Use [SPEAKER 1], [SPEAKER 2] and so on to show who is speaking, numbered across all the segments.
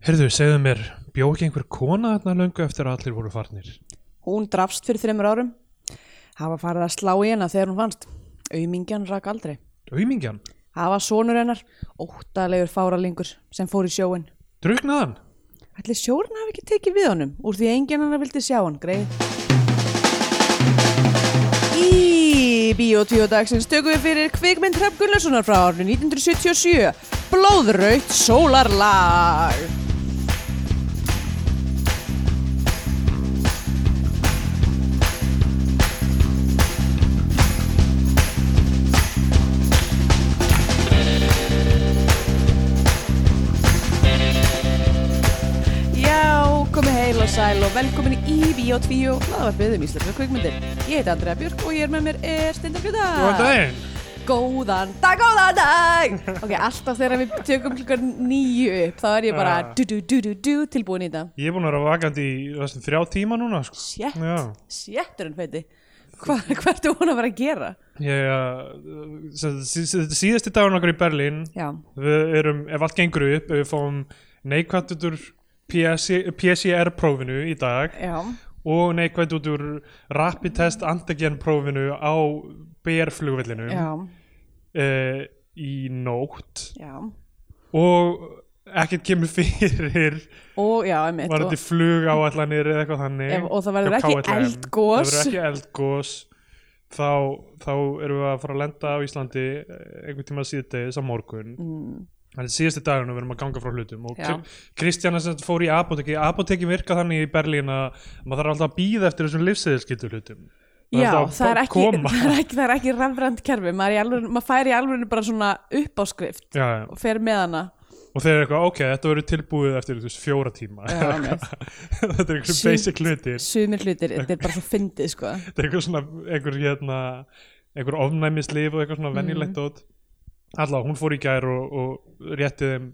[SPEAKER 1] Herðu, segðu mér, bjó ekki einhver kona þarna löngu eftir að allir voru farnir?
[SPEAKER 2] Hún drafst fyrir þreymur árum. Það var farið að slá í hana þegar hún fannst. Auðmingjan rak aldrei.
[SPEAKER 1] Auðmingjan?
[SPEAKER 2] Það var sonur hennar, óttalegur fáralingur sem fór í sjóin.
[SPEAKER 1] Druknaðan?
[SPEAKER 2] Ætli sjórinn hafi ekki tekið við honum úr því enginn hennar vildi sjá hann, greið. Í Bíotvíó dagsins tökum við fyrir kvikmynd Hrafn Gunnarssonar frá árinu 1977 Blóðraut sólarlag Já, komið heil og sæl og velkomin í Bíotvíó hlaðvarpið um íslenska kvikmyndir Ég heiti Andrea Björk og ég er með mér er Steindar Gluta
[SPEAKER 1] Góðan daginn!
[SPEAKER 2] Góðan dag, góðan dag Ok, alltaf þegar við tökum klukkan nýju upp þá er ég bara
[SPEAKER 1] Ja.
[SPEAKER 2] du du du du du tilbúin í þetta
[SPEAKER 1] Ég er búin að vera vakandi í þessum þrjá tíma núna, sko.
[SPEAKER 2] Sjett,
[SPEAKER 1] Já.
[SPEAKER 2] sjetturinn feiti Hva, Hvað ertu hún að vera að gera?
[SPEAKER 1] Ég, uh, sem- sí- sí- þetta er síðasti dagur okkur í Berlín,
[SPEAKER 2] Já,
[SPEAKER 1] við erum, ef allt gengur upp, ef við fáum neikvætt út úr PS PCR-prófinu í dag
[SPEAKER 2] já,
[SPEAKER 1] og neikvætt út úr rapid test antigen-prófinu á BR-flugvillinu
[SPEAKER 2] já,
[SPEAKER 1] uh, í nótt
[SPEAKER 2] já
[SPEAKER 1] og ekkert kemur fyrir
[SPEAKER 2] Og já, einmitt
[SPEAKER 1] var
[SPEAKER 2] og,
[SPEAKER 1] þetta flug áallanir eða eitthvað þannig
[SPEAKER 2] Ef- og það verður
[SPEAKER 1] hjá
[SPEAKER 2] ekki
[SPEAKER 1] KLM.
[SPEAKER 2] eldgos.
[SPEAKER 1] það verður ekki eldgós þá, þá erum við að fara að lenda á Íslandi eh, einhvern tíma síðdegis á morgun
[SPEAKER 2] mm,
[SPEAKER 1] þannig að síðasti dagurinn við erum að ganga frá hlutum og
[SPEAKER 2] Já.
[SPEAKER 1] Kri- Kristjana sem sagt fór í apoteki apoteki virka þannig í Berlín að maður þarf alltaf að býða eftir þessum livsæðilskyldu hlutum
[SPEAKER 2] Já,
[SPEAKER 1] alltaf að
[SPEAKER 2] það er,
[SPEAKER 1] fá-
[SPEAKER 2] ekki,
[SPEAKER 1] koma.
[SPEAKER 2] það, er ekki, það er ekki rafrænt kerfi maður, er í alvöru, maður fær í alveg bara svona uppáskrift
[SPEAKER 1] Já, já.
[SPEAKER 2] og fer með hana
[SPEAKER 1] og þeir eru eitthvað, ok, þetta verður tilbúið eftir þú veist, fjóra tíma
[SPEAKER 2] Já, einmitt.
[SPEAKER 1] þetta er einhverjum
[SPEAKER 2] Sýnt.
[SPEAKER 1] basic hlutir
[SPEAKER 2] sumir hlutir, þetta er bara svo fyndið sko.
[SPEAKER 1] þetta er einhver svona einhver, hérna, einhver ofnæmislif og eitthvað svona venjulegt dót allá, hún fór í gær og, og rétti þeim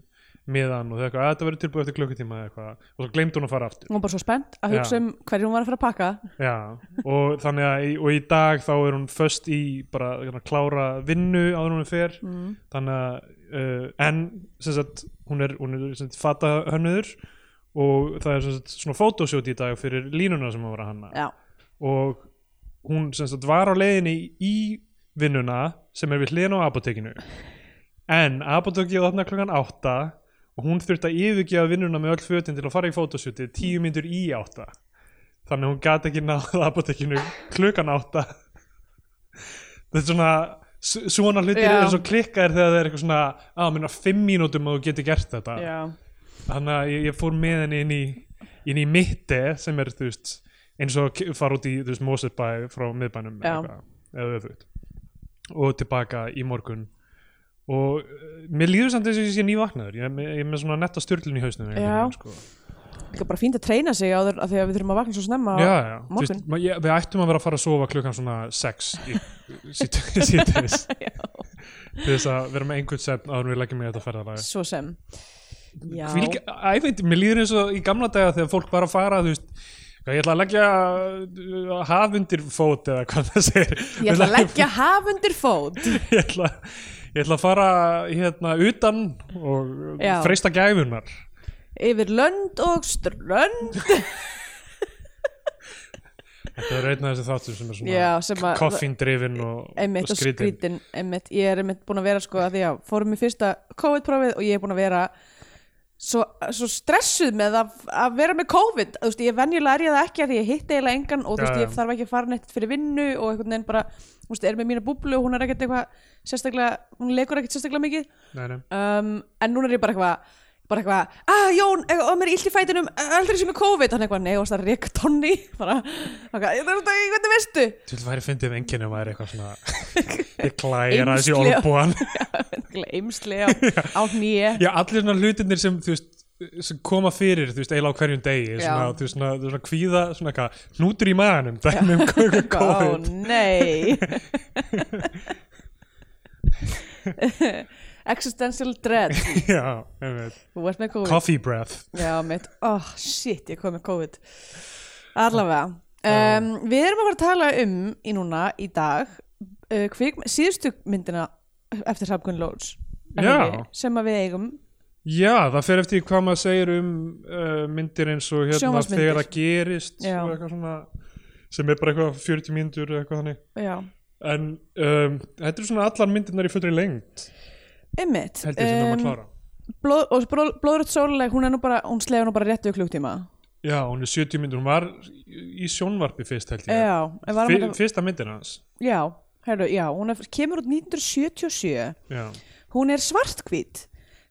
[SPEAKER 1] miðan og þau eitthvað, að þetta verður tilbúið eftir klukkutíma eða eitthvað og svo gleymd hún að fara aftur
[SPEAKER 2] hún var bara svo spennt að
[SPEAKER 1] Já.
[SPEAKER 2] hugsa um hverju hún var að fara að pakka
[SPEAKER 1] Já, og þannig að í- og í dag þá er hún föst í bara hérna, klára vinnu áður en hún fer
[SPEAKER 2] mm.
[SPEAKER 1] þannig að uh, en sem sagt, hún er, hún er sem sagt, fatahönnuður og það er sem sagt, svona fótósjót í dag fyrir línuna sem hún var að hanna
[SPEAKER 2] Já,
[SPEAKER 1] og hún sem sagt var á leiðinni í vinnuna sem er við hliðin á apotekinu en apotekið opna klokkan átta og hún þurfti að yfirgefa vinnuna með öll fötin til að fara í fótosjúti tíu myndur í átta þannig að hún gat ekki náð apotekinu klukkan átta þetta er svona s- svona hlutir
[SPEAKER 2] Já.
[SPEAKER 1] eru svo klikkaðir þegar það er eitthvað svona að minna fimm mínútum að þú geti gert þetta
[SPEAKER 2] já,
[SPEAKER 1] þannig að ég, ég fór með henni inn í, inn í mitti sem er þú veist eins og ke- fara út í þú veist Mosesbæ frá miðbænum
[SPEAKER 2] Já.
[SPEAKER 1] eða, eða öfugt. og tilbaka í morgun og eh, mér líður samt eins og ég sé nývaknaður ég, er með- ég er með svona netta styrlun í hausnum einhvern
[SPEAKER 2] Já.
[SPEAKER 1] veginn, sko.
[SPEAKER 2] líka bara fínt að treyna sig á þeir að því að við þurfum að vakna svo snemma
[SPEAKER 1] já, já. Þú
[SPEAKER 2] morgun.
[SPEAKER 1] Veist, ma- ég, við ættum að vera að fara að sofa klukkan svona 6 síðtegis
[SPEAKER 2] Já.
[SPEAKER 1] til þess að vera með einhvern sefn áður en við leggjum í þetta ferðalagi
[SPEAKER 2] svo sem Já,
[SPEAKER 1] Hvílík, æfint, mér líður eins og í gamla daga þegar fólk var að fara, þú veist hvað, ég ætla að leggja uh, haf undir fót eða hvað það segir
[SPEAKER 2] ég ætla að leggja haf undir fót
[SPEAKER 1] ég ætla, ég ætla að fara hérna utan og
[SPEAKER 2] Já.
[SPEAKER 1] freista gæfunar
[SPEAKER 2] yfir lönd og strönd
[SPEAKER 1] þetta er einn af þessi þáttur sem er svona
[SPEAKER 2] Já, sem að-
[SPEAKER 1] koffindrifin og,
[SPEAKER 2] einmitt og
[SPEAKER 1] skrýtin.
[SPEAKER 2] skrítin einmitt. ég er einmitt búin að vera sko að því að fórum í fyrsta COVID-prófið og ég er búin að vera svo, svo stressuð með að, að vera með COVID þú veist, ég venjulega er ég það ekki að því ég hitti eiginlega engan og þú veist,
[SPEAKER 1] Já,
[SPEAKER 2] ég
[SPEAKER 1] já.
[SPEAKER 2] þarf ekki að fara neitt fyrir vinnu og einhvern veginn bara, þú veist, er með mína búblu og hún er ekkert eitthvað sérstaklega, hún leikur ekkert sérstaklega mikið
[SPEAKER 1] Nei, nei.
[SPEAKER 2] um, en núna er ég bara eitthvað bara eitthvað, að Jón, eh, og mér er illt í fætinum eh, aldrei sem er COVID, hann eitthvað, nei, og það reyka tonni, bara, eitthvað, "Ég þarf þetta- hvernig veistu?
[SPEAKER 1] Þú vil væri fyndið um enginni og maður er eitthvað svona ég klæra þessi
[SPEAKER 2] Eymsli á-
[SPEAKER 1] olbúan
[SPEAKER 2] Gleimsli á, á nýja
[SPEAKER 1] Já, allir svona hlutirnir sem, þú veist, sem koma fyrir, þú veist, eiginlega á hverjum degi svona,
[SPEAKER 2] Já.
[SPEAKER 1] þú veist, svona, þú veist, svona kvíða, svona eitthvað hnútur í maðanum, dæmi um hvað
[SPEAKER 2] Ó
[SPEAKER 1] COVID
[SPEAKER 2] nei Existential dread
[SPEAKER 1] Já, einmitt.
[SPEAKER 2] Þú ert með COVID
[SPEAKER 1] coffee breath
[SPEAKER 2] Já mitt, oh shit ég kom með COVID Allavega um, Við erum að fara að tala um í núna í dag uh, kvik, síðustu myndina eftir Hrafn Lóts
[SPEAKER 1] Já.
[SPEAKER 2] sem að við eigum
[SPEAKER 1] Já, það fer eftir hvað maður segir um uh, myndir eins og hérna
[SPEAKER 2] Sjónvarpsmyndir.
[SPEAKER 1] þegar það gerist
[SPEAKER 2] Já.
[SPEAKER 1] og eitthvað svona, sem er bara eitthvað 40 myndur eða eitthvað þannig
[SPEAKER 2] já,
[SPEAKER 1] en um, þetta eru svona allar myndirnar í fullri lengd
[SPEAKER 2] einmitt
[SPEAKER 1] held ég sem um, að
[SPEAKER 2] Em,
[SPEAKER 1] klára
[SPEAKER 2] blóð, og blóð, blóðrött sóluleg hún er nú bara, hún slega nú bara rétt við klugtíma
[SPEAKER 1] Já, hún er 70 myndur, hún var í sjónvarpi fyrst held ég
[SPEAKER 2] já, en var
[SPEAKER 1] Fyr,
[SPEAKER 2] hún að,
[SPEAKER 1] Fyrsta myndin hans
[SPEAKER 2] já, herru, já hún er, kemur út 1977
[SPEAKER 1] Já,
[SPEAKER 2] hún er svartkvít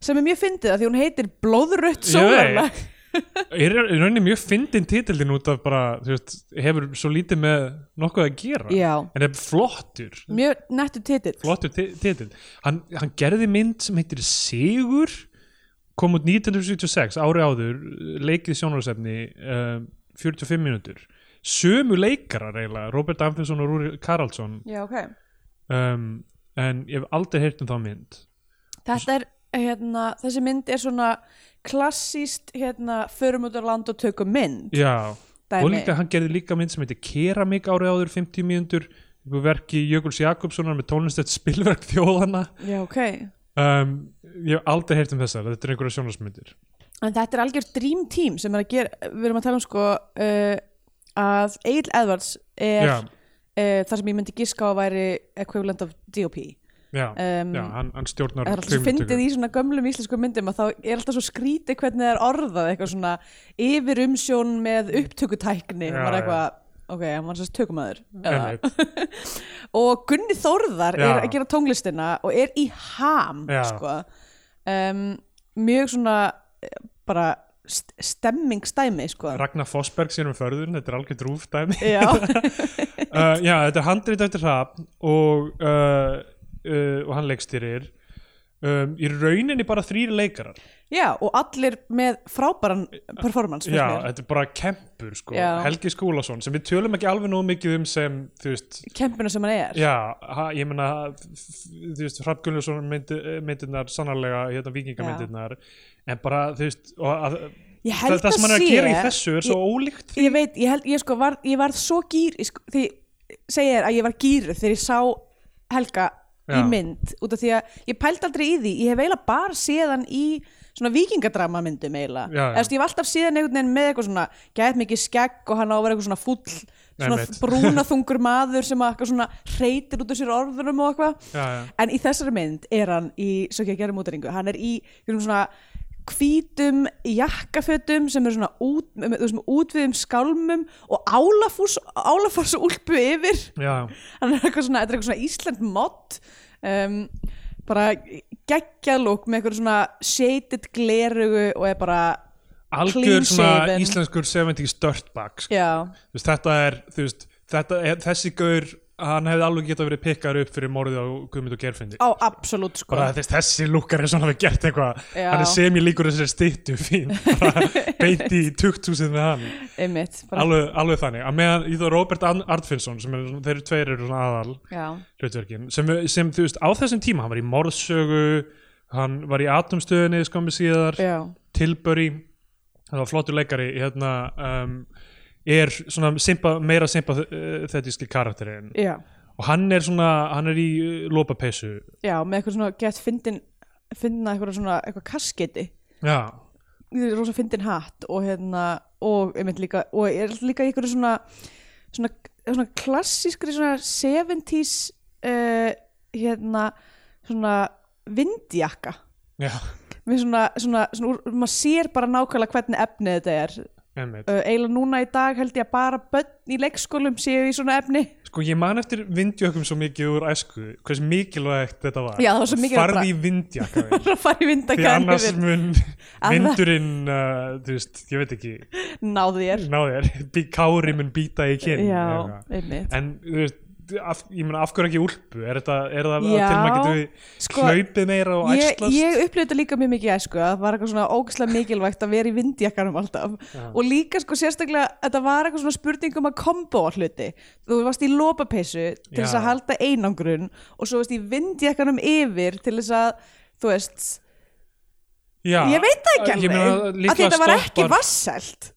[SPEAKER 2] sem er mjög fyndið að því hún heitir blóðrött
[SPEAKER 1] Ég veit.
[SPEAKER 2] sóluleg
[SPEAKER 1] er í rauninni mjög fyndin titildin út af bara, þú veist, hefur svo lítið með nokkuð að gera
[SPEAKER 2] já,
[SPEAKER 1] en það er flottur
[SPEAKER 2] mjög nettu titill
[SPEAKER 1] flottur ti- titill hann, hann gerði mynd sem heitir Sigur kom út 1976 ári áður, leikið sjónarsefni uh, 45 mínútur sömu leikarar eiginlega Robert Amfinsson og Rúri Karlsson
[SPEAKER 2] já, ok
[SPEAKER 1] um, en ég hef aldrei heyrt um þá mynd
[SPEAKER 2] Þetta er, hérna, þessi mynd er svona klassíst, hérna, förum út á land og tökum mynd.
[SPEAKER 1] já, og
[SPEAKER 2] Dæmi.
[SPEAKER 1] líka hann gerði líka mynd sem heitir Keramik ári áður 50 mínútur verki Jökuls Jakobssonar með tónlistett spilverk þjóðana
[SPEAKER 2] Já, ok.
[SPEAKER 1] um, ég hef aldrei heyrt um þessar, þetta er einhverja sjónarsmyndir
[SPEAKER 2] En þetta er algjör dream team sem er að gera, við erum að tala um sko uh, að Egil Edwards er
[SPEAKER 1] já,
[SPEAKER 2] uh, þar sem ég myndi giska á að væri equivalent of DOP.
[SPEAKER 1] já
[SPEAKER 2] Um,
[SPEAKER 1] Já, hann, hann stjórnar
[SPEAKER 2] Það er alltaf svo fyndið í svona gömlum íslensku myndum að þá er alltaf svo skrítið hvernig það er orðað eitthvað svona yfir umsjón með upptökutækni
[SPEAKER 1] Já,
[SPEAKER 2] og maður
[SPEAKER 1] já.
[SPEAKER 2] eitthvað, ok, hann var sérst tökumæður
[SPEAKER 1] Einmitt.
[SPEAKER 2] og Gunni Þórðar
[SPEAKER 1] Já.
[SPEAKER 2] er að gera tónlistina og er í ham
[SPEAKER 1] Já.
[SPEAKER 2] sko. um, mjög svona eh, bara st stemmingstæmi sko.
[SPEAKER 1] Ragnar Fossberg sér um förðun, þetta er algjörð rúftæmi uh,
[SPEAKER 2] já,
[SPEAKER 1] Já, þetta er handrit eftir hrap og, uh, uh, og hann leikstýrir um, í rauninni bara þrýri leikarar
[SPEAKER 2] já, og allir með frábæran performance finnst
[SPEAKER 1] Já,
[SPEAKER 2] mér.
[SPEAKER 1] þetta er bara kempur sko.
[SPEAKER 2] Já.
[SPEAKER 1] Helgi Skúlason, sem við tölum ekki alveg nóg mikið um sem, þú veist
[SPEAKER 2] kempina sem hann er
[SPEAKER 1] Já, ha, ég meina þú veist, Hrafn Gunnljófsson myndi, myndirnar sannarlega, hérna vikingamyndirnar en bara, þú veist og að,
[SPEAKER 2] ég
[SPEAKER 1] það,
[SPEAKER 2] held
[SPEAKER 1] það sem hann er að
[SPEAKER 2] sé-
[SPEAKER 1] gera í þessu er svo ólíkt því
[SPEAKER 2] ég veit, ég, held, ég, sko var, ég varð svo gýr ég sko, því segja þér að ég var gýru þegar ég sá Helga í
[SPEAKER 1] Já.
[SPEAKER 2] mynd út af því að ég pælt aldrei í því ég hef eiginlega bara séðan í svona vikingadrama myndum eiginlega
[SPEAKER 1] Já, já.
[SPEAKER 2] Eðast, ég hef alltaf séðan einhvern veginn með eitthvað svona gæt mikið skegg og hann á að vera eitthvað svona fúll svona
[SPEAKER 1] Einmitt.
[SPEAKER 2] brúnaþungur maður sem að eitthvað svona hreytir út af sér orðunum og eitthvað
[SPEAKER 1] Já, já.
[SPEAKER 2] en í þessari mynd er hann í svo ekki að gera mútaringu, hann er í einhverjum svona hvítum jakkafötum sem er svona út, með, með- þú veist, með útviðum skálmum og álafús, álafús úlpu yfir
[SPEAKER 1] Já,
[SPEAKER 2] hann er eitthvað svona, þetta er eitthvað svona Ísland mod um, bara geggjalúk með eitthvað svona shaded glerugu og er bara Clean
[SPEAKER 1] algjör svona
[SPEAKER 2] shaven.
[SPEAKER 1] íslenskur 70s dirtbag sko.
[SPEAKER 2] já,
[SPEAKER 1] Þú veist, þetta er, þú veist, þetta er þessi gaur, hann hefði alveg getað verið pikkaður upp fyrir morðið á Guðmund og Gerfindi
[SPEAKER 2] á absolutt sko
[SPEAKER 1] bara þessi, þessi lúkar er svona við gert eitthvað
[SPEAKER 2] Já.
[SPEAKER 1] hann er sem ég líkur þessari styttu fín bara beint í tukthúsið með hann
[SPEAKER 2] einmitt, bara,
[SPEAKER 1] alveg, alveg þannig, að meðan í það Robert Arn- Arnfinnsson sem er, svona- þeir eru tveir eru svona aðal
[SPEAKER 2] já,
[SPEAKER 1] hlutverkin sem, sem þú veist, á þessum tíma hann var í morðsögu hann var í atomstöðinni skammi síðar
[SPEAKER 2] já,
[SPEAKER 1] Tilbury það var flottur leikari hérna, um, er svona simpa, meira sympathetiski karakterinn
[SPEAKER 2] já
[SPEAKER 1] og hann er svona, hann er í uh, lopapeysu
[SPEAKER 2] já, með eitthvað svona gett fyndin finna eitthvað svona, eitthvað kasketi
[SPEAKER 1] já,
[SPEAKER 2] rosa fyndin hatt og hérna og einmitt líka og er líka í einhverju svona svona, svona klassískri svona 70s uh, hérna svona vindjakka
[SPEAKER 1] já,
[SPEAKER 2] með svona, svona, svona úr, maður sér bara nákvæmlega hvernig efnið þetta er
[SPEAKER 1] emmitt
[SPEAKER 2] uh, eiginlega núna í dag held ég að bara börn í leikskólum séu í svona efni
[SPEAKER 1] sko ég man eftir vindjökum svo mikið úr æsku hversu mikilvægt þetta var
[SPEAKER 2] Já, það var svo mikilvægt
[SPEAKER 1] farði í vindjaka þín,
[SPEAKER 2] að fara í
[SPEAKER 1] því
[SPEAKER 2] vindakka
[SPEAKER 1] annars mun
[SPEAKER 2] Annars-
[SPEAKER 1] vindurinn uh, þú veist, ég veit ekki
[SPEAKER 2] náðu þér
[SPEAKER 1] ná þér, bí- kári mun býta í kinn
[SPEAKER 2] já,
[SPEAKER 1] eða eitthvað.
[SPEAKER 2] einmitt
[SPEAKER 1] en þú veist af, ég meina af hverju ekki úlpu er, þetta, er það
[SPEAKER 2] Já,
[SPEAKER 1] að til maður getur
[SPEAKER 2] sko,
[SPEAKER 1] hlaupið meira og
[SPEAKER 2] ég,
[SPEAKER 1] æslast
[SPEAKER 2] ég upplifði þetta líka mjög mikið í æsku að það var eitthvað svona ógæslega mikilvægt að vera í vindjakkanum alltaf
[SPEAKER 1] Já.
[SPEAKER 2] og líka sko sérstaklega þetta var eitthvað svona spurning um að kombo á hluti þú varst í lopapeysu til þess
[SPEAKER 1] Já.
[SPEAKER 2] að halda einangrun og svo varst í vindjakkanum yfir til þess að þú veist,
[SPEAKER 1] já,
[SPEAKER 2] ég veit það ekki
[SPEAKER 1] ég meina,
[SPEAKER 2] alveg að
[SPEAKER 1] líklega
[SPEAKER 2] þetta var ekki
[SPEAKER 1] stoppar-
[SPEAKER 2] vasselt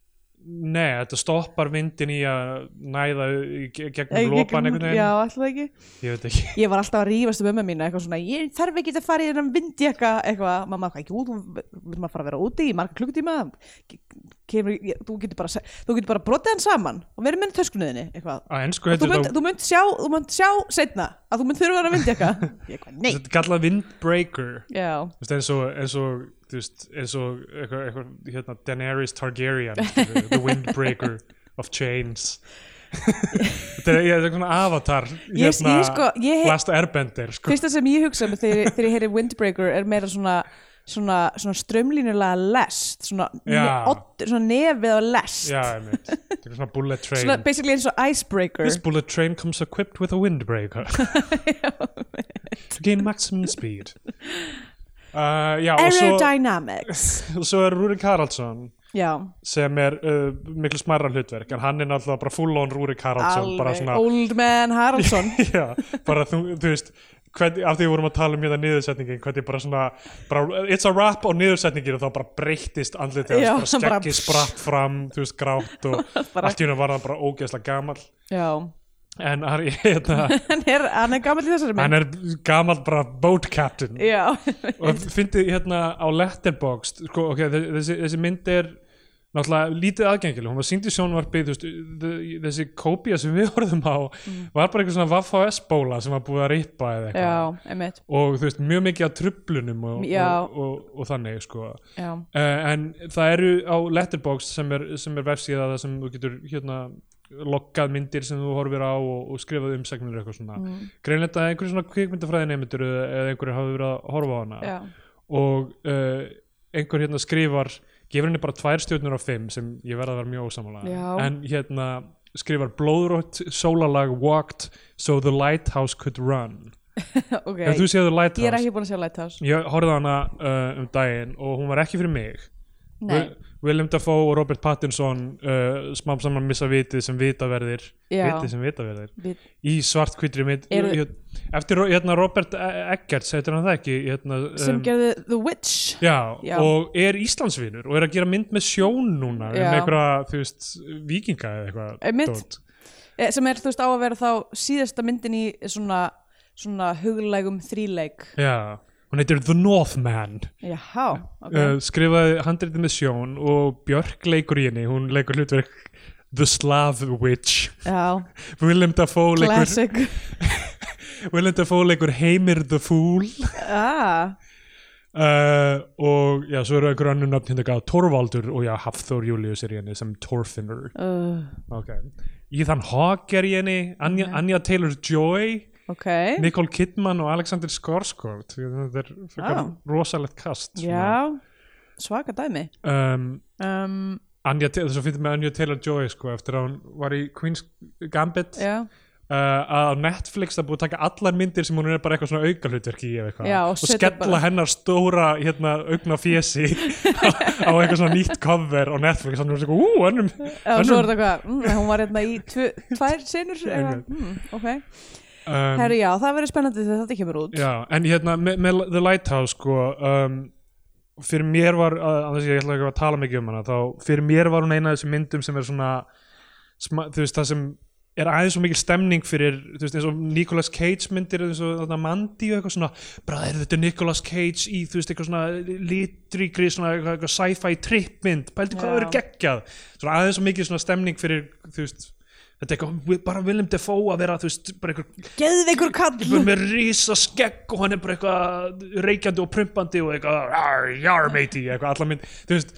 [SPEAKER 1] Nei, þetta stoppar vindin í að næða í ge-
[SPEAKER 2] Ég-
[SPEAKER 1] gegnum
[SPEAKER 2] ég-
[SPEAKER 1] lopan einhvern
[SPEAKER 2] já,
[SPEAKER 1] veginn
[SPEAKER 2] alltaf ekki
[SPEAKER 1] Ég veit ekki
[SPEAKER 2] ég var alltaf að rífast um ömmu mína eitthvað svona, ég þarf ekki að fara í þennan vindjekka eitthvað, mamma, hvað ekki út þú vilt maður fara að vera úti í marga klukkutíma Ke- kemur, ég, þú getur bara þú getur bara brotið hann saman og verið með töskunniðinni eitthvað,
[SPEAKER 1] Á ennsku
[SPEAKER 2] þú
[SPEAKER 1] heitir
[SPEAKER 2] munt,
[SPEAKER 1] þetta
[SPEAKER 2] þú munt sjá þú munt sjá setna, að þú munt þurfa að vera vindjekka ég eitthvað, nei,
[SPEAKER 1] Þetta er kallað windbreaker
[SPEAKER 2] já
[SPEAKER 1] Þú veist, eins og, eins og, þú veist, eins og eitthvað, eitthvað, hérna, Daenerys Targaryen skilur, The Windbreaker of Chains Þetta er, ég er svona avatar hérna,
[SPEAKER 2] Ég- ég sko- ég-
[SPEAKER 1] Last Airbender, sko
[SPEAKER 2] fyrsta sem ég hugsa um þegar, þegar ég heyri Windbreaker er meira svona svona, svona strömlínulega lest svona, ne
[SPEAKER 1] Já.
[SPEAKER 2] odd, svona nefið á lest
[SPEAKER 1] Já, ég veit, þetta er svona bullet train
[SPEAKER 2] svona basically eins og icebreaker
[SPEAKER 1] This bullet train comes equipped with a windbreaker to gain maximum speed uh, Já, og svo,
[SPEAKER 2] aerodynamics
[SPEAKER 1] og svo er Rúrik Haraldsson
[SPEAKER 2] já,
[SPEAKER 1] sem er uh, miklu smarra hlutverk en hann er náttúrulega bara full on Rúrik Haraldsson bara
[SPEAKER 2] alveg,
[SPEAKER 1] svona
[SPEAKER 2] old man Haraldsson
[SPEAKER 1] já, bara þú, þú veist hvern, af því við vorum að tala um hérna niðursetningin hvernig bara svona, bara, it's a wrap á niðursetningin og þá bara breyttist andlitið
[SPEAKER 2] Já,
[SPEAKER 1] hans, bara
[SPEAKER 2] bara-
[SPEAKER 1] skeggi spratt fram, þú veist, grátt og
[SPEAKER 2] Bara-
[SPEAKER 1] allt í hennu var hann bara ógeðslega gamall
[SPEAKER 2] já,
[SPEAKER 1] en hann, hérna,
[SPEAKER 2] hann er, hann er gammal í þessari mynd
[SPEAKER 1] hann er gamall bara boat captain
[SPEAKER 2] já,
[SPEAKER 1] og fyndið hérna á Letterboxd sko, ok, þe- þessi, þessi mynd er náttúrulega lítið aðgengileg hún var sýnd í sjónvarpi þú veist, þe- þessi kópía sem við horfðum á var bara einhver svona Vaffa S bóla sem var búið að rippa eða
[SPEAKER 2] Mm. já,
[SPEAKER 1] eitthvað
[SPEAKER 2] einmitt
[SPEAKER 1] og þú veist, mjög mikið af trublunum og,
[SPEAKER 2] Já.
[SPEAKER 1] og, og, og, þannig sko
[SPEAKER 2] já,
[SPEAKER 1] uh, en það eru á Letterboxd sem er, sem er vefsíða það sem þú getur hérna loggað myndir sem þú horfir á og, og skrifað umsagnir og eitthvað svona mm. greinlega að einhverju svona kvikmyndafræði nefndur eða eða einhverju hafi verið að horfa á hana
[SPEAKER 2] já,
[SPEAKER 1] og uh, einhver hérna skrifar gefur henni bara tvær stjórnur á fimm sem ég verða að vera mjög ósamála
[SPEAKER 2] Já.
[SPEAKER 1] en hérna skrifar blóðrótt sólalag walked so the lighthouse could run
[SPEAKER 2] ok
[SPEAKER 1] ef þú séð the
[SPEAKER 2] ég er
[SPEAKER 1] lighthouse
[SPEAKER 2] ekki búin að sjá Lighthouse
[SPEAKER 1] ég horfði á hana uh, um daginn og hún var ekki fyrir mig
[SPEAKER 2] Nei.
[SPEAKER 1] Wi- Willem Dafoe og Robert Pattinson uh, smám saman missa vitið sem vitaverðir
[SPEAKER 2] Já.
[SPEAKER 1] vitið sem vitaverðir
[SPEAKER 2] Við,
[SPEAKER 1] í svart kvítri mitt
[SPEAKER 2] Eru-
[SPEAKER 1] eftir Ro- hérna, Robert E- Eggerts heitir hann það ekki hérna,
[SPEAKER 2] sem
[SPEAKER 1] um,
[SPEAKER 2] gerði The Witch
[SPEAKER 1] Já,
[SPEAKER 2] Já.
[SPEAKER 1] og er Íslandsvinur og er að gera mynd með sjón núna um
[SPEAKER 2] Já.
[SPEAKER 1] einhverja, þú veist, vikinga eða eitthvað
[SPEAKER 2] Einmitt.
[SPEAKER 1] dót.
[SPEAKER 2] eh, sem er þú veist á að vera þá síðasta myndin í svona, svona huglægum þríleik
[SPEAKER 1] Já, hún heitir The Northman
[SPEAKER 2] Jaha, ok
[SPEAKER 1] uh, skrifaði handritið með sjón og Björk leikur í henni, hún leikur hlutverk The Slav Witch
[SPEAKER 2] Já,
[SPEAKER 1] Willem Dafoe leikur,
[SPEAKER 2] classic
[SPEAKER 1] Willem Dafoe leikur Heimir the Fool
[SPEAKER 2] ah,
[SPEAKER 1] uh, og já, svo eru einhver annu nöfn hérna Torvaldur og já, Hafþór Július er í henni sem Torfinur
[SPEAKER 2] uh,
[SPEAKER 1] okay. Ethan Hawke er í henni Anja, Anja Taylor-Joy
[SPEAKER 2] Ok
[SPEAKER 1] Nicole Kidman og Alexander Skarsgård þetta er frekar
[SPEAKER 2] Ah.
[SPEAKER 1] rosalegt kast svona.
[SPEAKER 2] Já, svaka dæmi
[SPEAKER 1] um,
[SPEAKER 2] um,
[SPEAKER 1] Anja, Taylor- svo finnum við Anja Taylor-Joy sko, eftir að hún var í Queen's Gambit uh,
[SPEAKER 2] Já,
[SPEAKER 1] að á Netflix það er búið að taka allar myndir sem hún er bara eitthvað svona auka í eða eitthvað
[SPEAKER 2] Já, og
[SPEAKER 1] og,
[SPEAKER 2] setja
[SPEAKER 1] skella
[SPEAKER 2] bara-
[SPEAKER 1] hennar stóra hérna, augna fjösi á, á eitthvað svona nýtt cover á Netflix þannig að hún er svona, ú, önnum
[SPEAKER 2] Já, svo
[SPEAKER 1] Önnur-
[SPEAKER 2] er þetta eitthvað, mm, hún var hérna í tvö, tvær sinur eitthvað, mm, ok,
[SPEAKER 1] um,
[SPEAKER 2] herri já, það verður spennandi þegar þetta kemur út
[SPEAKER 1] Já, en hérna með, með The Lighthouse sko um, fyrir mér var, að þess að ég ætla ekki að tala mikið um hana þá fyrir mér var hún eina af þessum myndum sem er svona sma, þú veist það sem er aðeins svo mikil stemning fyrir þú veist eins og Nicolas Cage myndir eins og þarna Mandy og eitthvað svona bræðir þetta er Nicolas Cage í þú veist eitthvað svona litríkri svona eitthvað, eitthvað sci-fi trippmynd, bældi hvað
[SPEAKER 2] Já.
[SPEAKER 1] það eru geggjað svona aðeins svo mikil svona stemning fyrir þú veist Þetta er eitthvað, bara Willem Dafoe að vera, þú veist, bara einhver
[SPEAKER 2] Geðveikur
[SPEAKER 1] Ég er
[SPEAKER 2] kall
[SPEAKER 1] með rísa skegg og hann er bara eitthvað reykjandi og prumpandi og eitthvað "Arr, jar meiti, eitthvað allar mynd þú veist,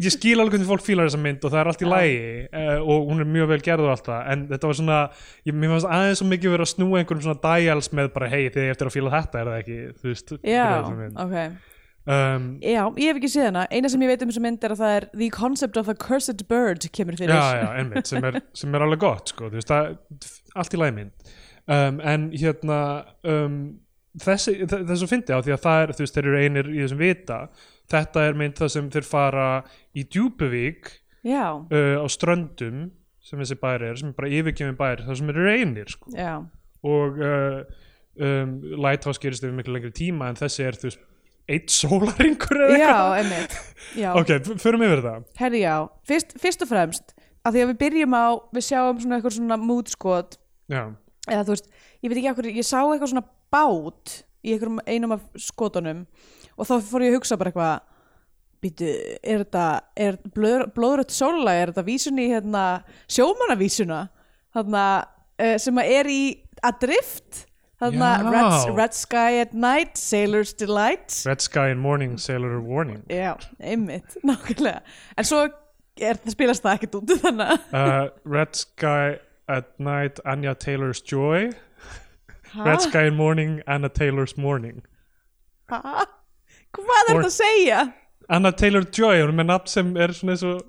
[SPEAKER 1] ég skil alveg hvernig fólk fílar þessa mynd og það er allt í lægi uh, og hún er mjög vel gerð og allt það en þetta var svona, ég, mér fannst aðeins svo mikið verið að snúa einhverjum svona dials með bara hei þið eigið eftir að fíla þetta er það ekki þú veist,
[SPEAKER 2] Já,
[SPEAKER 1] fyrir þessa mynd.
[SPEAKER 2] ok
[SPEAKER 1] um,
[SPEAKER 2] Já, ég hef ekki séð hana, eina sem ég veit um þessu mynd er að það er The Concept of the Cursed Bird kemur fyrir
[SPEAKER 1] já, já, einmitt, sem er, sem er alveg gott sko, þú veist, það, allt í lagi mynd um, en hérna um, þessi, þe- það er svo fyndi á því að það er, þú veist, þeir eru einir í þessum vita þetta er mynd það sem þeir fara í Djúpuvík
[SPEAKER 2] Já,
[SPEAKER 1] uh, á Ströndum sem þessi bær er, sem er bara yfirkjöfum bær það sem eru einir, sko
[SPEAKER 2] já,
[SPEAKER 1] og uh, um, Lighthouse gerist yfir miklu lengri tíma en þessi er, þú veist, eitt sólaringur eða
[SPEAKER 2] já,
[SPEAKER 1] eitthvað
[SPEAKER 2] einmitt já.
[SPEAKER 1] ok, f- förum yfir það
[SPEAKER 2] Herri já, fyrst, fyrst og fremst að því að við byrjum á, við sjáum svona eitthvað svona mútskot
[SPEAKER 1] já,
[SPEAKER 2] eða þú veist, ég veit ekki okkur, ég sá eitthvað svona bát í einhverjum einum af skotunum og þá fór ég að hugsa bara eitthvað býtu, er þetta er blöður, blóðrött sólulag, er þetta vísun í hérna, sjómannavísuna þarna, uh, sem að er í að drift þarna,
[SPEAKER 1] Já.
[SPEAKER 2] red, red sky at night, sailor's delight
[SPEAKER 1] Red Sky and Morning Sailor Warning
[SPEAKER 2] Já, einmitt, nákvæmlega En svo er, spilast það ekkert út þannig að
[SPEAKER 1] uh, Red Sky at Night Anya Taylor's Joy Red Sky in Morning Anna Taylor's Morning
[SPEAKER 2] Ha? Hvað er þetta að segja?
[SPEAKER 1] Anna Taylor Joy, hún er með nafn sem er svona eins og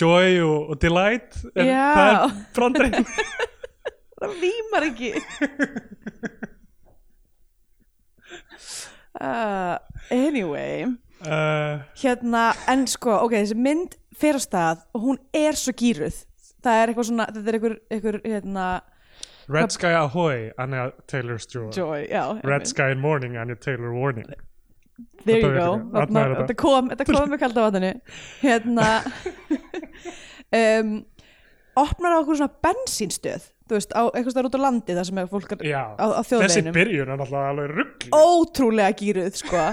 [SPEAKER 1] Joy og, og Delight en
[SPEAKER 2] Já.
[SPEAKER 1] það er brandrein
[SPEAKER 2] Það rýmar ekki uh, Anyway
[SPEAKER 1] uh,
[SPEAKER 2] Hérna, en sko, ok, þessi mynd fer á stað og hún er svo gýruð Það er eitthvað svona, þetta er einhver, einhver hérna,
[SPEAKER 1] Red Sky Ahoy Anna Taylor's Joy,
[SPEAKER 2] joy, já
[SPEAKER 1] Red
[SPEAKER 2] einmitt.
[SPEAKER 1] Sky in Morning Anna Taylor Warning
[SPEAKER 2] There you
[SPEAKER 1] Þetta veit
[SPEAKER 2] go,
[SPEAKER 1] ég. Þarna
[SPEAKER 2] Þarna-
[SPEAKER 1] er þetta.
[SPEAKER 2] þetta kom, þetta kom með kalda vatninu Hérna um, Opnar á okkur svona bensínstöð Þú veist, á eitthvað stær út á landi þar sem er fólk er
[SPEAKER 1] Já,
[SPEAKER 2] á, á
[SPEAKER 1] þessi
[SPEAKER 2] þjóðveginum
[SPEAKER 1] byrjun er náttúrulega alveg ruggli
[SPEAKER 2] Ótrúlega gýruð, sko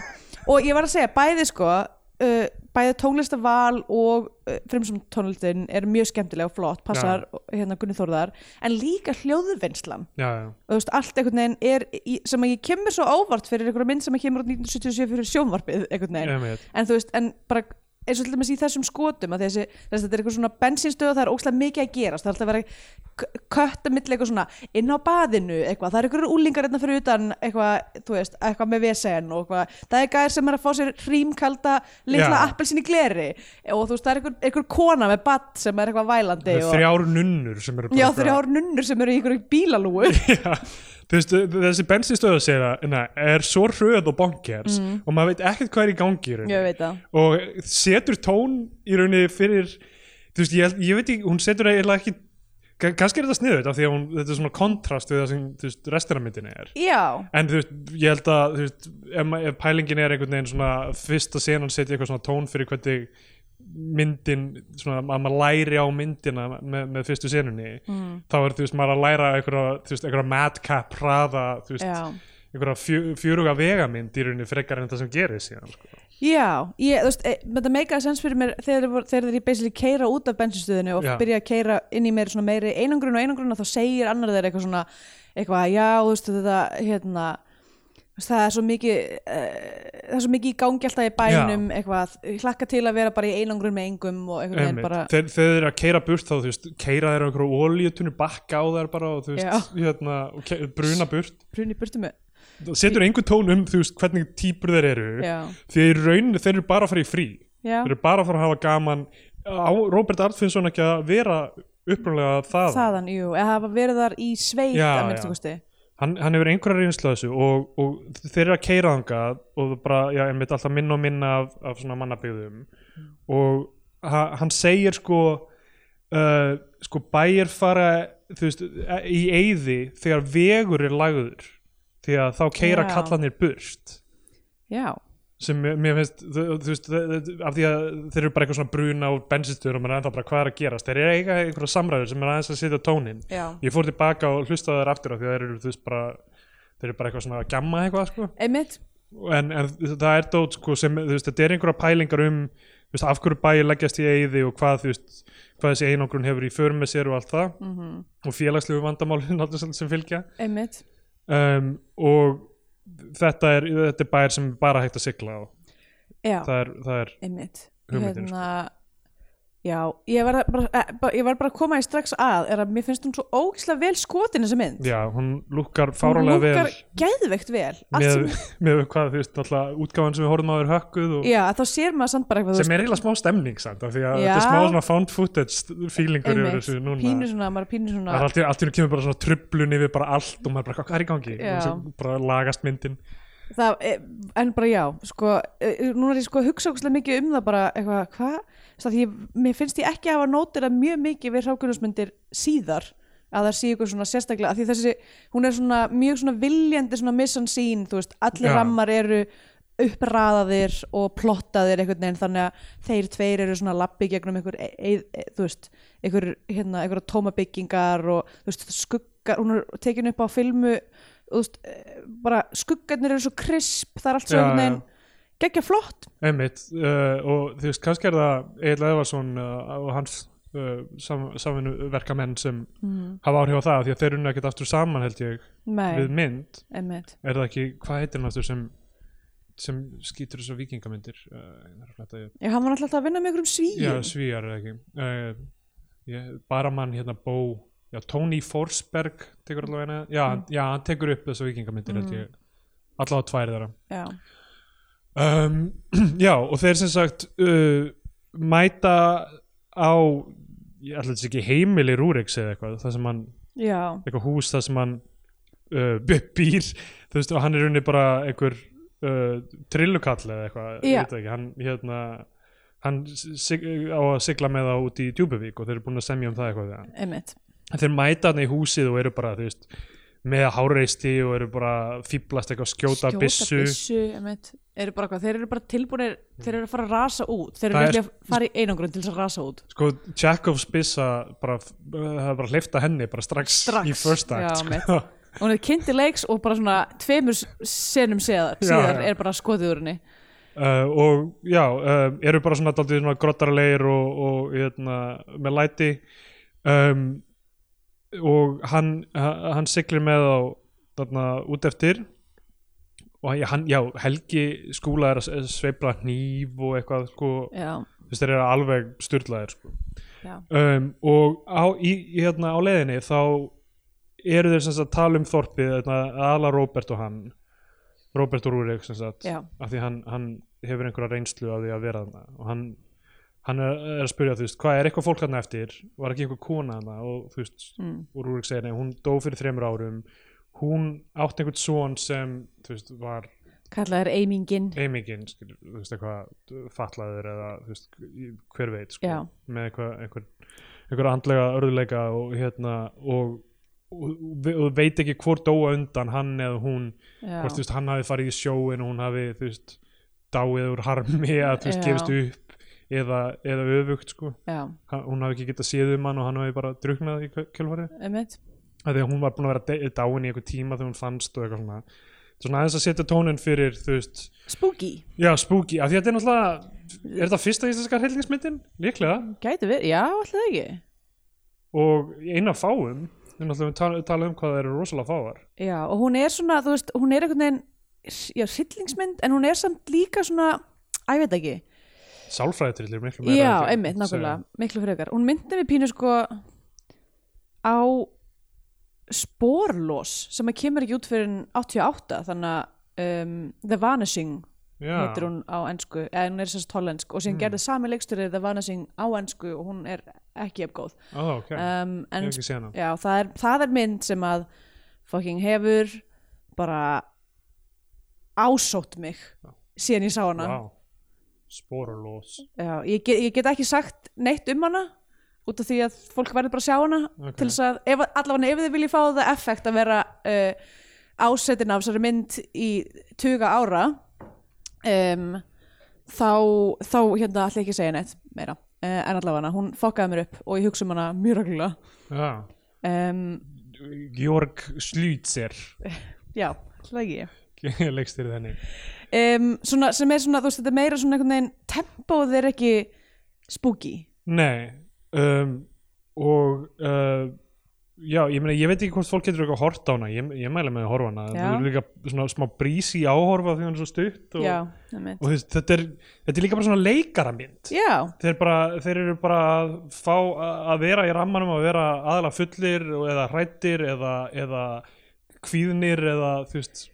[SPEAKER 2] Og ég var að segja, bæði sko uh, Bæði tónlistaval og uh, fremsum tónlistin er mjög skemmtilega og flott Passar hérna Gunni Þórðar En líka hljóðvinnslan
[SPEAKER 1] Já, já,
[SPEAKER 2] og þú veist, allt einhvern veginn er í, sem að ég kemur svo ávart fyrir einhverja mynd sem að kemur út 1977 fyrir sjónvarpið einhvern veginn,
[SPEAKER 1] Einmitt.
[SPEAKER 2] en þú veist, en bara eins og til dæmis í þessum skotum að þessi, þessi þetta er eitthvað svona bensinstöð og það er ókslega mikið að gerast það er alltaf að vera kött að milla eitthvað svona inn á baðinu eitthvað, það er eitthvað úlingar einna hérna fyrir utan eitthvað, þú veist, eitthvað með vesen og eitthvað, það er gæðir sem er að fá sér hrímkalda litla
[SPEAKER 1] Já.
[SPEAKER 2] appelsin í gleri og þú veist, það er eitthvað, eitthvað kona með batt sem er eitthvað
[SPEAKER 1] það
[SPEAKER 2] vælandi
[SPEAKER 1] er
[SPEAKER 2] og,
[SPEAKER 1] þrjár nunnur sem eru bara
[SPEAKER 2] já,
[SPEAKER 1] eitthvað-
[SPEAKER 2] þrjár nunnur sem eru í einhverju bílalúu
[SPEAKER 1] Já, þú veist, þessi bensinstöðu segir að hérna, er svo hröð og bonkers og maður veit ekkert hvað er í gangi í rauninni
[SPEAKER 2] Mm. ég veit
[SPEAKER 1] og setur
[SPEAKER 2] það
[SPEAKER 1] tón í rauninni fyrir þú veist, ég, ég veit ekki, hún setur eiginlega ekki ka- kannski er þetta sniðut af því að hún, þetta er svona kontrast við það sem þú veist, restina myndinni er
[SPEAKER 2] Já,
[SPEAKER 1] en þú veist, ég held að þú veist, ef, ma- ef pælingin er einhvern veginn svona fyrsta senan setja eitthvað svona tón fyrir hvernig myndin, svona að maður læri á myndina með, með fyrstu senunni mm. þá er þú veist, maður að læra einhverja, þú veist, einhverja madcap hraða, þú veist,
[SPEAKER 2] Já.
[SPEAKER 1] einhverja fjö, fjöruga vegamynd í rauninni frekar en það sem gerir síðan, sko.
[SPEAKER 2] já, ég, þú veist, e, þetta meikaði sens fyrir mér þegar, þeir voru- þegar þeir basically keira út af bensinstöðinu og
[SPEAKER 1] Já.
[SPEAKER 2] byrja að keira inn í meiri, svona meiri einangrun og einangrun og þá segir annar þeir eitthvað svona, eitthvað, já, þú veist, þetta, hérna, þú veist, það er svo mikið, uh, það er svo mikið í gangi alltaf í bænum, eitthvað, ég hlakka til að vera bara í einangrun með engum og einhvern veginn
[SPEAKER 1] Einmitt.
[SPEAKER 2] bara,
[SPEAKER 1] þeir, þeir eru að keira burt þá, þú veist, keira þeir á einhverju olíutunni bakka á þær bara og þú veist, hérna, og ke- bruna burt
[SPEAKER 2] brunni burtu með,
[SPEAKER 1] setur einhver tón um, þú veist, hvernig típur þeir eru
[SPEAKER 2] Já.
[SPEAKER 1] því að í rauninni þeir eru bara að fara í frí
[SPEAKER 2] Já.
[SPEAKER 1] þeir eru bara að fara að hafa gaman á Robert Artfinsson ekki að vera upprunlega það
[SPEAKER 2] þaðan, jú, eða hafa verið þar í sveit
[SPEAKER 1] Já,
[SPEAKER 2] að
[SPEAKER 1] já.
[SPEAKER 2] minnstu kosti.
[SPEAKER 1] hann, hann hefur einhverja reynslu að þessu og, og þeir eru að keira þangað og það bara, já, einmitt alltaf minna og minna af, af svona mannabyggðum og ha, hann segir sko uh, sko bæir fara þú veist, e- í eyði þegar vegur er lagður því að þá keira
[SPEAKER 2] Já.
[SPEAKER 1] kallanir burt
[SPEAKER 2] Já,
[SPEAKER 1] sem mér- mér finnst þú, þú veist, þe- þe- af því að þeir eru bara eitthvað svona bruna og bensinstöður og maður er ennþá bara hvað er að gerast þeir eru eiga einhverja samræður sem er aðeins að setja tónin
[SPEAKER 2] Já.
[SPEAKER 1] ég fór tilbaka og hlustaði þær aftur af því að þeir eru þú veist bara þeir eru bara eitthvað svona að gamma eitthvað sko
[SPEAKER 2] einmitt,
[SPEAKER 1] en, en það er dót sko sem þú veist, þetta er einhverja pælingar um þú veist, af hverju bæi leggjast í eigiði og hvað, þú veist, hvað þessi einangrun hefur í för með sér og allt það -hmm. og félagslegu vandamálin alltaf sem- sem fylgja
[SPEAKER 2] einmitt.
[SPEAKER 1] um, og þetta er, þetta er bæir sem er bara hægt að sigla á
[SPEAKER 2] Já.
[SPEAKER 1] það er, það er
[SPEAKER 2] einmitt
[SPEAKER 1] Hugmyndin, sko.
[SPEAKER 2] hérna, já, ég var, að bara, eh, bara- ég var bara að koma í strax að er að mér finnst hún svo ógislega vel skotin þessi mynd
[SPEAKER 1] Já, hún lukkar
[SPEAKER 2] hún
[SPEAKER 1] fáralega vel
[SPEAKER 2] geðveikt vel allt
[SPEAKER 1] með,
[SPEAKER 2] sem,
[SPEAKER 1] með hvað, þú veist, náttúrulega útgáfan sem við horfum á er hökkuð og
[SPEAKER 2] já, þá sér maður samt bara eitthvað þú
[SPEAKER 1] sem er eiginlega smá stemning samt, af því að
[SPEAKER 2] Já.
[SPEAKER 1] þetta er smá svona found footage feelingur yfir
[SPEAKER 2] veist,
[SPEAKER 1] þessu
[SPEAKER 2] einmitt,
[SPEAKER 1] núna
[SPEAKER 2] pínu svona, maður pínu
[SPEAKER 1] Það er
[SPEAKER 2] svona
[SPEAKER 1] allt í allt í hennu kemur bara svona trublun yfir bara allt og maður bara, hvað er í gangi?
[SPEAKER 2] Já.
[SPEAKER 1] Og svo Bara lagast myndin
[SPEAKER 2] það, eh, en bara já, sko eh, núna er ég sko að hugsa ógislega mikið um það bara eitthvað, hvað, það því ég, mér finnst ég ekki að hafa nótira mjög mikið við hrákunnsmyndir síðar að það sé ykkur svona sérstaklega að því þessi, hún er svona mjög svona viljandi svona missan sín, þú veist, allir
[SPEAKER 1] Já.
[SPEAKER 2] rammar eru uppraðaðir og plottaðir einhvern veginn þannig að þeir tveir eru svona lappi gegnum einhver, e, e, e, þú veist einhver, hérna, einhver tóma byggingar og þú veist, skuggar, hún er tekin upp á filmu, þú veist eh, bara skuggarnir eru svo krisp það er allt svo
[SPEAKER 1] Já,
[SPEAKER 2] einhvern
[SPEAKER 1] já.
[SPEAKER 2] veginn geggja flott
[SPEAKER 1] Einmitt, uh, og þú veist, kannski er það Egil Eðvarsson uh, og hans uh, sam, samvinnuverkamenn sem hafa áhrif á það, því að þeir unna ekkert aftur saman held ég,
[SPEAKER 2] nei,
[SPEAKER 1] við mynd
[SPEAKER 2] emmitt
[SPEAKER 1] er það ekki, hvað heitir hann aftur sem sem skýtur þessu vikingamyndir uh, ég þarf að fletta ég-
[SPEAKER 2] Já, hann var náttúrulega alltaf að vinna með einhverjum
[SPEAKER 1] já,
[SPEAKER 2] svíum
[SPEAKER 1] svíjar er það ekki uh, ég, bara mann hérna bó já, Tony Forsberg tekur allavega hérna, já, hann- já, hann tekur upp þessu vikingamyndir held ég, allavega tvær þeirra
[SPEAKER 2] Já,
[SPEAKER 1] um, já og þeir sem sagt uh, mæta á ég ætla þess ekki heimili Rúriks eða eitthvað það sem hann,
[SPEAKER 2] já,
[SPEAKER 1] eitthvað hús það sem hann uh, bý- býr þú veist og hann er unni bara einhver uh, trillukall eða eitthvað ég
[SPEAKER 2] Já.
[SPEAKER 1] veit það ekki, hann hérna hann sig, á að sigla með þá út í Djúbuvík og þeir eru búin að semja um það eitthvað við hann
[SPEAKER 2] emmitt
[SPEAKER 1] En þeir mæta hann í húsið og eru bara þú veist, með háreisti og eru bara fýblast eitthvað skjóta, skjóta byssu
[SPEAKER 2] einmitt Eru bara hvað, þeir eru bara tilbúinir þeir eru að fara að rasa út þeir eru
[SPEAKER 1] Það er-
[SPEAKER 2] ekki að fara í einangrun til þess að rasa út
[SPEAKER 1] sko, Chekhovs byssa bara, það er bara hlifta henni bara strax,
[SPEAKER 2] Strax,
[SPEAKER 1] í first act
[SPEAKER 2] já, mitt.
[SPEAKER 1] sko.
[SPEAKER 2] og hún er kynnt í leiks og bara svona tveimur s- senum síðar,
[SPEAKER 1] Já,
[SPEAKER 2] síðar
[SPEAKER 1] já.
[SPEAKER 2] er bara skotið úr henni
[SPEAKER 1] uh, og já, uh, eru bara svona daldið svona grottarlegir og, og hérna, með læti um, og hann ha- hann siglir með á þarna út eftir og hann- hann, já, Helgi skúla er að s- sveifla hníf og eitthvað sko,
[SPEAKER 2] já,
[SPEAKER 1] þú veist, þeir eru alveg styrlaðir sko
[SPEAKER 2] já,
[SPEAKER 1] um, og á, í, í, hérna, á leiðinni þá eru þeir sem sagt að tala um þorpið hérna, aðla Róbert og hann Róbert og Rúrik sem sagt
[SPEAKER 2] Já.
[SPEAKER 1] af því hann, hann hefur einhverja reynslu af því að vera þarna og hann, hann er, er að spyrja þú veist, hvað er eitthvað fólk hann eftir var ekki einhver kona hann og þú veist,
[SPEAKER 2] Mm.
[SPEAKER 1] og Rúrik segir nei, hún dó fyrir þremur árum hún átti einhvern son sem þú veist, var
[SPEAKER 2] kallað er eimingin
[SPEAKER 1] eimingin skilur, þú veist eitthvað fatlaður eða þú veist, hver veit sko,
[SPEAKER 2] Já.
[SPEAKER 1] með eitthvað einhver, einhver andlega örðuleika og hérna og, og, og, og veit ekki hvort dóa undan hann eða hún
[SPEAKER 2] já,
[SPEAKER 1] hvort þú veist, hann hafi farið í sjóin og hún hafi þú veist, dáið úr harmi að þú veist,
[SPEAKER 2] Já.
[SPEAKER 1] gefist upp eða, eða öfugt sko
[SPEAKER 2] já,
[SPEAKER 1] Ha- hún hafi ekki getað séð um hann og hann hafi bara druknað í kjölfarið
[SPEAKER 2] einmitt
[SPEAKER 1] af því að hún var búin að vera de- dáin í einhver tíma þegar hún fannst og eitthvað svona svona aðeins að setja tónin fyrir þú veist
[SPEAKER 2] spooky,
[SPEAKER 1] Já, spooky, af því að þetta er náttúrulega er þetta fyrsta íslenska hryllingsmyndin, líklega
[SPEAKER 2] gæti verið já, alltaf ekki
[SPEAKER 1] og eina fáum við náttúrulega tala, tala um hvað það eru rosalega fáar
[SPEAKER 2] já, og hún er svona, þú veist, hún er einhvern veginn já, hryllingsmynd, en hún er samt líka svona, að ég veit ekki
[SPEAKER 1] sálfræðitrillir miklu meira
[SPEAKER 2] já,
[SPEAKER 1] held ég,
[SPEAKER 2] einmitt, nákvæmlega, miklu frekar hún myndi við pínu sko á sporlós sem að kemur ekki út fyrir 88, þannig að um, The Vanishing
[SPEAKER 1] sem- já, Mm.
[SPEAKER 2] heitir hún á ensku, eða hún er sérst hollensk og síðan gerði sami leiksturið The Vanishing á ensku og hún er ekki efgóð
[SPEAKER 1] ó, ok,
[SPEAKER 2] um,
[SPEAKER 1] ég
[SPEAKER 2] en
[SPEAKER 1] hef ekki séð hana
[SPEAKER 2] já, það er, það er mynd sem að fucking hefur bara ásótt mig síðan ég sá hana
[SPEAKER 1] wow. sporulós
[SPEAKER 2] já, ég, get, ég get ekki sagt neitt um hana út af því að fólk verður bara að sjá hana
[SPEAKER 1] Ok.
[SPEAKER 2] til þess að, ef, allavega ef þið viljið fá það effekt að vera uh, ásetin af þessari mynd í tuga ára um, þá, þá hérna ætla ég ekki að segja neitt meira uh, en allavega hana, hún fokkaði mér upp og ég hugsa um hana mjög reglulega
[SPEAKER 1] já.
[SPEAKER 2] um,
[SPEAKER 1] Georg Slützer
[SPEAKER 2] já, ætla ekki ég
[SPEAKER 1] leikstýrið henni
[SPEAKER 2] um, svona, sem er svona, þú veist, þetta er meira svona einhvern veginn tempóð er ekki spooky
[SPEAKER 1] nei um, og uh, já, ég meina, ég veit ekki hvort fólk getur eitthvað hort á hana, ég, ég mæla með að horfa á hana
[SPEAKER 2] Já.
[SPEAKER 1] það er líka svona smá brísi áhorfa því hann er svo stutt og,
[SPEAKER 2] já, einmitt.
[SPEAKER 1] og þú veist, þetta, er, þetta er líka bara svona leikaramynd
[SPEAKER 2] já,
[SPEAKER 1] þeir, bara, þeir eru bara að fá að að vera í rammanum að vera aðalega fullir og- eða hrættir eða, eða kvíðnir eða þú veist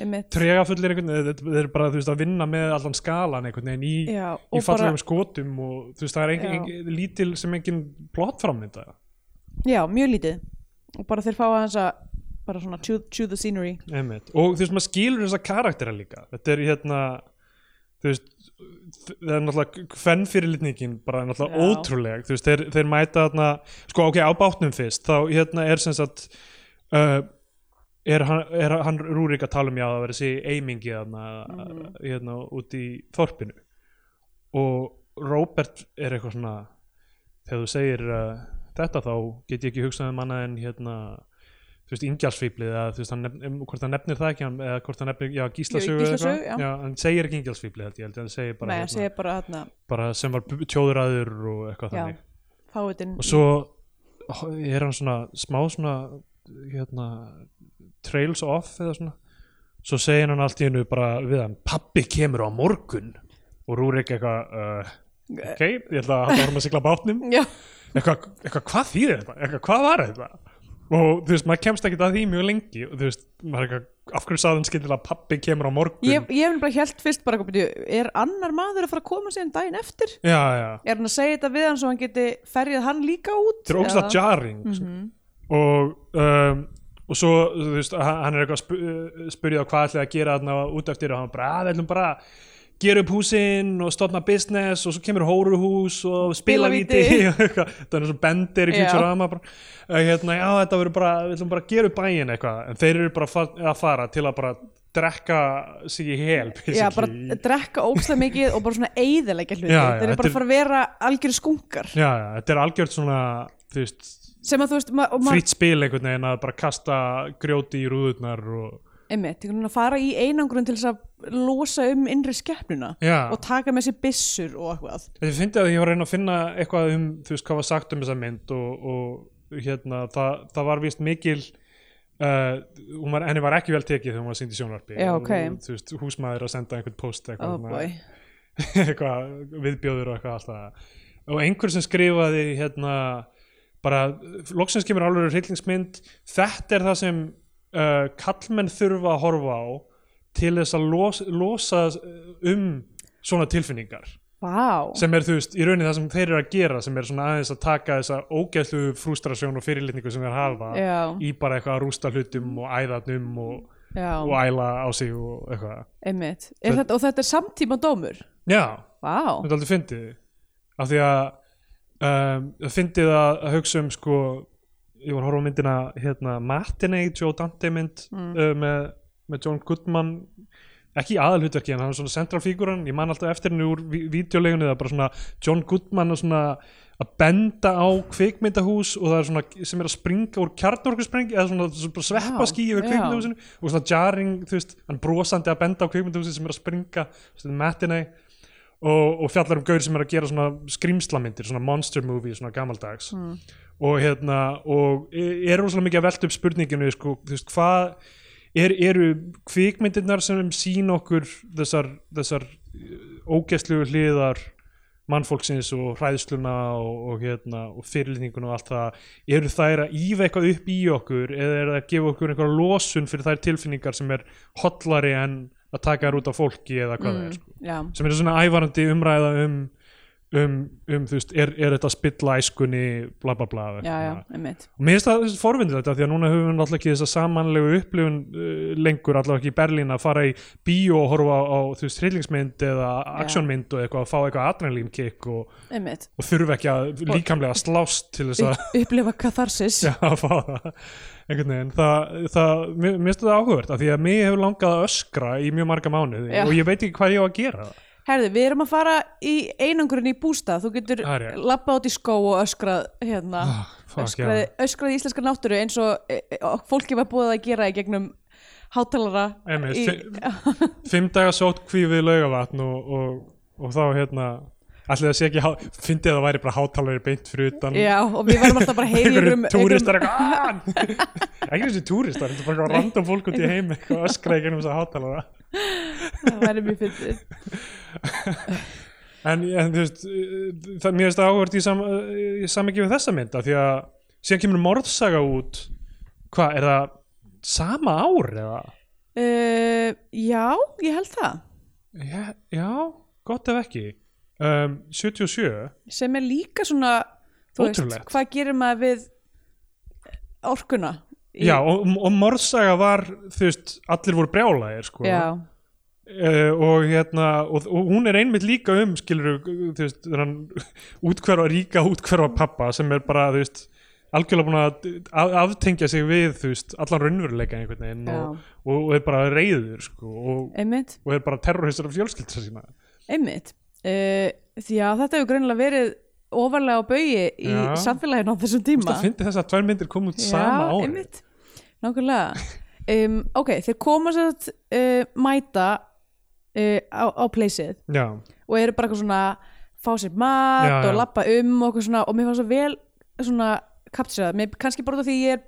[SPEAKER 2] einmitt
[SPEAKER 1] trega fullir einhvern veginn þeir- þeir eru bara þú veist að vinna með allan skalan einhvern veginn í,
[SPEAKER 2] Já,
[SPEAKER 1] í
[SPEAKER 2] og bara,
[SPEAKER 1] fallegum skotum og þú veist það er engin,
[SPEAKER 2] Já.
[SPEAKER 1] engin, lítil sem engin plott fram þetta
[SPEAKER 2] já, mjög lítið og bara þeir fá aðeins að bara svona chew, chew the scenery
[SPEAKER 1] Einmitt. og þú veist maður skilur þessa karaktera líka þetta er hérna þú veist það er náttúrulega hvern fyrirlitningin bara er náttúrulega
[SPEAKER 2] Já.
[SPEAKER 1] ótrúleg þú veist þeir, þeir mæta þarna sko ok á bátnum fyrst þá hérna er sem sagt uh, er hann, er hann Rúrik að tala um já að vera þessi eimingi þarna,
[SPEAKER 2] Mhm.
[SPEAKER 1] hérna út í þorpinu og Robert er eitthvað svona þegar þú segir uh, þetta þá get ég ekki hugsað um annað en hérna þú veist, ingjalsfýblið eða þú veist, hann nefn, um, hvort hann nefnir það ekki hann- eða hvort hann nefnir, já, gíslasögu eða
[SPEAKER 2] Gíslasögu,
[SPEAKER 1] eitthvað.
[SPEAKER 2] já.
[SPEAKER 1] já, hann segir ekki ingjalsfýblið held ég, held ég, hann segir bara,
[SPEAKER 2] Nei, það
[SPEAKER 1] hérna,
[SPEAKER 2] segir bara hérna
[SPEAKER 1] bara sem var bu- tjóðraður og eitthvað
[SPEAKER 2] Já.
[SPEAKER 1] þannig
[SPEAKER 2] fáitin
[SPEAKER 1] og svo ó, er hann svona smá svona hérna, trails off eða svona svo segir hann allt í hennu bara við hann pappi kemur á morgun og Rúrik eitthvað uh, ok, ég ætla að hafa orðum að sigla bátnum
[SPEAKER 2] Já,
[SPEAKER 1] eitthvað, eitthvað hvað þýðir þetta, eitthvað hvað var þetta og þú veist, maður kemst ekkert að því mjög lengi og þú veist, maður er eitthvað, af hverju sagði hann skildilega að pappi kemur á morgun
[SPEAKER 2] ég, ég hef bara held fyrst bara, "Bíddu, er annar maður að fara að koma sér daginn eftir?
[SPEAKER 1] já, já,
[SPEAKER 2] Er hann að segja þetta við hann svo hann geti ferjað hann líka út?
[SPEAKER 1] þetta er ógstlega
[SPEAKER 2] Eða-
[SPEAKER 1] jarring sko.
[SPEAKER 2] Mhm.
[SPEAKER 1] og um, og svo, þú veist, hann hann er eitthvað sp spurðið á hvað ætlaði að gera þarna út eftir og hann bara, að við ætlum bara að gera upp húsin og stofna business og svo kemur hóruhús og spilavíti
[SPEAKER 2] Spilavíti.
[SPEAKER 1] og eitthvað. þetta er eins og bendir í
[SPEAKER 2] Já.
[SPEAKER 1] Futurama bara, eh, hérna, já, þetta verður bara við ætlum bara að gera upp bæin eitthvað en þeir eru bara fa- að fara til að bara drekka sig í hel
[SPEAKER 2] Já, bara
[SPEAKER 1] basically.
[SPEAKER 2] drekka ógstlega mikið og bara svona eyðilegja hluti.
[SPEAKER 1] Já, já,
[SPEAKER 2] Þeir eru
[SPEAKER 1] þetta
[SPEAKER 2] bara
[SPEAKER 1] er-
[SPEAKER 2] að fara að vera algjöru skunkar.
[SPEAKER 1] já, já, þetta er algjört svona þú veist,
[SPEAKER 2] Sem að þú veist, ma og maður
[SPEAKER 1] frýtt spil einhvern veginn að bara kasta grjóti í rúðurnar og
[SPEAKER 2] einmitt, einhvern veginn að fara í einangrun til þess að losa um innri skeppnuna
[SPEAKER 1] Já.
[SPEAKER 2] og taka með sér byssur og eitthvað
[SPEAKER 1] Ég fyndi að ég var að reyna að finna eitthvað um þú veist hvað var sagt um þessa mynd og, og hérna það, það var vist mikil uh, hún var, henni var ekki vel tekið þegar hún var sýnd í sjónvarpi
[SPEAKER 2] Já, ok.
[SPEAKER 1] og, þú veist húsmaður að senda einhvern post
[SPEAKER 2] oh
[SPEAKER 1] eitthvað,
[SPEAKER 2] boy,
[SPEAKER 1] eitthvað viðbjóður og eitthvað alltaf og einhver sem skrifaði hérna bara loksins kemur alveg hryllingsmynd þetta er það sem uh, kallmenn þurfa að horfa á til þess að los, losa uh, um svona tilfinningar
[SPEAKER 2] vá
[SPEAKER 1] sem er þú veist, í rauninni það sem þeir eru að gera sem er svona aðeins að taka þessa ógæðslu frústrasjón og fyrirlitningu sem þeir hafa
[SPEAKER 2] Já.
[SPEAKER 1] í bara eitthvað að rústa hlutum og æðatnum og, og
[SPEAKER 2] já,
[SPEAKER 1] æla á sig og eitthvað
[SPEAKER 2] einmitt er þetta, og þetta er samtíma dómur
[SPEAKER 1] Já,
[SPEAKER 2] vá,
[SPEAKER 1] þetta er aldrei fyndið af því að um, fyndið að, að hugsa um sko ég var að horfa á myndina hérna, Matinee, Joe Dante mynd
[SPEAKER 2] Mm.
[SPEAKER 1] uh, með, með John Goodman ekki í aðalhutverki en hann er svona central fíguran, ég man alltaf eftir henni úr videolegunni, það er bara svona John Goodman er svona að benda á kvikmyndahús og það er svona sem er að springa úr kjarnorkuspreng eða svona, svona sveppaský
[SPEAKER 2] Já,
[SPEAKER 1] yfir
[SPEAKER 2] já.
[SPEAKER 1] kvikmyndahúsinu og svona jarring, þú veist, hann brosandi að benda á kvikmyndahúsi sem er að springa Matinee og, og fjallar um gaur sem er að gera svona skrýmslamyndir, svona monster movie, svona
[SPEAKER 2] Mm.
[SPEAKER 1] gamaldags og hérna og e- er rosalega mikið að velta upp spurninginu sko, þú veist, hvað er, eru kvikmyndirnar sem sín okkur þessar, þessar ógæstlegu hliðar mannfólksins og hræðsluna og, og, hérna, og fyrirlitninguna og allt það eru þær að ífa eitthvað upp í okkur eða er það að gefa okkur einhverja losun fyrir þær tilfinningar sem er hollari en að taka þær út af fólki eða hvað það er sko
[SPEAKER 2] já,
[SPEAKER 1] sem er svona ævarandi umræða um, um, um þú veist, er, er þetta að spilla æskunni, bla bla bla eitthvað
[SPEAKER 2] já, já,
[SPEAKER 1] svona.
[SPEAKER 2] einmitt
[SPEAKER 1] og mér finnst það forvindilegt þetta því að núna höfum við náttúrulega ekki þessa samanlegu upplifun uh, lengur, allavega ekki í Berlín að fara í bíó og horfa á, á þú veist, hryllingsmynd eða aksjónmynd og eitthvað, að fá eitthvað adrenalínkikk og,
[SPEAKER 2] einmitt,
[SPEAKER 1] og þurfa ekki að líkamlega slást til þess að
[SPEAKER 2] Upp, upplifa katharsis
[SPEAKER 1] Já, að fá það einhvern veginn, það, það mér mér finnst þetta áhugavert af því að mér hefur langað að öskra í mjög marga mánuði
[SPEAKER 2] Já.
[SPEAKER 1] og ég veit ekki hvað ég á að gera það
[SPEAKER 2] herðu, við erum að fara í einangrun í bústað, þú getur
[SPEAKER 1] Það er rétt.
[SPEAKER 2] lappa át í skó og öskrað hérna,
[SPEAKER 1] Ah, fuck,
[SPEAKER 2] öskrað, öskrað í íslenska náttúru eins og e, e, og fólki var búið að gera í gegnum hátalara
[SPEAKER 1] Einmitt,
[SPEAKER 2] í,
[SPEAKER 1] fimm daga sótt við laugavatn og, og, og þá hérna allir það sé ekki, há- fyndið að það væri bara hátalari beint fyrir utan
[SPEAKER 2] já, og við varum alltaf bara heilir um
[SPEAKER 1] túristar eitthvað "Ah!" ekki þessi túristar, þetta er bara eitthvað random fólk út í heim eitthvað öskra í gennum þess að hátalara
[SPEAKER 2] það væri mjög fyndið
[SPEAKER 1] en, en þú veist það, mér finnst það áhvert í, sam, í samingi við þessa mynda því að síðan kemur morðsaga út hvað, er það sama ár eða?
[SPEAKER 2] Uh, já, ég held það
[SPEAKER 1] Já, já gott ef ekki um, 77
[SPEAKER 2] sem er líka svona þú
[SPEAKER 1] Ótrúlegt.
[SPEAKER 2] hvað gerir maður við orkuna í-
[SPEAKER 1] Já, og, og morðsaga var, þú veist, allir voru brjálæðir, sko.
[SPEAKER 2] já,
[SPEAKER 1] Eh, og hérna, og, og hún er einmitt líka um, skilur, þú veist, þennan útkverfa ríka útkverfa pappa sem er bara, þú veist, algjörlega búin að að- aftengja sig við þú veist, allan raunveruleika einhvern veginn og, og, og er bara reyður sko, og,
[SPEAKER 2] einmitt,
[SPEAKER 1] og er bara terroristar af fjölskyldsa sína
[SPEAKER 2] einmitt uh, því að þetta hefur greinilega verið ofarlega á baui í
[SPEAKER 1] Já.
[SPEAKER 2] samfélaginu á þessum
[SPEAKER 1] Þú veist
[SPEAKER 2] tíma
[SPEAKER 1] að fyndi þess að tvær myndir kom út sama
[SPEAKER 2] Já,
[SPEAKER 1] ári
[SPEAKER 2] einmitt, nákvæmlega um, ok, þeir koma sér að uh, mæta uh, á, á pleysið
[SPEAKER 1] Já,
[SPEAKER 2] og eru bara eitthvað svona fá sér mat
[SPEAKER 1] Já, já.
[SPEAKER 2] og labba um og, eitthvað svona, og mér fannst svo vel svona kapsirað, mér kannski bara út af því ég er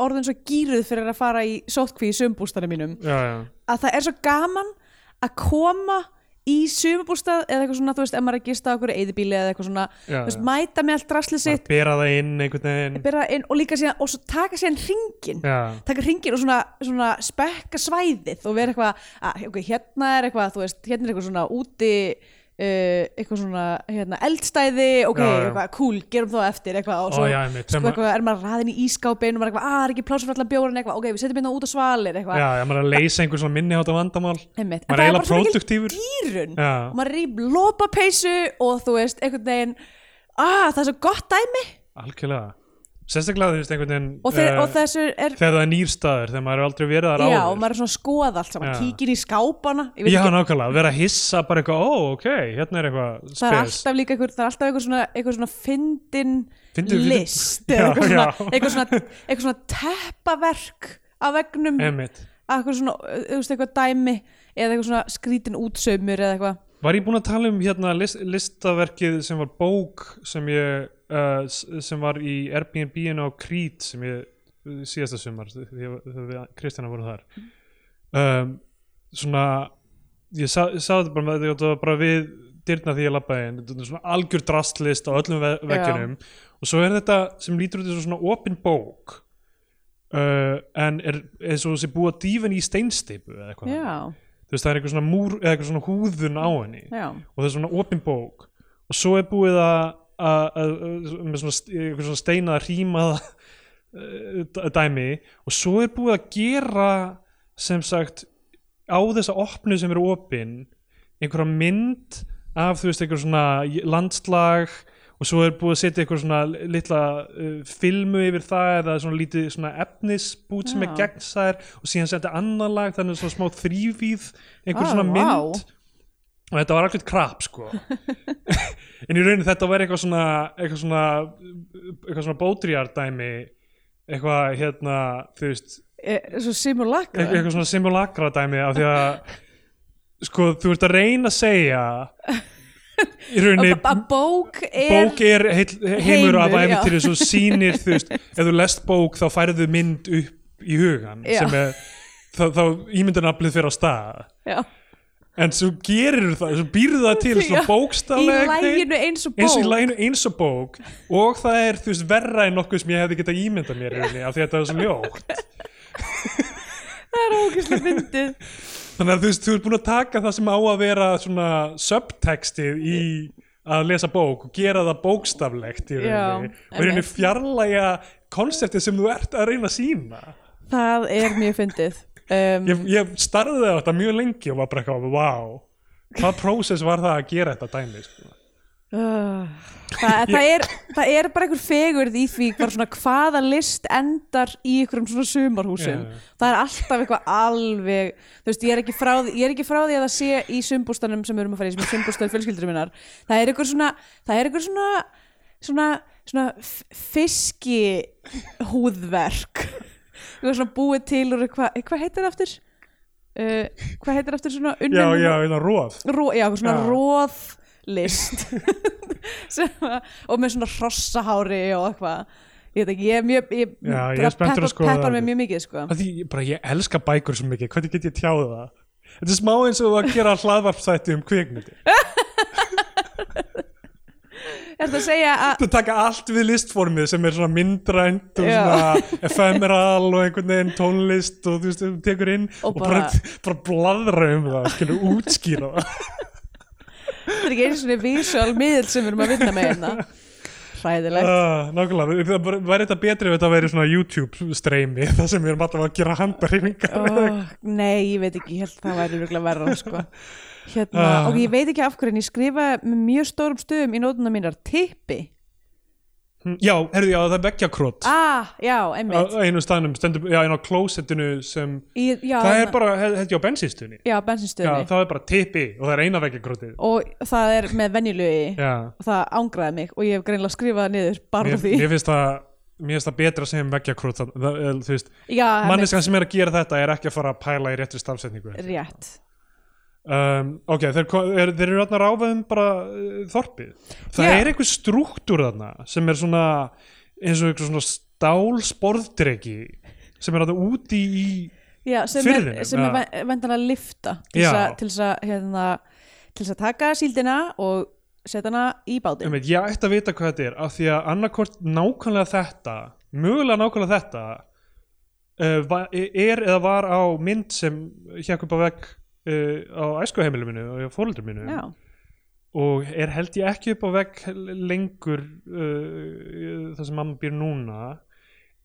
[SPEAKER 2] orðin svo gýruð fyrir að fara í sótkví í sömbústanum mínum
[SPEAKER 1] já, já,
[SPEAKER 2] að það er svo gaman að koma í sumabústað eða eitthvað svona, þú veist, ef maður er að gista á okkur eðibíli eða eitthvað svona,
[SPEAKER 1] já,
[SPEAKER 2] þú veist,
[SPEAKER 1] já.
[SPEAKER 2] mæta með allt raslið
[SPEAKER 1] Bara
[SPEAKER 2] sitt
[SPEAKER 1] bera það inn einhvern veginn
[SPEAKER 2] bera inn og líka síðan, og svo taka síðan ringin
[SPEAKER 1] Já,
[SPEAKER 2] taka ringin og svona, svona spekka svæðið og vera eitthvað, að, ok, hérna er eitthvað, þú veist, hérna er eitthvað svona úti uh, eitthvað svona, hérna, eldstæði ok,
[SPEAKER 1] Já, já.
[SPEAKER 2] eitthvað, cool, gerum þá eftir eitthvað,
[SPEAKER 1] Ó,
[SPEAKER 2] og svo,
[SPEAKER 1] já, einmitt,
[SPEAKER 2] sko,
[SPEAKER 1] sem að-
[SPEAKER 2] eitthvað, er maður raðin í ískápin og maður er eitthvað, að, er ekki pláss fyrir allan bjórin eitthvað, ok, við setjum hérna út á svalir eitthvað,
[SPEAKER 1] já, já, maður er að leysa einhver svona minni hátta vandamál
[SPEAKER 2] Einmitt.
[SPEAKER 1] Maður er eiginlega produktífur
[SPEAKER 2] dýrun
[SPEAKER 1] Já.
[SPEAKER 2] og maður er í lópapeysu og þú veist, einhvern veginn ah, það er svo gott dæmi
[SPEAKER 1] Algjörlega Sérstaklega þú veist einhvern veginn
[SPEAKER 2] og, þeir,
[SPEAKER 1] eh,
[SPEAKER 2] og þessu er
[SPEAKER 1] Þegar það er nýr staður, þegar maður er aldrei verið þar
[SPEAKER 2] já,
[SPEAKER 1] áður
[SPEAKER 2] og maður er svona að skoða allt saman
[SPEAKER 1] Já.
[SPEAKER 2] kíkir í skápana ég veit
[SPEAKER 1] Já,
[SPEAKER 2] ekki,
[SPEAKER 1] nákvæmlega, vera að hissa bara eitthvað, ó, ok, hérna er eitthvað
[SPEAKER 2] það er
[SPEAKER 1] spes
[SPEAKER 2] alltaf líka einhver, það er alltaf einhver svona, einhver svona fyndin
[SPEAKER 1] Fyndin- fyndin-
[SPEAKER 2] list
[SPEAKER 1] Já,
[SPEAKER 2] eða eitthvað svona,
[SPEAKER 1] já.
[SPEAKER 2] eitthvað svona, eitthvað svona teppaverk á veggnum
[SPEAKER 1] Einmitt.
[SPEAKER 2] að eitthvað svona, þú veist, eitthvað dæmi eða eitthvað svona skrítin útsaumur eða eitthvað
[SPEAKER 1] Var ég búin að tala um hérna list, listaverkið sem var bók sem ég uh, s- sem var í Airbnb-inu á Krít sem ég uh, síðasta sumar þegar ég- þegar við Kristjana vorum
[SPEAKER 2] Mm.
[SPEAKER 1] þar um, svona ég sá, sá þetta bara, með- þetta var bara við dyrna því ég labbaði inn þetta er svona algjör drastlist á öllum ve veggjunum og svo er þetta sem lítur út eins og svona opin bók uh, en er eins og þessi búa dýfin í steinstipu eða eitthvað
[SPEAKER 2] já,
[SPEAKER 1] þú veist það er eitthvað svona, múr, eða eitthvað svona húðun á henni
[SPEAKER 2] já,
[SPEAKER 1] og það er svona opin bók og svo er búið að að- að- að- með svona, st- einhver svona steina að rýma dæmi og svo er búið að gera sem sagt á þessa opnu sem eru opin einhverja mynd af þú veist einhver svona j- landslag og svo er búið að setja einhver svona litla uh, filmu yfir það eða svona lítið svona efnisbút sem er
[SPEAKER 2] Já.
[SPEAKER 1] gegnsær og síðan setja annar lag þannig svona smá þrývíð einhver
[SPEAKER 2] Ah,
[SPEAKER 1] svona
[SPEAKER 2] vá.
[SPEAKER 1] mynd og þetta var alveg krap sko en í rauninu þetta var eitthvað svona eitthvað svona, eitthvað svona bótriardæmi eitthvað hérna þú veist
[SPEAKER 2] e, svo simulakra
[SPEAKER 1] eitthvað, eitthvað svona simulakra dæmi af því að sko þú ert að reyna að segja í rauninni
[SPEAKER 2] að að bók er
[SPEAKER 1] bók er heil, heimur af
[SPEAKER 2] Heimur, já.
[SPEAKER 1] æfintýri svo sýnir þú veist, ef þú lest bók þá færðu mynd upp í hugan
[SPEAKER 2] Já.
[SPEAKER 1] sem er þá, þá ímyndunaflið fyrir á stað
[SPEAKER 2] já,
[SPEAKER 1] en svo gerir það, svo býrðu það til svona
[SPEAKER 2] Já. í
[SPEAKER 1] bókstaflega einhvern veginn,
[SPEAKER 2] læginu eins og
[SPEAKER 1] eins og í
[SPEAKER 2] bók
[SPEAKER 1] læginu eins og bók og það er þú veist verra en nokkuð sem ég hefði getað ímyndað mér í rauninni af því að þetta er svo ljótt
[SPEAKER 2] það er ógeðslega fyndið
[SPEAKER 1] Þannig að þú veist, þú ert búin að taka það sem á að vera svona subtextið í að lesa bók og gera það bókstaflegt í
[SPEAKER 2] Já,
[SPEAKER 1] rauninni og í rauninni
[SPEAKER 2] einmitt.
[SPEAKER 1] fjarlæga konseptið sem þú ert að reyna að sína
[SPEAKER 2] það er mjög fyndið um,
[SPEAKER 1] ég, ég starði á þetta mjög lengi og var bara eitthvað, wow hvað prósess var það að gera þetta dæmi sko?
[SPEAKER 2] uh, það, það, er, það er bara einhver fegurð í því hvar svona, hvaða list endar í einhverjum svona sumarhúsum
[SPEAKER 1] Já.
[SPEAKER 2] það er alltaf eitthvað alveg þú veist, ég er ekki frá því, ég er ekki frá því að það sé í sumbústanum sem við erum að fara í sem er sumbústan fjölskyldur minnar það er einhver svona það er einhver svona svona, svona fiski húðverk eitthvað svona búið til úr eitthvað, hvað heitir það aftur? Uh, hvað heitir aftur svona
[SPEAKER 1] já,
[SPEAKER 2] unnin
[SPEAKER 1] já, það róð
[SPEAKER 2] ró, já, eitthvað svona
[SPEAKER 1] Já.
[SPEAKER 2] róðlist Sem að- og með svona hrossahári og eitthvað ég veit ekki, ég er mjög ég,
[SPEAKER 1] Já, ég er
[SPEAKER 2] það
[SPEAKER 1] spenntur að
[SPEAKER 2] peppar-
[SPEAKER 1] skoða það.
[SPEAKER 2] peppar mig mjög mikið sko.
[SPEAKER 1] Af því ég- bara ég elska bækur svo mikið, hvernig get ég tjáð það þetta er smá eins og að gera hlaðvarpstætti um kvikmyndi
[SPEAKER 2] er það að segja að
[SPEAKER 1] Þú taka allt við listformið sem er svona myndrænt og
[SPEAKER 2] Já.
[SPEAKER 1] svona ephemeral og einhvern veginn tónlist og þú veist, þú tekur inn og,
[SPEAKER 2] Og
[SPEAKER 1] bara,
[SPEAKER 2] bara-
[SPEAKER 1] bara, bladra um það, skilur útskýra það.
[SPEAKER 2] það er ekki einu svona visual miðl sem við erum að vinna með hérna hræðilegt
[SPEAKER 1] Uh, nákvæmlega, það bara- væri þetta betri ef þetta væri svona YouTube streymi það sem við erum alltaf að gera handarhefingar
[SPEAKER 2] oh, nei, ég veit ekki, ég held það væri rúglega verra sko. hérna,
[SPEAKER 1] Ah.
[SPEAKER 2] og ég veit ekki af hverju en ég skrifa með mjög stórum stöðum í nótuna mínar tippi
[SPEAKER 1] Hm, Já, herðu, já, það er veggjakrót
[SPEAKER 2] ah, já,
[SPEAKER 1] á
[SPEAKER 2] einmitt
[SPEAKER 1] á einum staðnum, stendur, já, inn á klósettinu sem,
[SPEAKER 2] Í, já,
[SPEAKER 1] það er
[SPEAKER 2] þarna-
[SPEAKER 1] bara, held held ég á bensinstunni
[SPEAKER 2] já,
[SPEAKER 1] Já,
[SPEAKER 2] bensinstöðinni
[SPEAKER 1] það er bara tippi og það er eina veggjakrótið
[SPEAKER 2] og það er með venjulegi
[SPEAKER 1] Já,
[SPEAKER 2] og það ángraði mig og ég hef greinlega skrifað það niður bara
[SPEAKER 1] mér,
[SPEAKER 2] úr því
[SPEAKER 1] mér finnst það mér finnst það betra að segja um veggjakrót það- það- eða, þú veist,
[SPEAKER 2] já, einmitt,
[SPEAKER 1] manneskan sem er að gera þetta er ekki að fara að pæla í réttri stafsetningu
[SPEAKER 2] rétt
[SPEAKER 1] um, ok, þeir, ko- er, þeir eru þarna ráfaðum bara uh, þorpið það
[SPEAKER 2] Já.
[SPEAKER 1] er einhver struktúr þarna sem er svona eins og einhver svona stálsporðdreki sem er þarna úti í
[SPEAKER 2] já, sem
[SPEAKER 1] Firðinum,
[SPEAKER 2] er, sem
[SPEAKER 1] eða?
[SPEAKER 2] er ven- vendanlega lifta til
[SPEAKER 1] Já.
[SPEAKER 2] þess að- til þess að hérna, til þess að taka síldina og setja hana í bátinn
[SPEAKER 1] um veit, ég ætti að vita hvað þetta er af því að annarkvort nákvæmlega þetta mögulega nákvæmlega þetta uh, va- er eða var á mynd sem hjekk upp á vegg uh, á æskuheimilu minu og á fóröldur minu
[SPEAKER 2] já,
[SPEAKER 1] og er held ég ekki upp á vegg lengur uh, það sem mamma býr núna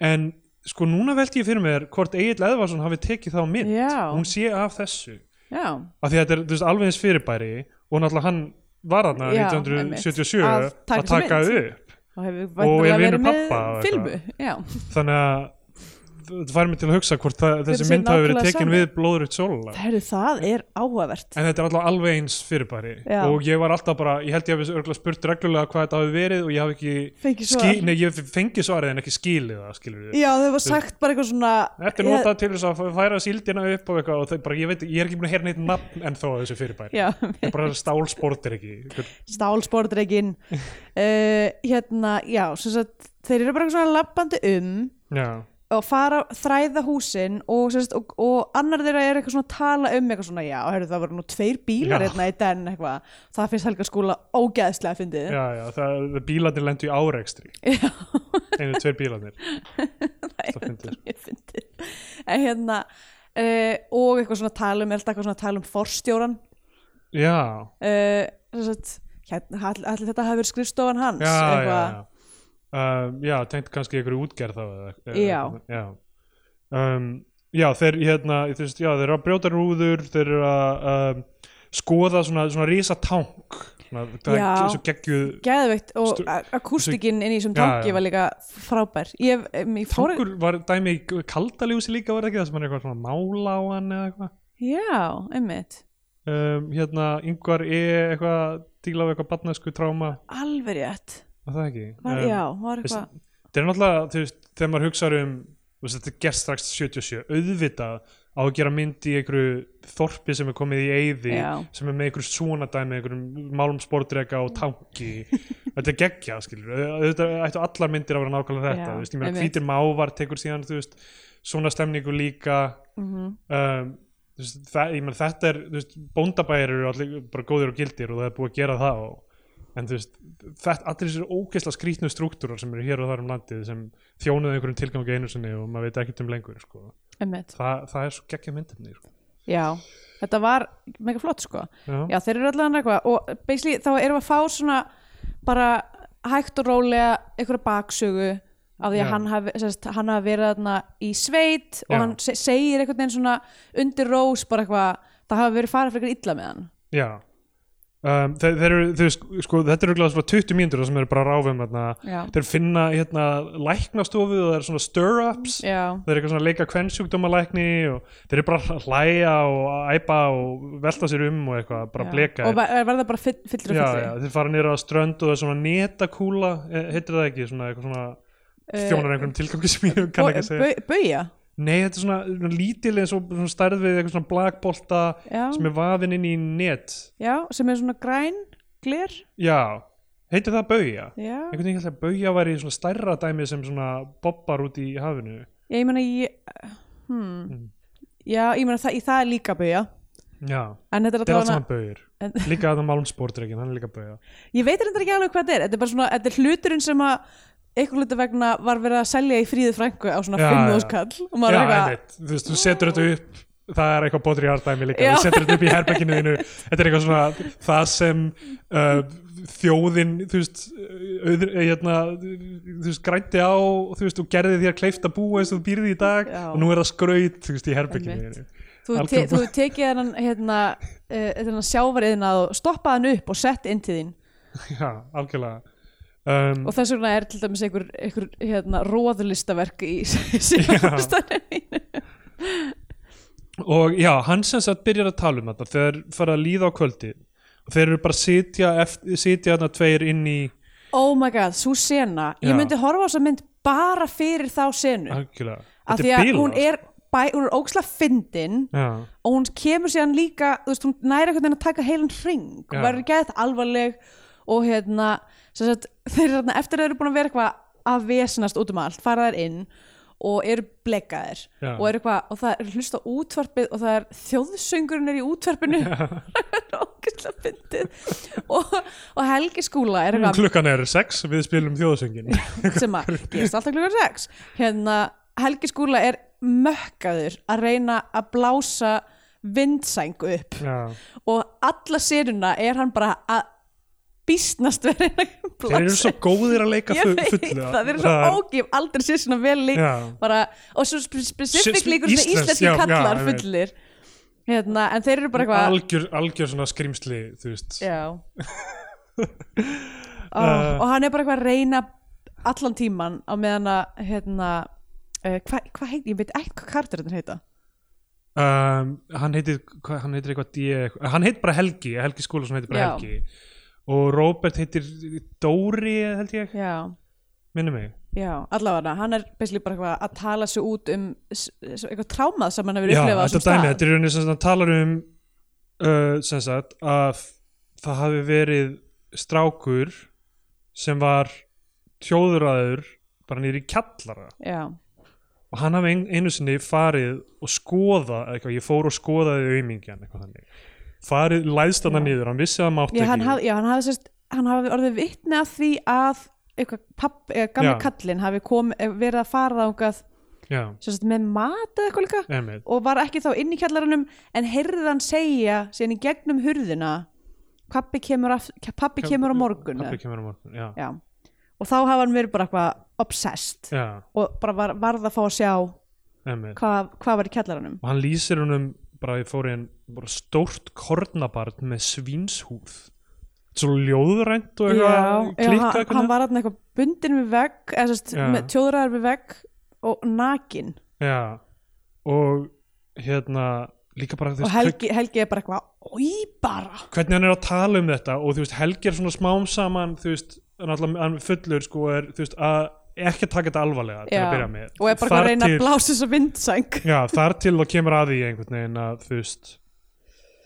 [SPEAKER 1] en sko núna veldi ég fyrir mér hvort Egil Eðvarsson hafi tekið þá mynd
[SPEAKER 2] Já.
[SPEAKER 1] hún sé af þessu
[SPEAKER 2] já,
[SPEAKER 1] af því að þetta er þú veist, alveg eins fyrirbæri og náttúrulega hann var þarna
[SPEAKER 2] Já,
[SPEAKER 1] 1977
[SPEAKER 2] einmitt.
[SPEAKER 1] að
[SPEAKER 2] Að taka
[SPEAKER 1] taka,
[SPEAKER 2] þessa mynd.
[SPEAKER 1] upp
[SPEAKER 2] og hefur
[SPEAKER 1] Og er vinur
[SPEAKER 2] vendanlega verið með
[SPEAKER 1] pabba og eitthvað.
[SPEAKER 2] filmu já,
[SPEAKER 1] þannig að þetta fær mig til að hugsa hvort það, þessi
[SPEAKER 2] sé
[SPEAKER 1] mynd hafi verið
[SPEAKER 2] nákvæmlega
[SPEAKER 1] tekin
[SPEAKER 2] sama.
[SPEAKER 1] við blóðrögt sólulag
[SPEAKER 2] Heru, það er áhugavert
[SPEAKER 1] En þetta er alltaf alveg eins fyrirbæri
[SPEAKER 2] Já.
[SPEAKER 1] og ég var alltaf bara, ég held ég hafi örgulega spurt reglulega hvað þetta hafi verið og ég hafi ekki
[SPEAKER 2] Fengið svar.
[SPEAKER 1] nei, ég fengi svarið en ekki skilið það, skilur við
[SPEAKER 2] já, þau var sagt bara eitthvað svona
[SPEAKER 1] Þetta er notað til þess að færa síldina upp og eitthvað og það er bara, ég veit, ég er ekki búin að heyra neitt nafn en þó að þessu fyrirbæri
[SPEAKER 2] já,
[SPEAKER 1] Ég bara stálsportir ekki
[SPEAKER 2] stálsportreikin uh, hérna, já, sem sagt þeir eru bara eitthvað svona lappandi um
[SPEAKER 1] Já,
[SPEAKER 2] og fara þræða húsin og, sem sagt, og, og annar þeirra er eitthvað svona að tala um eitthvað svona, já, heyrðu, það voru nú tveir bílar
[SPEAKER 1] Já.
[SPEAKER 2] hérna í den eitthvað, það finnst Helga skúla ógeðslega að fyndið
[SPEAKER 1] já, já, það, bílarnir lendu í árekstri
[SPEAKER 2] Já.
[SPEAKER 1] Einu, tveir bílarnir
[SPEAKER 2] það
[SPEAKER 1] það fyndið.
[SPEAKER 2] er mjög fyndið en hérna uh, og eitthvað svona tala um, er alltaf eitthvað svona tala um forstjóran
[SPEAKER 1] Já,
[SPEAKER 2] uh, sem sagt, hérna, all- allir þetta hafi verið skrifstofan hans
[SPEAKER 1] já, já,
[SPEAKER 2] eitthvað.
[SPEAKER 1] já. Um, já, tengt kannski ykkur útgerð þá eða- eða-
[SPEAKER 2] Já.
[SPEAKER 1] já. Um, já, þeir hérna þú veist, já, þeir eru að brjóta rúður þeir eru að um, skoða svona, svona risa tank svona, það
[SPEAKER 2] Já.
[SPEAKER 1] er svo geggjuð
[SPEAKER 2] geðveikt og
[SPEAKER 1] Stu-
[SPEAKER 2] a- akústikinn inn í þessum
[SPEAKER 1] Já,
[SPEAKER 2] tanki
[SPEAKER 1] já.
[SPEAKER 2] var líka frábær ég, um, ég fór,
[SPEAKER 1] tankur var dæmi í kaldaljósi líka var það ekki það sem hann er eitthvað svona mála á hann eða eitthvað
[SPEAKER 2] já, einmitt
[SPEAKER 1] um, hérna, yngvar er eitthvað díla á eitthvað barnasku tráma
[SPEAKER 2] alveg rétt,
[SPEAKER 1] var það ekki
[SPEAKER 2] var,
[SPEAKER 1] Um,
[SPEAKER 2] já, var eitthvað
[SPEAKER 1] þetta er náttúrulega þú veist, þegar maður hugsar um þú veist, þetta er gerst strax 77 auðvitað á að gera mynd í einhverju þorpi sem er komið í eyði
[SPEAKER 2] Já.
[SPEAKER 1] sem er með einhverju svona dæmi einhverjum málum spordrega og tanki þetta er geggja skilur auðvitað ættu allar myndir að vera nákvæmlega þetta
[SPEAKER 2] Já,
[SPEAKER 1] þú veist, ég meina
[SPEAKER 2] einmitt.
[SPEAKER 1] hvítir mávar tekur síðan þú veist, svona stemningu líka
[SPEAKER 2] mhm.
[SPEAKER 1] um, þú veist, það, ég meina þetta er þú veist, bóndabæir eru allir bara góðir og gildir og það er búið að gera það og en þú veist, þetta, allir þessir ógeðsla skrýtnu struktúrar sem eru hér og þar um landið sem þjónuðu einhverjum tilgangi einu sinni og maður veit ekkert um lengur sko.
[SPEAKER 2] einmitt,
[SPEAKER 1] Þa, það er svo geggja myndefni sko.
[SPEAKER 2] já þetta var mega flott sko
[SPEAKER 1] Já.
[SPEAKER 2] já, þeir eru allan eitthvað og basically þá erum við að fá svona bara hægt og rólega einhverja baksögu af því
[SPEAKER 1] Já.
[SPEAKER 2] að hann hafi, sérst, hann hafi verið þarna í sveit
[SPEAKER 1] Já.
[SPEAKER 2] og hann se segir einhvern veginn svona undir rós bara eitthvað, það hafi verið farið fyrir illa með hann
[SPEAKER 1] Já. Um, þeir, þeir eru, þú veist, sko, þetta eru glæðast 20 mínútur þar sem eru bara að ráfa um þarna.
[SPEAKER 2] Já.
[SPEAKER 1] þeir finna hérna, læknastofu og það eru svona stir-ups þeir
[SPEAKER 2] já,
[SPEAKER 1] eru eitthvað svona að leika kvensjúkdómalækni og þeir eru bara að hlæja og æpa og velta sér um og eitthvað bara
[SPEAKER 2] já.
[SPEAKER 1] bleka
[SPEAKER 2] og ver- verða bara fyll- fyllir og
[SPEAKER 1] já,
[SPEAKER 2] fyllir
[SPEAKER 1] já, þeir fara nýra á strönd og það er svona netakúla, eh, heitir það ekki svona, eitthvað svona
[SPEAKER 2] Eh,
[SPEAKER 1] þjónar einhverjum tilgangi sem ég kann ekki að segja
[SPEAKER 2] Bauja?
[SPEAKER 1] nei, þetta er svona, svona lítil eins og svona stærð við eitthvað svona blagbolta
[SPEAKER 2] Já.
[SPEAKER 1] sem er vafinn inn í net
[SPEAKER 2] Já, sem er svona græn, gler
[SPEAKER 1] já, heitir það bauja
[SPEAKER 2] Já,
[SPEAKER 1] einhvern veginn að bauja væri svona stærra dæmi sem svona bobbar út í hafinu
[SPEAKER 2] ég, ég meina ég,
[SPEAKER 1] Mm.
[SPEAKER 2] hmm. Já, ég meina það, það er líka bauja
[SPEAKER 1] já,
[SPEAKER 2] En þetta er
[SPEAKER 1] þetta er
[SPEAKER 2] alltaf
[SPEAKER 1] allt saman baujir
[SPEAKER 2] En-
[SPEAKER 1] líka að það málmsportreikin, hann er líka bauja
[SPEAKER 2] Ég veit reyndar ekki alveg hvað þetta er Þetta er bara svona, þetta er hluturinn sem að einhver hlutu vegna var verið að selja í fríðu frængu á svona
[SPEAKER 1] Já,
[SPEAKER 2] fimmúðskall og maður
[SPEAKER 1] já,
[SPEAKER 2] er eitthvað,
[SPEAKER 1] einmitt, þú veist, þú setur þetta upp það er eitthvað bótri hjartæmi líka
[SPEAKER 2] Já.
[SPEAKER 1] þú setur þetta upp í herberginu þínu þetta er eitthvað svona það sem uh, þjóðin þú veist, auður, eh, hérna, þú veist grændi á þú veist, og gerði þér kleift að búa eins og þú býrði í dag
[SPEAKER 2] Já.
[SPEAKER 1] og nú er það skraut þú veist, í herberginu
[SPEAKER 2] Einmitt.
[SPEAKER 1] þínu
[SPEAKER 2] þú, te,
[SPEAKER 1] algjör-
[SPEAKER 2] þú tekið hennan hérna, uh, hérna sjávariðin að stoppa hann upp og sett inn til þín
[SPEAKER 1] já, algjörlega um,
[SPEAKER 2] og þess vegna er til dæmis einhver, einhver hérna, róðlistaverk í síðanbústanum mínu
[SPEAKER 1] og já, hann sem sagt byrjar að tala um þetta þegar fara að líða á kvöldi og þeir eru bara að sitja, eftir, sitja þarna tveir inn í
[SPEAKER 2] oh my god, svo sena
[SPEAKER 1] Já.
[SPEAKER 2] ég myndi horfa á þessa mynd bara fyrir þá senu
[SPEAKER 1] algjörlega,
[SPEAKER 2] af því
[SPEAKER 1] þetta
[SPEAKER 2] að
[SPEAKER 1] er
[SPEAKER 2] hún
[SPEAKER 1] bílað
[SPEAKER 2] er, bæ, hún er óksla fyndin
[SPEAKER 1] já,
[SPEAKER 2] og hún kemur síðan líka þú veist, hún næri einhvern veginn að taka heilan hring hún
[SPEAKER 1] Já.
[SPEAKER 2] verður gæðið alvarleg og hérna, sem sagt, þeir eru þarna- eftir að þeir eru búin að vera eitthvað að vesenast út um allt, fara þær inn og eru blekaðir
[SPEAKER 1] Já.
[SPEAKER 2] og, eru eitthvað, og það er hlusta á útvarpið og það er þjóðsöngurinn er í útvarpinu ógæslega fyndið og, og Helgi Skúla er eitthvað
[SPEAKER 1] klukkan er sex við spilum þjóðsöngin
[SPEAKER 2] sem að gerist alltaf klukkan 6 hérna Helgi Skúla er mökkaður að reyna að blása vindsængu upp
[SPEAKER 1] já.
[SPEAKER 2] og alla séruna er hann bara að býstnast verið að reyna að
[SPEAKER 1] þeir eru
[SPEAKER 2] blása
[SPEAKER 1] svo góðir að leika
[SPEAKER 2] ég
[SPEAKER 1] fu-
[SPEAKER 2] veit
[SPEAKER 1] fulla
[SPEAKER 2] það, þeir eru svo ógif aldrei sér svona vel lík
[SPEAKER 1] Já.
[SPEAKER 2] bara, og svo spesifik
[SPEAKER 1] Sér-
[SPEAKER 2] líkur svona
[SPEAKER 1] íslensk,
[SPEAKER 2] íslenski
[SPEAKER 1] já, já, ég
[SPEAKER 2] kallar
[SPEAKER 1] veit.
[SPEAKER 2] fullir hérna, en þeir eru bara eitthvað
[SPEAKER 1] algjör, algjör svona skrimsli þú veist
[SPEAKER 2] Já
[SPEAKER 1] Eh.
[SPEAKER 2] oh, Og hann er bara eitthvað að reyna allan tíman á meðan að hérna, uh, hvað hva heit, ég veit ekki hvað karakterinn heita
[SPEAKER 1] um, hann heitir hva, hann heitir eitthvað D eitthvað- Eh, hann heitir bara Helgi, Helgi Skúlason heitir bara
[SPEAKER 2] Já.
[SPEAKER 1] Helgi og Robert heitir Dóri held ég,
[SPEAKER 2] Já,
[SPEAKER 1] minni mig
[SPEAKER 2] já, allavega hann er basically bara eitthvað að tala sig út um s- s- eitthvað trámað sem hann hefur
[SPEAKER 1] Já,
[SPEAKER 2] upplifað á
[SPEAKER 1] þetta
[SPEAKER 2] þessum
[SPEAKER 1] dæmi,
[SPEAKER 2] stað
[SPEAKER 1] þetta er rauninni sem það talar um uh, sem sagt að það hafi verið strákur sem var tjóðuræður bara nýri kjallara
[SPEAKER 2] Já,
[SPEAKER 1] og hann hafi ein- einu sinni farið og skoða, eða eitthvað, ég fór og skoðaði aumingjan, eitthvað þannig farið, læðst hann niður, hann vissi að hann mátti
[SPEAKER 2] já, hann
[SPEAKER 1] ekki
[SPEAKER 2] hafði, já, hann hafði sérst hann hafði orðið vitni að því að eitthvað papp, eða gamli
[SPEAKER 1] Já.
[SPEAKER 2] kallinn hafi kom, verið að fara þángað
[SPEAKER 1] já,
[SPEAKER 2] sérst, með mat eða eitthvað líka
[SPEAKER 1] einmitt,
[SPEAKER 2] og var ekki þá inn í kjallaranum en heyrði hann segja síðan í gegnum hurðina pappi kemur, af, pappi kemur á morgun
[SPEAKER 1] pappi kemur á morgun, já,
[SPEAKER 2] Já. og þá hafa hann verið bara eitthvað obsessed
[SPEAKER 1] já,
[SPEAKER 2] og bara var, varð að fá að sjá
[SPEAKER 1] einmitt
[SPEAKER 2] hvað, hvað var í kjallaranum
[SPEAKER 1] og hann lýsir húnum bara ég fór í hann bara stórt kornabarn með svínshúð svo ljóðrænt og eitthvað
[SPEAKER 2] já,
[SPEAKER 1] klikkað
[SPEAKER 2] hann,
[SPEAKER 1] eitthvað
[SPEAKER 2] hann var þarna eitthvað bundin við vegg eða sérst,
[SPEAKER 1] Já.
[SPEAKER 2] með tjóðræðar við vegg og nakin
[SPEAKER 1] já, og hérna líka bara þú
[SPEAKER 2] og
[SPEAKER 1] veist,
[SPEAKER 2] Helgi, Helgi er bara eitthvað oi bara
[SPEAKER 1] hve- hvernig hann er að tala um þetta og þú veist Helgi er svona smám saman þú veist, hann alltaf hann er fullur sko er þú veist að ekki að taka þetta alvarlega til
[SPEAKER 2] Já.
[SPEAKER 1] að byrja með
[SPEAKER 2] og er bara eitthvað að
[SPEAKER 1] Þar
[SPEAKER 2] reyna að
[SPEAKER 1] til-
[SPEAKER 2] blása þessa vindsæng
[SPEAKER 1] já, þar til þá kemur að því einhvern veginn að þú veist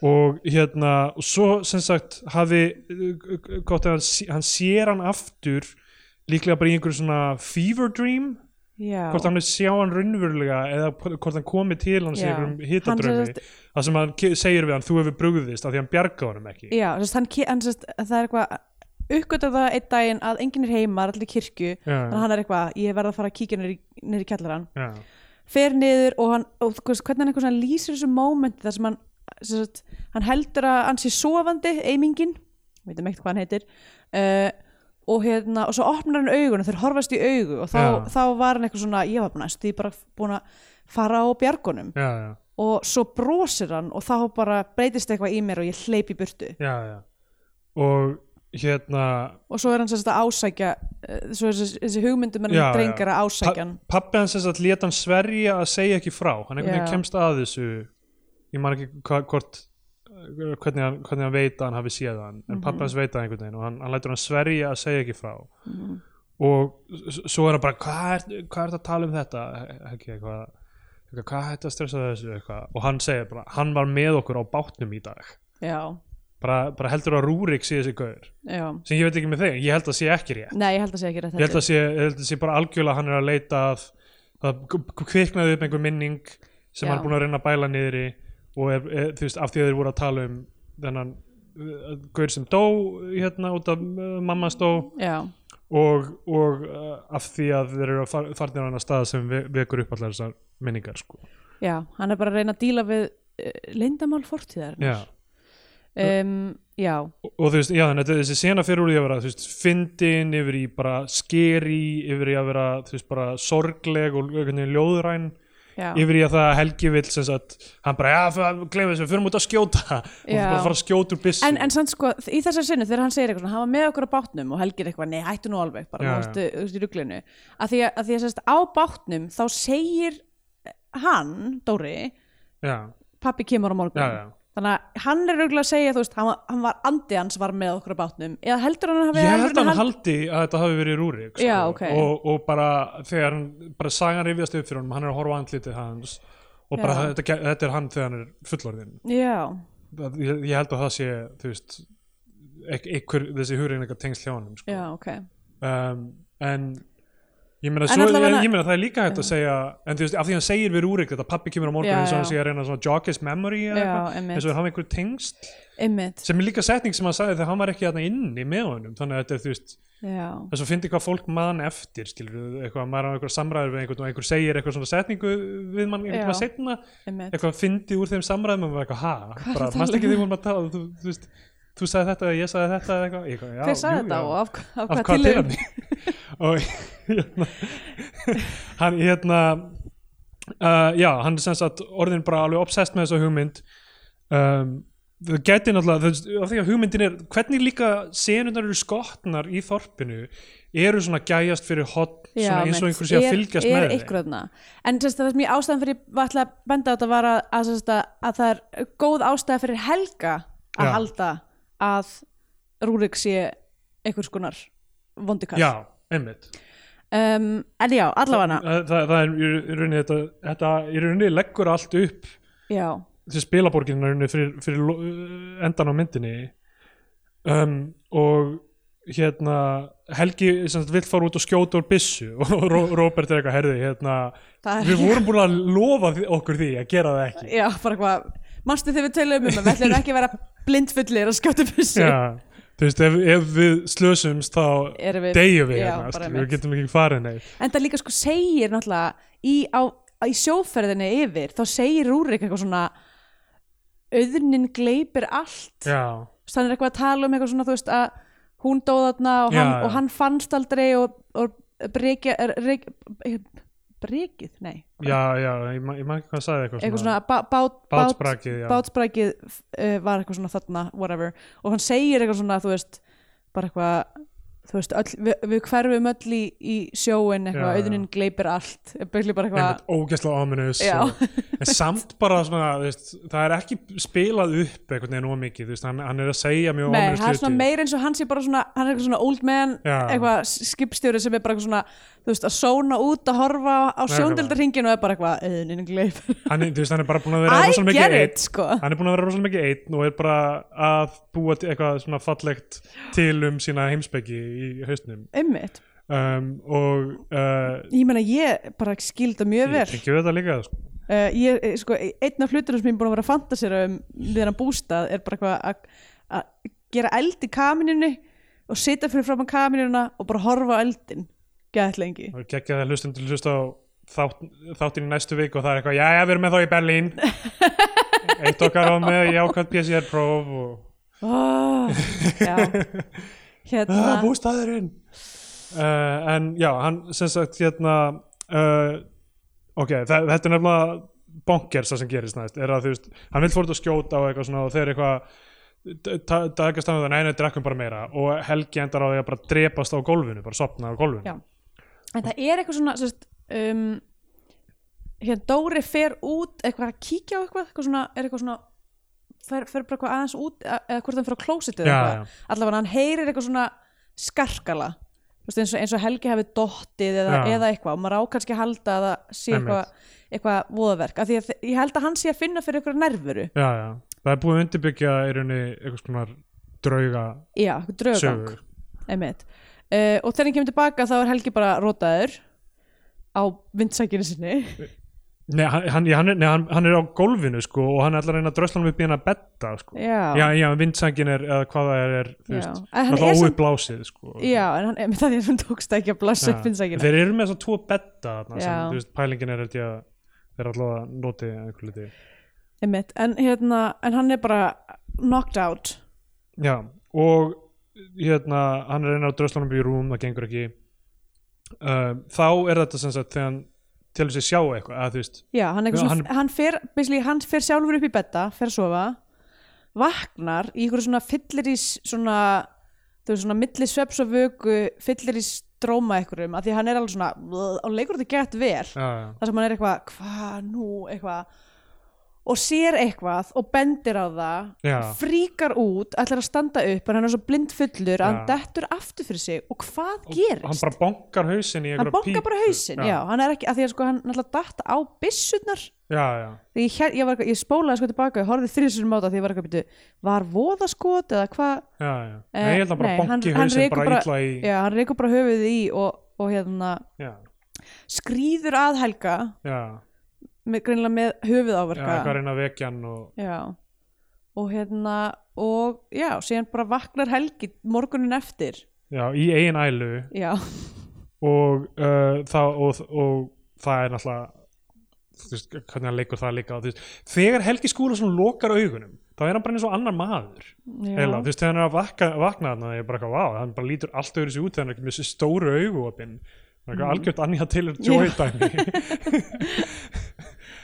[SPEAKER 1] og hérna og svo sem sagt hafi uh, gott að hann, sé- hann sér hann aftur líklega bara í einhverju svona fever dream
[SPEAKER 2] Já.
[SPEAKER 1] hvort hann er sjá hann raunverulega eða hvort hann komi til hans í
[SPEAKER 2] Já.
[SPEAKER 1] einhverjum
[SPEAKER 2] Hann
[SPEAKER 1] hittadraumi
[SPEAKER 2] sem sagt-
[SPEAKER 1] það sem hann ke- segir við hann þú hefur brugðist af því hann bjarga honum ekki
[SPEAKER 2] Já, sérst, hann, ke- hann sérst, það er eitthvað uppgötta það einn daginn að enginn er heima, það er allir í kirkju þannig að hann er eitthvað, ég verð að fara að kíkja niður í, niður í kjallarann
[SPEAKER 1] já,
[SPEAKER 2] fer niður og hann og, þú veist, hvernig hann eitthvað svona lýsir þessu mómenti þar sem hann sérst, hann heldur að hann sé sofandi, eimingin við veitum ekkert um hvað hann heitir uh, og hérna, og svo opnar hann augun og þeir horfast í augu og þá,
[SPEAKER 1] Já.
[SPEAKER 2] þá var hann eitthvað svona, ég var bara næst því bara búin að fara á bjargunum
[SPEAKER 1] já, já,
[SPEAKER 2] og svo brosir hann og þá bara breytist eitthvað í mér og ég hleyp í burtu
[SPEAKER 1] já, já. og hérna
[SPEAKER 2] og svo er hann sérst að ásækja eh, svo er þessi, þessi hugmyndum er
[SPEAKER 1] Já,
[SPEAKER 2] hann drengar að
[SPEAKER 1] Pa-
[SPEAKER 2] ásækja hann
[SPEAKER 1] Pabbi hans sem sagt lét hann sverja að segja ekki frá hann einhvern veginn
[SPEAKER 2] Já.
[SPEAKER 1] kemst að þessu ég man ekki hva, hvort eh, hvernig hann, hvernig hann veit að hann hafi séð hann en pabbi hans veit það einhvern veginn og hann, hann lætur hann sverja að segja ekki frá og s- svo er hann bara hvað er, hvað er það að tala um þetta ekki eitthvað eitthvað, hvað hætti að stressa þessu eitthvað og hann segir bara, hann var með okkur á bátnum í dag
[SPEAKER 2] já,
[SPEAKER 1] bara, bara heldur að Rúrik sé þessi gaur
[SPEAKER 2] já,
[SPEAKER 1] sem ég veit ekki með þig, ég held að sé ekki rétt
[SPEAKER 2] nei ég held að segja ekki rétt
[SPEAKER 1] ég held
[SPEAKER 2] heldur.
[SPEAKER 1] að sé, ég held að sé bara algjörlega að hann er að leita að það k- kviknaði upp einhver minning sem
[SPEAKER 2] Já.
[SPEAKER 1] hann er búin að reyna að bæla niðri og er, er, þú veist, af því að þeir voru að tala um þennan uh, gaur sem dó hérna út af uh, mamma stó
[SPEAKER 2] já,
[SPEAKER 1] og, og uh, af því að þeir eru að far, farnir á annar stað sem ve vekur upp allar þessar minningar sko.
[SPEAKER 2] já, hann er bara að reyna að díla við uh, leyndamál fortíðar
[SPEAKER 1] Já.
[SPEAKER 2] um, já,
[SPEAKER 1] Og, og þú veist, já, þannig að þetta- þessi sena fyrir úr því að vera, þú veist, fyndin yfir í bara skeri, yfir í að vera, þú veist, bara sorgleg og einhvern veginn ljóðræn
[SPEAKER 2] já,
[SPEAKER 1] yfir í að það að Helgi vill sem sagt, hann bara, já, glemum þessu, við fyrir út að skjóta og
[SPEAKER 2] Já.
[SPEAKER 1] bara fara að skjóta úr byssu
[SPEAKER 2] en, en samt sko, í þessar sinnu þegar hann segir eitthvað svona, hann var með okkur á bátnum og Helgi er eitthvað, nei, hættu nú alveg bara,
[SPEAKER 1] Já,
[SPEAKER 2] þú
[SPEAKER 1] já.
[SPEAKER 2] veist, þú veist, í ruglinu að því að, að því að sérst, á bátnum þá segir eh, hann, Dóri
[SPEAKER 1] já,
[SPEAKER 2] pappi kemur á morgun
[SPEAKER 1] já, já.
[SPEAKER 2] þannig að hann er auðvitað að segja, þú veist, hann, var- hann var andi hans var með okkur á bátnum eða heldur hann að hafi
[SPEAKER 1] ég held að
[SPEAKER 2] alveg-
[SPEAKER 1] hann haldi að þetta hafi verið rúrik sko.
[SPEAKER 2] Já, ok.
[SPEAKER 1] og, og bara þegar hann bara sagan rifjast upp fyrir honum, hann er að horfa á andlitið hans og bara
[SPEAKER 2] Já.
[SPEAKER 1] þetta, ge- þetta er hann þegar hann er fullorðin
[SPEAKER 2] já,
[SPEAKER 1] Það- ég, ég held að það sé þú veist ek- einhver, þessi hugrein eitthvað tengst hjá honum sko.
[SPEAKER 2] já, ok
[SPEAKER 1] um, en ég meina,
[SPEAKER 2] En
[SPEAKER 1] svo, ég,
[SPEAKER 2] allavega-
[SPEAKER 1] ég meina það er líka hægt að segja en þú veist, af því hann segir við Rúrik þetta pappi kemur á morgun
[SPEAKER 2] Já,
[SPEAKER 1] eins og hann
[SPEAKER 2] já.
[SPEAKER 1] sé að reyna svona jog his memory eða
[SPEAKER 2] Já,
[SPEAKER 1] eitthvað,
[SPEAKER 2] einmitt.
[SPEAKER 1] eins og hann hafa einhver tengst
[SPEAKER 2] Einmitt,
[SPEAKER 1] sem er líka setning sem hann sagði þegar hann var ekki þarna inni með honum þannig að þetta er þú veist
[SPEAKER 2] já,
[SPEAKER 1] þess að fyndi hvað fólk man eftir skilur, eitthvað, maður á einhver samræður við einhvern og einhver segir eitthvað svona setningu við mann einhvern veginn
[SPEAKER 2] Já.
[SPEAKER 1] setna
[SPEAKER 2] einmitt
[SPEAKER 1] eitthvað fyndi úr þeim samræðum og maður eitthvað ha,
[SPEAKER 2] Hvað
[SPEAKER 1] bara
[SPEAKER 2] ertu að
[SPEAKER 1] mannst
[SPEAKER 2] tala
[SPEAKER 1] ekki því vorum að tala þú, þú veist, þú sagði þetta, ég sagði þetta eða eitthvað, Ég eitthvað já,
[SPEAKER 2] Hver
[SPEAKER 1] jú,
[SPEAKER 2] sagði þetta
[SPEAKER 1] já.
[SPEAKER 2] og af, af,
[SPEAKER 1] af
[SPEAKER 2] hvað
[SPEAKER 1] hvað
[SPEAKER 2] tilum
[SPEAKER 1] tilöfni og hérna, hann hérna uh, já, hann er sem sagt orðin bara alveg obsessed með þessa hugmynd um, það geti náttúrulega þú veist, af því að hugmyndin er, hvernig líka senundar eru skotnar í þorpinu eru svona gæjast fyrir hot svona eins og einhver sé að fylgjast
[SPEAKER 2] er,
[SPEAKER 1] með
[SPEAKER 2] er
[SPEAKER 1] þeim.
[SPEAKER 2] ykkur þarna en sérst, það sem ég ástæðan fyrir var ætla að benda á þetta var að, að, sérst, að, að það er góð ástæða fyrir Helga að
[SPEAKER 1] Já.
[SPEAKER 2] halda að Rúrik sé einhvers konar vondikall
[SPEAKER 1] já, einmitt
[SPEAKER 2] um, en já, allavega
[SPEAKER 1] það, það, það er í rauninni þetta, þetta í rauninni leggur allt upp
[SPEAKER 2] já,
[SPEAKER 1] þessi spilaborgin í rauninni fyrir, fyrir lo- endan á myndinni um, og hérna Helgi sem sagt, vill fara út og skjóta úr byssu og Ro- Robert er eitthvað herði hérna,
[SPEAKER 2] Það er-
[SPEAKER 1] við vorum búin að lofa því- okkur því að gera það ekki
[SPEAKER 2] já, bara hvað manstu þegar við tölum um að við ætlum ekki að vera blindfullir að skjóta byssu
[SPEAKER 1] Já, þú veist ef, ef við slösumst þá
[SPEAKER 2] Erum við-
[SPEAKER 1] deyjum við
[SPEAKER 2] Já,
[SPEAKER 1] hérna
[SPEAKER 2] bara
[SPEAKER 1] skilur,
[SPEAKER 2] einmitt.
[SPEAKER 1] við getum ekki farið neitt
[SPEAKER 2] en það líka sko segir náttúrulega í, á, í sjóferðinni yfir þá segir Rúrik eitthvað svona auðnin gleipir allt
[SPEAKER 1] já,
[SPEAKER 2] Þú veist, hann er eitthvað að tala um eitthvað svona þú veist að hún dóð þarna og,
[SPEAKER 1] Já,
[SPEAKER 2] hann,
[SPEAKER 1] já.
[SPEAKER 2] og hann fannst aldrei og, og breykja brek, brekið, nei
[SPEAKER 1] já, já ég man ég man ekki hvað sagði eitthvað,
[SPEAKER 2] eitthvað svona bá, bát,
[SPEAKER 1] Bátsbrakið, já.
[SPEAKER 2] bátsbrakið uh, var eitthvað svona þarna whatever og hann segir eitthvað svona þú veist bara eitthvað þú veist, öll, við, við hverfum öll í, í sjóin
[SPEAKER 1] Já,
[SPEAKER 2] eitthvað,
[SPEAKER 1] já.
[SPEAKER 2] auðunin gleipir allt basically bara eitthvað,
[SPEAKER 1] einmitt ógeðslega ominous
[SPEAKER 2] Já.
[SPEAKER 1] og, en samt bara svona þú veist, það er ekki spilað upp einhvern veginn ómikið, þú veist, hann, hann er að segja mjög
[SPEAKER 2] nei,
[SPEAKER 1] ominous
[SPEAKER 2] það er svona
[SPEAKER 1] hluti.
[SPEAKER 2] meir eins og hann sé bara svona, hann er eitthvað svona old man
[SPEAKER 1] Já.
[SPEAKER 2] eitthvað skipstjóri sem er bara eitthvað svona þú veist, að sóna út að horfa á sjóndeldarhingin og er bara eitthvað, auðunin gleipir
[SPEAKER 1] hann, er- þú veist, hann er bara búin að vera
[SPEAKER 2] I
[SPEAKER 1] rosalega
[SPEAKER 2] get
[SPEAKER 1] mikið
[SPEAKER 2] it,
[SPEAKER 1] einn
[SPEAKER 2] sko
[SPEAKER 1] hann er búin að vera rosalega mikið einn og er bara að búa til eitthvað svona fallegt til um sína heimspeki í haustnum
[SPEAKER 2] einmitt,
[SPEAKER 1] um, og uh,
[SPEAKER 2] ég meina ég bara skilda mjög vel
[SPEAKER 1] ég tengi við þetta líka sko.
[SPEAKER 2] uh, ég, eh, sko, einn af hlutunum sem ég er búin að vera að fantasera um við hennar bústað er bara eitthvað að- að gera eld í kamininu og sitja fyrir fram á kaminuna og bara horfa á eldin gæðt lengi
[SPEAKER 1] og geggja það hlustum til hlust á þátt, þáttin í næstu vik og það er eitthvað, já, já, við erum með þá í Berlín eitt okkar á með jákvæmt PCR-próf og
[SPEAKER 2] oh, já
[SPEAKER 1] ah,
[SPEAKER 2] hérna
[SPEAKER 1] bústæðurinn uh, en já, hann sem sagt hérna uh, ok, þa- þetta er nefnilega bonkers það sem gerist næst er að þú veist, hann vil fórt að skjóta og eitthvað svona og þeir eitthvað dagast að það, nei, nei, drekkum bara meira og Helgi endar á því að bara drepast á gólfinu bara sopna á gólfinu
[SPEAKER 2] Já. en það er eitthvað svona sérst, um, hérna Dóri fer út eitthvað að kíkja á eitthvað, eitthvað svona, er eitthvað svona fer, fer bara eitthvað aðeins út eða eða hvort hann fer á klósitið eða
[SPEAKER 1] Já,
[SPEAKER 2] eitthvað. allavega hann heyrir eitthvað svona skarkala Þú veist, eins, og, eins og Helgi hafi dottið eða,
[SPEAKER 1] Já.
[SPEAKER 2] eða eitthvað og maður á kannski að halda að það sé
[SPEAKER 1] Einmitt.
[SPEAKER 2] eitthvað, eitthvað voðaverk af því að þe- ég held að hann sé að finna fyrir eitthvað nervuru
[SPEAKER 1] já, já, það er búið að undirbyggja í rauninni eitthvað svona drauga
[SPEAKER 2] já, eitthvað draugang
[SPEAKER 1] sögur
[SPEAKER 2] einmitt uh, og þegar hann kemur tilbaka þá er Helgi bara rótaður á vindsækinu sinni
[SPEAKER 1] Nei, hann, hann, já, hann, er- nei hann, hann er á gólfinu sko, og hann ætlar að reyna að drösla hann upp í hann að betta sko.
[SPEAKER 2] já,
[SPEAKER 1] já, já, vindsangin er eða hvað það er, er þú
[SPEAKER 2] Já.
[SPEAKER 1] veist,
[SPEAKER 2] En hann
[SPEAKER 1] það
[SPEAKER 2] er
[SPEAKER 1] er
[SPEAKER 2] samt-
[SPEAKER 1] óupplásið sko.
[SPEAKER 2] já en hann, einmitt að því að hann tókst ekki að blassa
[SPEAKER 1] Já.
[SPEAKER 2] upp vindsækina
[SPEAKER 1] þeir eru með þess að tvo betta þarna, sem,
[SPEAKER 2] Já.
[SPEAKER 1] þú veist, pælingin er held ég að þeir allavega noti einhver liti
[SPEAKER 2] einmitt, en, hérna, en hann er bara knocked out
[SPEAKER 1] já, og hérna, Um, hann er að reyna að drösla hann upp í rúm, það gengur ekki uh, þá er þetta sem sagt þegar hann til þess að sjá eitthvað að, þú veist,
[SPEAKER 2] Já, hann, er eitthvað
[SPEAKER 1] Já,
[SPEAKER 2] svona, hann, fer, basically, hann fer sjálfur upp í betta, fer að sofa, vaknar í einhverju svona fyllir í svona, þú veist svona milli sveps og vöku, fyllir í stróma einhverjum, af því hann er alveg svona, "Bleh", og leikur þetta gett vel,
[SPEAKER 1] já, já,
[SPEAKER 2] þar sem hann er eitthvað, hvað nú, eitthvað, og sér eitthvað og bendir á það,
[SPEAKER 1] Já.
[SPEAKER 2] fríkar út, ætlar að standa upp, en hann er svo blind fullur, að hann
[SPEAKER 1] Já.
[SPEAKER 2] dettur aftur fyrir sig, og hvað
[SPEAKER 1] Og
[SPEAKER 2] gerist?
[SPEAKER 1] hann bara bonkar hausinn í
[SPEAKER 2] hann
[SPEAKER 1] einhverja
[SPEAKER 2] bonkar bara
[SPEAKER 1] pípu.
[SPEAKER 2] hausinn, já, hann er ekki, að því að sko hann náttúrulega datt á byssurnar
[SPEAKER 1] já, já,
[SPEAKER 2] því ég, hér- ég, var, eitthvað- ég spólaði sko tilbaka og horfði þrjusunum á það því ég var eitthvað byrju, var voðaskot eða hvað
[SPEAKER 1] já, já.
[SPEAKER 2] Eh,
[SPEAKER 1] nei, ég held að bara
[SPEAKER 2] nei, hann-
[SPEAKER 1] bonki
[SPEAKER 2] hann
[SPEAKER 1] hausinn
[SPEAKER 2] rekur
[SPEAKER 1] bara
[SPEAKER 2] bara-
[SPEAKER 1] illa í
[SPEAKER 2] já, hann reykur bara höfuðið í og, og hérna
[SPEAKER 1] já,
[SPEAKER 2] skrýður að Helga
[SPEAKER 1] já,
[SPEAKER 2] með, greinilega með
[SPEAKER 1] já, eitthvað
[SPEAKER 2] höfuðáverka
[SPEAKER 1] reyna að vekja hann og
[SPEAKER 2] já, og hérna og já, síðan bara vaknar Helgi morgunin eftir
[SPEAKER 1] já, í eigin ælu
[SPEAKER 2] já,
[SPEAKER 1] og, uh, það, og, og það er náttúrulega þú veist, hvernig hann leikur það líka og þú veist, þegar Helgi Skúlason lokar augunum þá er hann bara eins og annar maður
[SPEAKER 2] já.
[SPEAKER 1] Eila, þú veist, þegar hann er að vakna, vakna þarna ég er bara eitthvað, vá, hann bara lítur allt öðru sér út þegar hann er ekki með þessi stóru auguopin mm. algjört annað til er
[SPEAKER 2] Já.
[SPEAKER 1] dæmi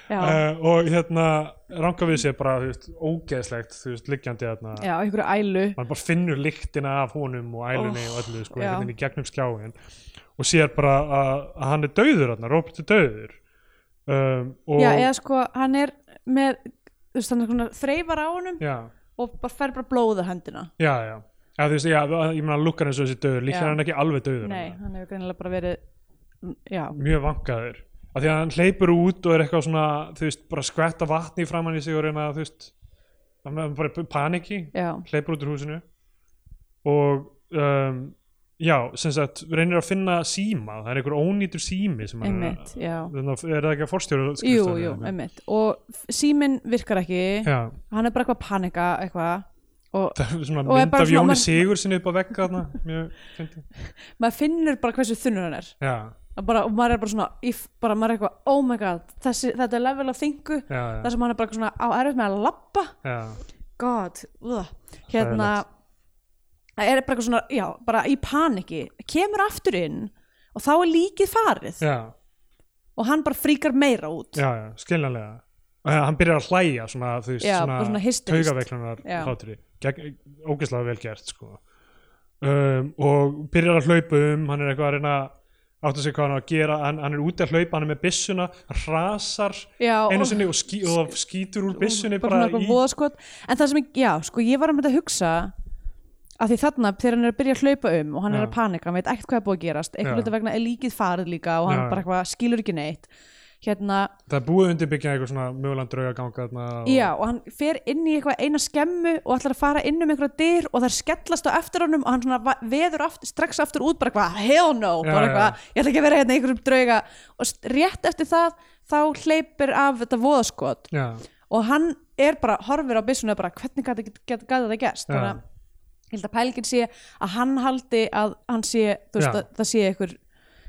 [SPEAKER 2] já,
[SPEAKER 1] uh, og hérna ranga við sér bara, þú veist, ógeðslegt þú veist, liggjandi þarna
[SPEAKER 2] já, einhverju ælu
[SPEAKER 1] maður bara finnur lyktina af honum og ælunni og öllu sko,
[SPEAKER 2] já.
[SPEAKER 1] einhvern veginn í gegnum skjáin og sér bara að, að hann er dauður hann, Robert er dauður um, og
[SPEAKER 2] já, eða sko, hann er með þú veist, hann er svona þreifar á honum
[SPEAKER 1] já,
[SPEAKER 2] og bara fer bara blóða höndina
[SPEAKER 1] já, já. Já, þú veist, já, ég meina hann lukkar eins og þessi dauður líklega
[SPEAKER 2] Já.
[SPEAKER 1] er hann ekki alveg dauður
[SPEAKER 2] nei,
[SPEAKER 1] hann.
[SPEAKER 2] hann hefur greinilega bara verið mm, já,
[SPEAKER 1] mjög vankaður af því að hann hleypur út og er eitthvað svona þú veist, bara skvetta vatni framann í sig og reyna að, þú veist, hann hann bara í paniki
[SPEAKER 2] já,
[SPEAKER 1] hleypur út úr húsinu og um, já, sem sagt, reynir að finna síma það er einhver ónýtur sími sem hann er að-
[SPEAKER 2] einmitt já.
[SPEAKER 1] Þannig að er það ekki að forstjóra
[SPEAKER 2] jú, jú, einmitt og f- síminn virkar ekki
[SPEAKER 1] Já,
[SPEAKER 2] hann er bara eitthvað að panika eitthvað og
[SPEAKER 1] það er svona
[SPEAKER 2] Og er
[SPEAKER 1] mynd
[SPEAKER 2] bara
[SPEAKER 1] af
[SPEAKER 2] svona-
[SPEAKER 1] Jóni
[SPEAKER 2] maður-
[SPEAKER 1] Sigur sinni upp að vegga þarna mjög fyndið.
[SPEAKER 2] maður finnur bara hversu þunnur hann er
[SPEAKER 1] Já,
[SPEAKER 2] Og bara, og maður er bara svona, if, bara maður er eitthvað oh my god, þessi, þetta er level af þingu
[SPEAKER 1] já,
[SPEAKER 2] þar sem hann er bara eitthvað svona á erfitt með að labba
[SPEAKER 1] já, já,
[SPEAKER 2] god, uh, hérna það er bara eitthvað svona, já, bara í paniki kemur aftur inn og þá er líkið farið
[SPEAKER 1] já,
[SPEAKER 2] og hann bara fríkar meira út
[SPEAKER 1] já, já, skiljanlega. Og hann byrjar að hlæja svona, þú veist,
[SPEAKER 2] Já, bara svona
[SPEAKER 1] svona
[SPEAKER 2] hysterist.
[SPEAKER 1] taugaveiklunar
[SPEAKER 2] Já.
[SPEAKER 1] hláturri. Gegn- Ógeðslega vel gert, sko. Um, og byrjar að hlaupa um, hann er eitthvað að reyna að átta sig hvað hann á að gera, hann, hann er úti að hlaupa, hann er með byssuna, hrasar
[SPEAKER 2] Já,
[SPEAKER 1] einu
[SPEAKER 2] og-
[SPEAKER 1] sinni og, ský, og það skýtur úr byssunni
[SPEAKER 2] bara
[SPEAKER 1] bara,
[SPEAKER 2] svona
[SPEAKER 1] í...
[SPEAKER 2] eitthvað voðaskot en það sem ég, já, sko, ég var um þetta að hugsa að því þarna, þegar hann er að byrja að hlaupa um og hann er
[SPEAKER 1] Já.
[SPEAKER 2] að panika, hann veit ekkert hvað er búið að
[SPEAKER 1] Já.
[SPEAKER 2] gerast eitthvað hluta vegna er líkið farið líka og hann
[SPEAKER 1] Já.
[SPEAKER 2] bara eitthvað skilur ekki neitt hérna,
[SPEAKER 1] Það er búið að undirbyggja eitthvað svona mögulega draugaganga þarna og...
[SPEAKER 2] já, og hann fer inn í eitthvað eina skemmu og ætlar að fara inn um einhverja dyr og það skellast á eftir honum og hann svona va- veður aftur, strax aftur út bara eitthvað, hell no,
[SPEAKER 1] Já,
[SPEAKER 2] bara
[SPEAKER 1] já.
[SPEAKER 2] eitthvað ég ætla ekki að vera hérna í einhverjum drauga og st- rétt eftir það, þá hleypir af þetta voðaskot
[SPEAKER 1] Já,
[SPEAKER 2] og hann er bara, horfir á byssuna bara, hvernig gæti þetta gerst þannig að ég held að pælgin sé að hann haldi að hann sé, þú veist,
[SPEAKER 1] Já.
[SPEAKER 2] að, það sé einhver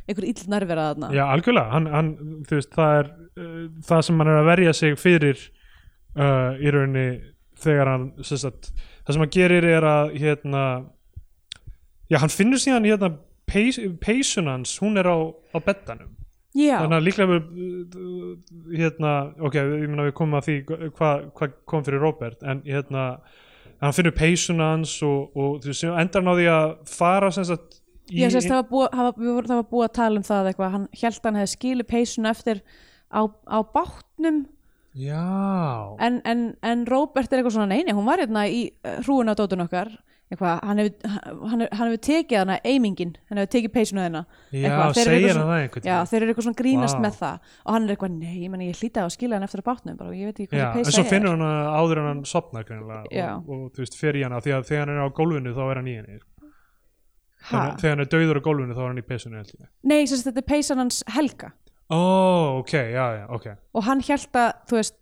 [SPEAKER 2] einhver ill nærvera þarna
[SPEAKER 1] já algjörlega hann, hann, þú veist, það er uh, það sem hann er að verja sig fyrir uh, í rauninni þegar hann sem sagt, það sem hann gerir er að hérna já, hann finnur síðan hérna peys, peysun hans, hún er á, á beddanum
[SPEAKER 2] já,
[SPEAKER 1] þannig að líklega við, uh, hérna, ok, ég meina við komum að því hvað hva kom fyrir Robert en hérna, hann finnur peysuna hans og, og þú veist, síðan endar hann á því að fara sem sagt í-
[SPEAKER 2] ég sést það var búið hafa, við vorum- það var búið að tala um það eitthvað hann held að hann hefði skilið peysuna eftir á, á bátnum
[SPEAKER 1] já,
[SPEAKER 2] en, en, en Robert er eitthvað svona neini, hún var hérna í hrúin á dótun okkar eitthvað, hann hefur hann hefur- hann hefur tekið hana, eimingin hann hefur tekið peysuna hennar
[SPEAKER 1] Já,
[SPEAKER 2] þeir eru
[SPEAKER 1] segir
[SPEAKER 2] eitthvað
[SPEAKER 1] hann það
[SPEAKER 2] svona-
[SPEAKER 1] einhvern
[SPEAKER 2] já,
[SPEAKER 1] veginn.
[SPEAKER 2] þeir eru eitthvað svona grínast
[SPEAKER 1] Vá.
[SPEAKER 2] með það og hann er eitthvað, nei, ég, meni, ég hlýta á að skila hann eftir að bátnum bara, og ég veit ekki hvað
[SPEAKER 1] Já,
[SPEAKER 2] það
[SPEAKER 1] en
[SPEAKER 2] peysa
[SPEAKER 1] svo
[SPEAKER 2] er
[SPEAKER 1] finnur hann hana áður en hann sopnar greinilega
[SPEAKER 2] Já.
[SPEAKER 1] og, og þú veist, fer í hana því að þegar hann er á gólfinu þá er hann í henni sko.
[SPEAKER 2] ha?
[SPEAKER 1] Þannig að þegar hann er dauður á gólfinu þá er hann í peysinu held ég.
[SPEAKER 2] nei, sem sagt, þetta er peysan hans Helga
[SPEAKER 1] Ó, ok, já, já, ok
[SPEAKER 2] og hann held að, þú veist,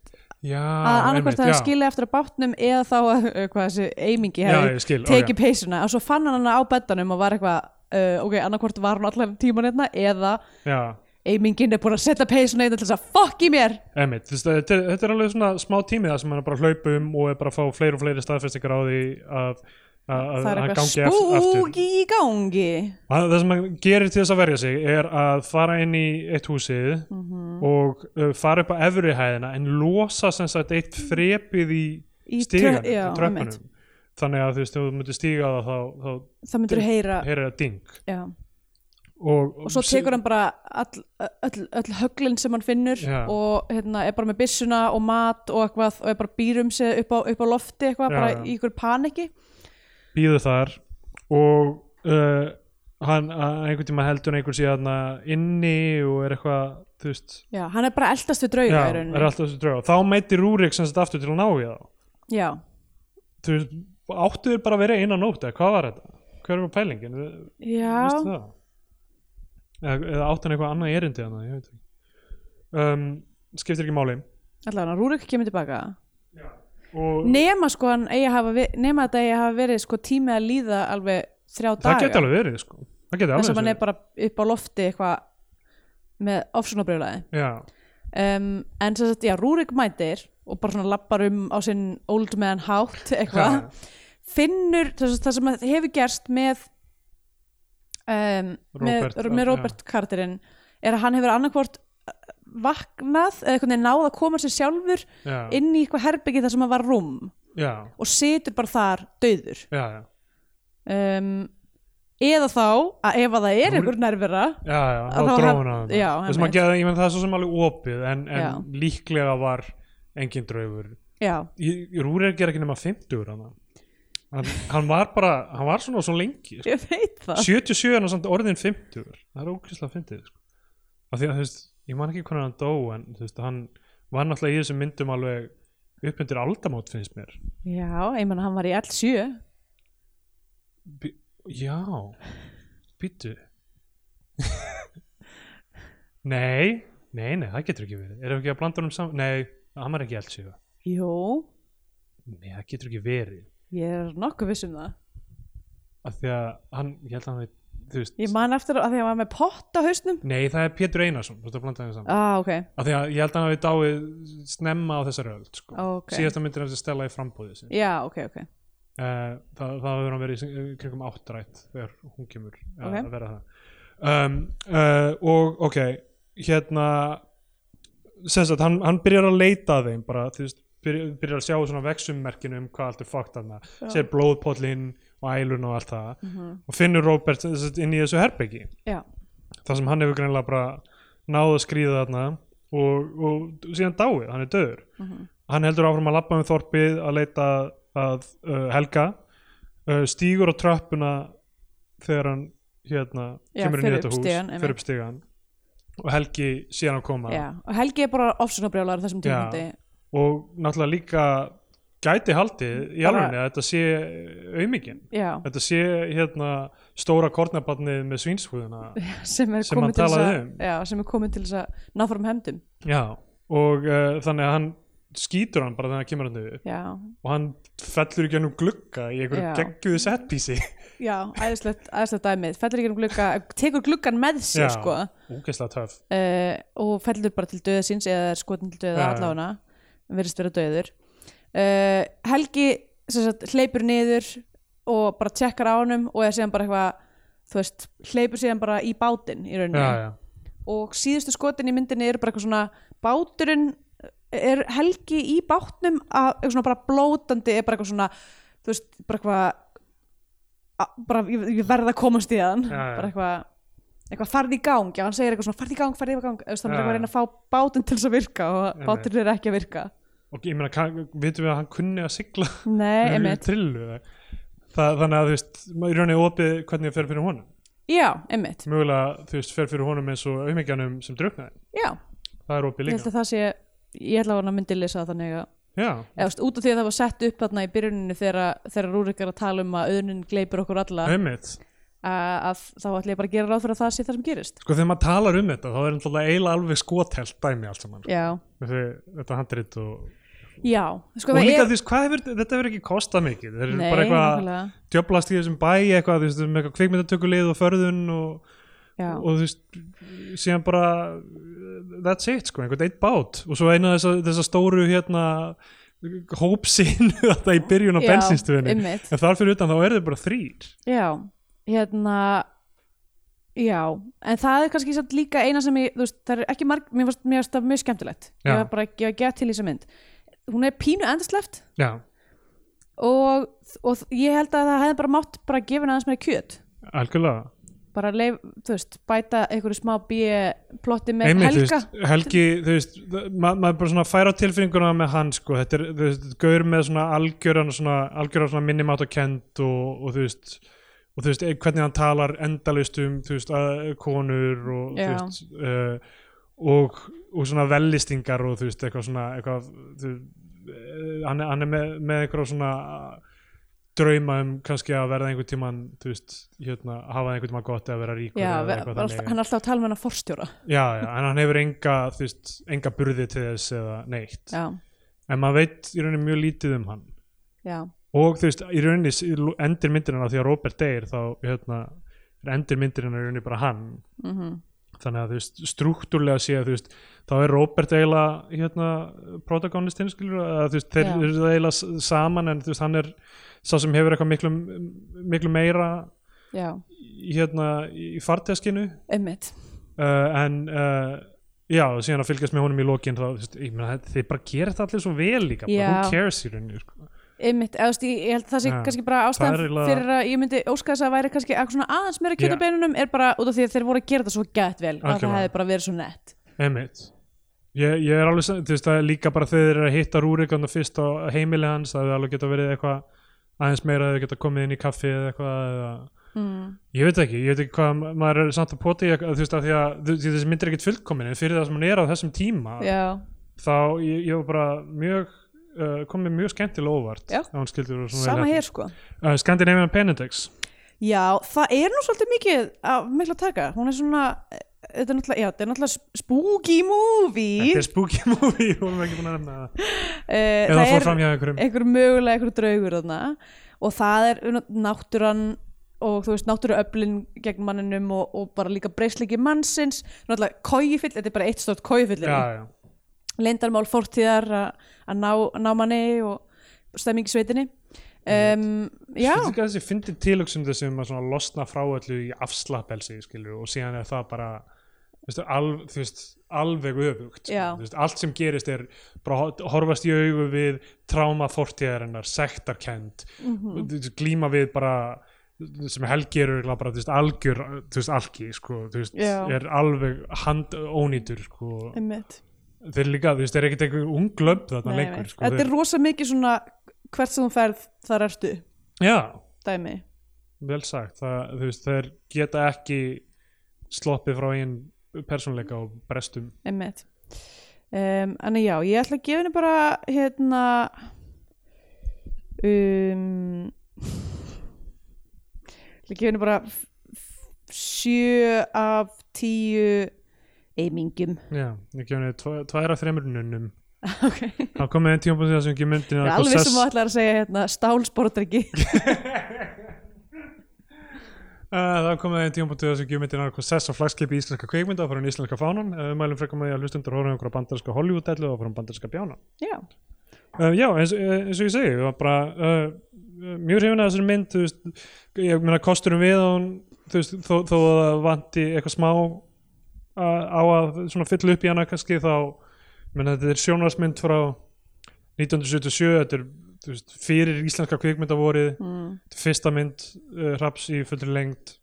[SPEAKER 1] Já,
[SPEAKER 2] að
[SPEAKER 1] einmitt,
[SPEAKER 2] annarkvært að
[SPEAKER 1] já,
[SPEAKER 2] hann skilið eftir að bátnum eða þá að, uh, hvað þessi eimingi
[SPEAKER 1] Já,
[SPEAKER 2] hefði
[SPEAKER 1] ég skil, ok.
[SPEAKER 2] tekið peysuna og svo fann hann hana á beddanum og var eitthvað, uh, ok, annarkvært var hann allan tíman hérna eða
[SPEAKER 1] já,
[SPEAKER 2] eimingin er búin að setja peysuna einn til þess að fokk í mér
[SPEAKER 1] einmitt, þú veist, þetta, er- þetta er alveg svona smá tími það sem hann er bara að hlaupa um og er bara að fá fleiri og fleiri staðfestingar á því að að að
[SPEAKER 2] það er
[SPEAKER 1] hann
[SPEAKER 2] eitthvað
[SPEAKER 1] gangi aft- aftur
[SPEAKER 2] spúki í gangi
[SPEAKER 1] Hann- Það sem hann gerir til þess að verja sig er að fara inn í eitt húsið
[SPEAKER 2] Mhm.
[SPEAKER 1] og uh, fara upp á efri hæðina en losa sem sagt eitt þrepið í,
[SPEAKER 2] Í
[SPEAKER 1] í
[SPEAKER 2] trö-
[SPEAKER 1] stíganum,
[SPEAKER 2] já,
[SPEAKER 1] í tröppunum
[SPEAKER 2] einmitt.
[SPEAKER 1] þannig að þú veist, ef þú myndir stíga það þá, þá
[SPEAKER 2] það myndur heyra
[SPEAKER 1] heyrir það ding
[SPEAKER 2] já.
[SPEAKER 1] og,
[SPEAKER 2] og svo tekur hann bara all, all, all höglinn sem hann finnur
[SPEAKER 1] Já.
[SPEAKER 2] og hérna, er bara með byssuna og mat og eitthvað og er bara býrum sig upp á, upp á lofti eitthvað,
[SPEAKER 1] Já,
[SPEAKER 2] bara
[SPEAKER 1] já.
[SPEAKER 2] í ykkur paniki
[SPEAKER 1] býður þar og uh, hann að einhvern tíma heldur einhver síðan inni og er eitthvað þú veist,
[SPEAKER 2] já, hann er bara að eldast við
[SPEAKER 1] já,
[SPEAKER 2] drauga í
[SPEAKER 1] er
[SPEAKER 2] rauninni
[SPEAKER 1] alltaf þessi drauga þá mæti Rúrik sem sagt aftur til að ná í þá
[SPEAKER 2] já,
[SPEAKER 1] þú veist, áttu þér bara að vera eina nótt eða hvað var þetta? Hver var pælingin?
[SPEAKER 2] já.
[SPEAKER 1] Vistu það? Eða, eða áttu hann eitthvað annað erindi hann, ég veit ekki um, skiptir ekki máli
[SPEAKER 2] allavega hann Rúrik kemur tilbaka
[SPEAKER 1] og
[SPEAKER 2] nema sko hann eigi að hafa verið, nema þetta eigi að hafa verið sko tími að líða alveg þrjá daga
[SPEAKER 1] það geti alveg verið sko það geti
[SPEAKER 2] þess
[SPEAKER 1] alveg
[SPEAKER 2] að hann
[SPEAKER 1] verið
[SPEAKER 2] er bara upp á lofti eitthvað með ofsunabrjólaði
[SPEAKER 1] já,
[SPEAKER 2] um, en sem sagt, já, Rúrik mætir og bara svona lappar um á sinn old man hátt eitthvað
[SPEAKER 1] Já.
[SPEAKER 2] finnur sem sagt, það sem að hefur gerst með um,
[SPEAKER 1] Robert,
[SPEAKER 2] með, með
[SPEAKER 1] já.
[SPEAKER 2] Robert Carterinn er að hann hefur annarkvort uh, vaknað eða einhvern veginn náð að koma sér sjálfur
[SPEAKER 1] já,
[SPEAKER 2] inn í eitthvað herbyggi þar sem að var rúm
[SPEAKER 1] já,
[SPEAKER 2] og situr bara þar döður
[SPEAKER 1] já, já.
[SPEAKER 2] um, eða þá að ef að það er
[SPEAKER 1] Rúrik-
[SPEAKER 2] einhver nærvera
[SPEAKER 1] já, já,
[SPEAKER 2] Að
[SPEAKER 1] þá
[SPEAKER 2] þá
[SPEAKER 1] dróðun
[SPEAKER 2] haf-
[SPEAKER 1] á
[SPEAKER 2] já,
[SPEAKER 1] það sem að
[SPEAKER 2] einmitt.
[SPEAKER 1] geða, ég menn það er svo sem alveg opið en,
[SPEAKER 2] Já.
[SPEAKER 1] en líklega var engin draugur
[SPEAKER 2] já,
[SPEAKER 1] Rúrir ger ekki nema 50 hann. Hann, hann var bara hann var svona svo lengi sko.
[SPEAKER 2] ég veit það
[SPEAKER 1] 77 er hann samt orðin 50 það er ókvæslega 50 sko. af því að þú veist, ég man ekki hvernig hann dó en þú veist, hann var náttúrulega í þessum myndum alveg upp undir aldamót finnst mér
[SPEAKER 2] já, ég menna hann var í L7
[SPEAKER 1] Bí, já býtu nei, nei, nei, það getur ekki verið erum við ekki að blanda honum saman, nei hann var ekki eldsíða,
[SPEAKER 2] jú,
[SPEAKER 1] nei, það getur ekki verið
[SPEAKER 2] Ég er nokkuð viss um það.
[SPEAKER 1] af því að hann, ég held að hann veit þú veist,
[SPEAKER 2] Ég man eftir að því að hann var með pott á hausnum.
[SPEAKER 1] nei, það er Pétur Einarsson þú veist að blanda honum saman,
[SPEAKER 2] Ah, ok.
[SPEAKER 1] af því að ég held að hann veit dáið snemma á þessari öld sko.
[SPEAKER 2] Ok.
[SPEAKER 1] síðasta myndir hans er stella í frambúði sinni
[SPEAKER 2] Já, ok, ok.
[SPEAKER 1] uh, það, það hefur hann verið í kringum áttrætt þegar hún kemur að
[SPEAKER 2] Ok.
[SPEAKER 1] að vera það um, uh, og ok hérna sem sagt, hann, hann byrjar að leita að þeim bara, þú veist, byrjar, byrjar að sjá svona vexummerkinu um hvað allt er fókt þarna sér blóðpollinn og ælun og allt það
[SPEAKER 2] Mhm.
[SPEAKER 1] og finnur Robert sem sagt, inn í þessu herbyggi
[SPEAKER 2] Já,
[SPEAKER 1] þar sem hann hefur greinlega bara náð að skrýða þarna og, og síðan dáið, hann er döður
[SPEAKER 2] Mhm.
[SPEAKER 1] hann heldur áfram að labba um þorpið að leita að uh, helga uh, stígur á tröppuna þegar hann hérna,
[SPEAKER 2] Já,
[SPEAKER 1] kemur inn í
[SPEAKER 2] fer
[SPEAKER 1] þetta
[SPEAKER 2] upp
[SPEAKER 1] hús
[SPEAKER 2] stigann, einmitt.
[SPEAKER 1] fyrir upp stígan og helgi síðan að koma
[SPEAKER 2] já. Og Helgi er bara ofsunabrjálar þessum
[SPEAKER 1] Já.
[SPEAKER 2] tímundi.
[SPEAKER 1] og náttúrulega líka gæti haldið í
[SPEAKER 2] Bara-
[SPEAKER 1] alvegni að þetta sé auðmikinn
[SPEAKER 2] Já.
[SPEAKER 1] þetta sé hérna stóra kornabarnið með svínsfúðuna
[SPEAKER 2] Sem er
[SPEAKER 1] Sem hann
[SPEAKER 2] komið til þess
[SPEAKER 1] talaði
[SPEAKER 2] að,
[SPEAKER 1] um.
[SPEAKER 2] já, sem er komið til þess að ná fram hemdum.
[SPEAKER 1] Já, og uh, þannig að hann skýtur hann bara þegar hann kemur hann yfir
[SPEAKER 2] Já,
[SPEAKER 1] og hann fellur í gennum glugga í einhverju
[SPEAKER 2] Já.
[SPEAKER 1] geggjuðu setpísi
[SPEAKER 2] já, æðislegt, æðislegt dæmið. Fellur ekki um glugga, tekur gluggan með sér, sko.
[SPEAKER 1] Úkesslega töff
[SPEAKER 2] uh, og fellur bara til döða síns eða er skotin til döða
[SPEAKER 1] Já,
[SPEAKER 2] ja.
[SPEAKER 1] já.
[SPEAKER 2] allána verðist vera döður uh, Helgi sem sagt, hleypur niður og bara tjekkar á honum og er síðan bara eitthvað þú veist, hleypur síðan bara í bátinn í
[SPEAKER 1] Já,
[SPEAKER 2] rauninni
[SPEAKER 1] já,
[SPEAKER 2] og síðustu skotin í myndinni eru bara eitthvað svona báturinn eh, er Helgi í bátnum að eitthvað svona bara blótandi er bara eitthvað svona þú veist, bara eitthvað að- bara ég, ég verð að komast í þann
[SPEAKER 1] Já, já.
[SPEAKER 2] bara eitthvað eitthvað farði í gang, já hann segir eitthvað svona farði í gang, farði í gang, þannig
[SPEAKER 1] Já,
[SPEAKER 2] að hann er að
[SPEAKER 1] já.
[SPEAKER 2] reyna að fá bátinn til þess að virka og
[SPEAKER 1] Einmitt.
[SPEAKER 2] báturinn er ekki að virka
[SPEAKER 1] og ég meina, kann- vitum við að hann kunni að sigla
[SPEAKER 2] nei,
[SPEAKER 1] í
[SPEAKER 2] einmitt,
[SPEAKER 1] trillu eða? Það, þannig að þú veist, maður í rauninni opið hvernig það fer fyrir honum
[SPEAKER 2] já, einmitt
[SPEAKER 1] mögulega, þú veist, fer fyrir honum eins og auðmyggjanum sem druknaði,
[SPEAKER 2] já,
[SPEAKER 1] það er opið
[SPEAKER 2] ég
[SPEAKER 1] líka
[SPEAKER 2] held að það sé ég held að hann myndi lýsa það þannig að
[SPEAKER 1] Já,
[SPEAKER 2] eða, þú veist, út af því að það var sett upp þarna í byrjuninu þegar, þegar Rúrik er að tala um að auðnin gleipur okkur alla
[SPEAKER 1] auðmyggt
[SPEAKER 2] að, að þá ætla ég bara að gera ráð fyrir að það sé það sem gerist
[SPEAKER 1] Sko þegar maður talar um þetta, þá er náttúrulega eiginlega alveg skotelt dæmi allt saman
[SPEAKER 2] já,
[SPEAKER 1] Þessi, þetta handrit og
[SPEAKER 2] já sko,
[SPEAKER 1] og
[SPEAKER 2] það
[SPEAKER 1] líka
[SPEAKER 2] er-
[SPEAKER 1] þú veist, hvað hefur, þetta hefur ekki kostað mikið þeir eru
[SPEAKER 2] Nei,
[SPEAKER 1] bara eitthvað
[SPEAKER 2] nákvæmlega.
[SPEAKER 1] djöblast í þessum bæ eitthvað, þú veist, með eitthvað kvikmyndatökulið og förðun og,
[SPEAKER 2] já,
[SPEAKER 1] og þú veist síðan bara uh, that's it, sko, einhvern eitt bát og svo eina þess að stóru hérna hópsinn þetta í byrjun á
[SPEAKER 2] Já,
[SPEAKER 1] bensinstöðinni
[SPEAKER 2] einmitt.
[SPEAKER 1] en þar fyrir utan þá er þau bara þrýr
[SPEAKER 2] Já, hérna Já, en það er kannski samt líka eina sem ég, þú veist, það er ekki marg mér varst, mér varst það mjög skemmtilegt
[SPEAKER 1] Já.
[SPEAKER 2] ég var bara að gefa gett til í þessa mynd hún er pínu endasleft
[SPEAKER 1] já,
[SPEAKER 2] og, og ég held að það hefði bara mátt bara að gefa henni aðeins meira kjöt
[SPEAKER 1] algjörlega
[SPEAKER 2] bara leif, þú veist, bæta einhverju smá bíu plotti með
[SPEAKER 1] Einmitt,
[SPEAKER 2] helga
[SPEAKER 1] þú veist, Helgi, þú veist ma- maður bara svona fær á tilfinninguna með hann sko, þetta er, þú veist, gaur með svona algjöran svona, algjöran svona minnimátt og kent og, og þú veist og þú veist, eh, hvernig hann talar endalaust um þú veist, að, konur og þú
[SPEAKER 2] Já.
[SPEAKER 1] veist uh, og, og svona vellistingar og þú veist, eitthvað svona eitthvað, þú, eh, hann, er- hann er með, með eitthvað svona drauma um kannski að verða einhvern tímann þú veist, hérna, hafa einhvern tímann gott eða vera ríkur
[SPEAKER 2] Já,
[SPEAKER 1] eða
[SPEAKER 2] ve-
[SPEAKER 1] eitthvað
[SPEAKER 2] alltaf,
[SPEAKER 1] þannig.
[SPEAKER 2] hann er alltaf að tala með hennar forstjóra
[SPEAKER 1] Já, já, en hann hefur enga, þú veist, enga burði til þess eða neitt.
[SPEAKER 2] Já,
[SPEAKER 1] En maður veit í rauninni mjög lítið um hann.
[SPEAKER 2] já,
[SPEAKER 1] Og þú veist, í rauninni s- í lo- endir myndirinn á því að Robert deyr, þá hérna, er endir myndirinn í rauninni bara hann.
[SPEAKER 2] mhm
[SPEAKER 1] Þannig að þú veist, strúktúrlega séð, þú veist, þá er Robert eiginlega, hérna, protagonistinn, skilur, að þú veist, þeir
[SPEAKER 2] Já.
[SPEAKER 1] eru eiginlega s- saman en þú veist, hann er sá sem hefur eitthvað miklu, miklu meira,
[SPEAKER 2] Já,
[SPEAKER 1] í- hérna, í farteskinu
[SPEAKER 2] einmitt
[SPEAKER 1] uh, en uh, já, síðan að fylgjast með honum í lokin þá, þú veist, ég meina, þeir bara gera þetta allir svo vel líka, bara,
[SPEAKER 2] Já.
[SPEAKER 1] who cares í rauninni sko.
[SPEAKER 2] Einmitt, eða, þú veist, ég, ég held að það sé
[SPEAKER 1] Já,
[SPEAKER 2] kannski bara
[SPEAKER 1] það er
[SPEAKER 2] ástæðan
[SPEAKER 1] eiginlega-
[SPEAKER 2] fyrir að ég myndi óska þess að það væri kannski eitthvað svona aðeins meira
[SPEAKER 1] Já.
[SPEAKER 2] kjötabeinunum er bara út af því að þeir voru að gera þetta svo gætt vel að það
[SPEAKER 1] Algjörlega.
[SPEAKER 2] hefði bara verið svo nett
[SPEAKER 1] emitt ég, ég er alveg, sam- þú veist, það er líka bara þegar þeir eru að hitta Rúrik þarna fyrst á heimili hans það er alveg geta verið eitthvað aðeins meira að þau geta komið inn í kaffi eða eitthvað eða,
[SPEAKER 2] mm.
[SPEAKER 1] ég veit ekki, ég veit ekki hvað maður er samt að poti, þú veist, af því að þú- því þessi myndir ekkit fullkomin, en fyrir það sem hann er á þessum tíma
[SPEAKER 2] Já,
[SPEAKER 1] þá ég, ég var bara mjög uh, komið mjög skemmtilega óvart
[SPEAKER 2] Já.
[SPEAKER 1] að hún skildur og svona
[SPEAKER 2] sama
[SPEAKER 1] vel
[SPEAKER 2] hér sko
[SPEAKER 1] heppnuð. uh, Scandinavian Penindex
[SPEAKER 2] Já, það er nú svolítið mikið að miklu að taka, hún er svona eh, þetta er náttúrulega, já, þetta er náttúrulega spooky movie
[SPEAKER 1] Þetta er spooky movie, vorum við ekki búin að nefna það
[SPEAKER 2] Eh,
[SPEAKER 1] Eða
[SPEAKER 2] það
[SPEAKER 1] fór
[SPEAKER 2] er
[SPEAKER 1] fram hjá einhverjum
[SPEAKER 2] einhver mögulega einhver draugur þarna og það er náttúran og þú veist náttúruöflin gegn manninum og, og bara líka breyslegi mannsins náttúrulega kóifill, þetta er bara eitt stórt kóifill
[SPEAKER 1] Já, já,
[SPEAKER 2] leindarmál fortíðar að að ná, ná manni og stemming í sveitinni um, já,
[SPEAKER 1] Þetta er þessi fyndið tilöksum þessum um að svona losna frá öllu í afslappelsi skilur og síðan er það bara veistu, alv, þú veist, alveg öfugt sko.
[SPEAKER 2] Já.
[SPEAKER 1] Þú veist, allt sem gerist er bara ho- horfast í augu við tráma fortíðarinnar, sektarkend
[SPEAKER 2] Mhm.
[SPEAKER 1] mm -hmm. glíma við bara sem Helgi er örugglega bara þú veist, algjör, þú veist, algi sko, þú veist,
[SPEAKER 2] Já.
[SPEAKER 1] er alveg handónýtur sko.
[SPEAKER 2] einmitt
[SPEAKER 1] þeir líka, þú veist, þeir eru ekkert einhver ung lömp þarna
[SPEAKER 2] Nei,
[SPEAKER 1] leikur
[SPEAKER 2] nei.
[SPEAKER 1] sko,
[SPEAKER 2] þetta er rosa mikið svona hvert sem þú ferð þar ertu
[SPEAKER 1] já,
[SPEAKER 2] dæmi,
[SPEAKER 1] vel sagt það, þú veist, þeir geta ekki sloppið frá einn persónleika og brestum
[SPEAKER 2] einmitt um, en já, ég ætla að gefa henni bara hérna um ég ætla að gefa henni bara f- f- sjö af tíu eimingum
[SPEAKER 1] já, ég gefni tvæ- tvær af þremur nunnum
[SPEAKER 2] ok
[SPEAKER 1] þá komið einn tíma sem ekki myndin
[SPEAKER 2] Ég er alveg sem ætlaði að segja hérna stálsportrekki
[SPEAKER 1] Uh, það komið einn tíma sem ekki myndin að sess á flagskipi íslenska kveikmynda og fyrir íslenska fánan uh, við mælum frekar með því að hlustundur horfum einhverja bandarska Hollywood-dellu og fyrir bandarska bjána
[SPEAKER 2] Já,
[SPEAKER 1] Uh, já, eins, eh, eins og ég segi, ég var bara uh, mjög hrifin að þessari mynd, þú veist, ég meina kosturum við og hún, þú veist, þó, þó að það vanti eitthvað smá uh, á að svona fylla upp í hana kannski þá, ég meina þetta er sjónarsmynd frá 1977, þetta er þú veist, fyrir íslenska kvikmyndavorið,
[SPEAKER 2] mm,
[SPEAKER 1] þetta er fyrsta mynd uh, hraps í fullri lengd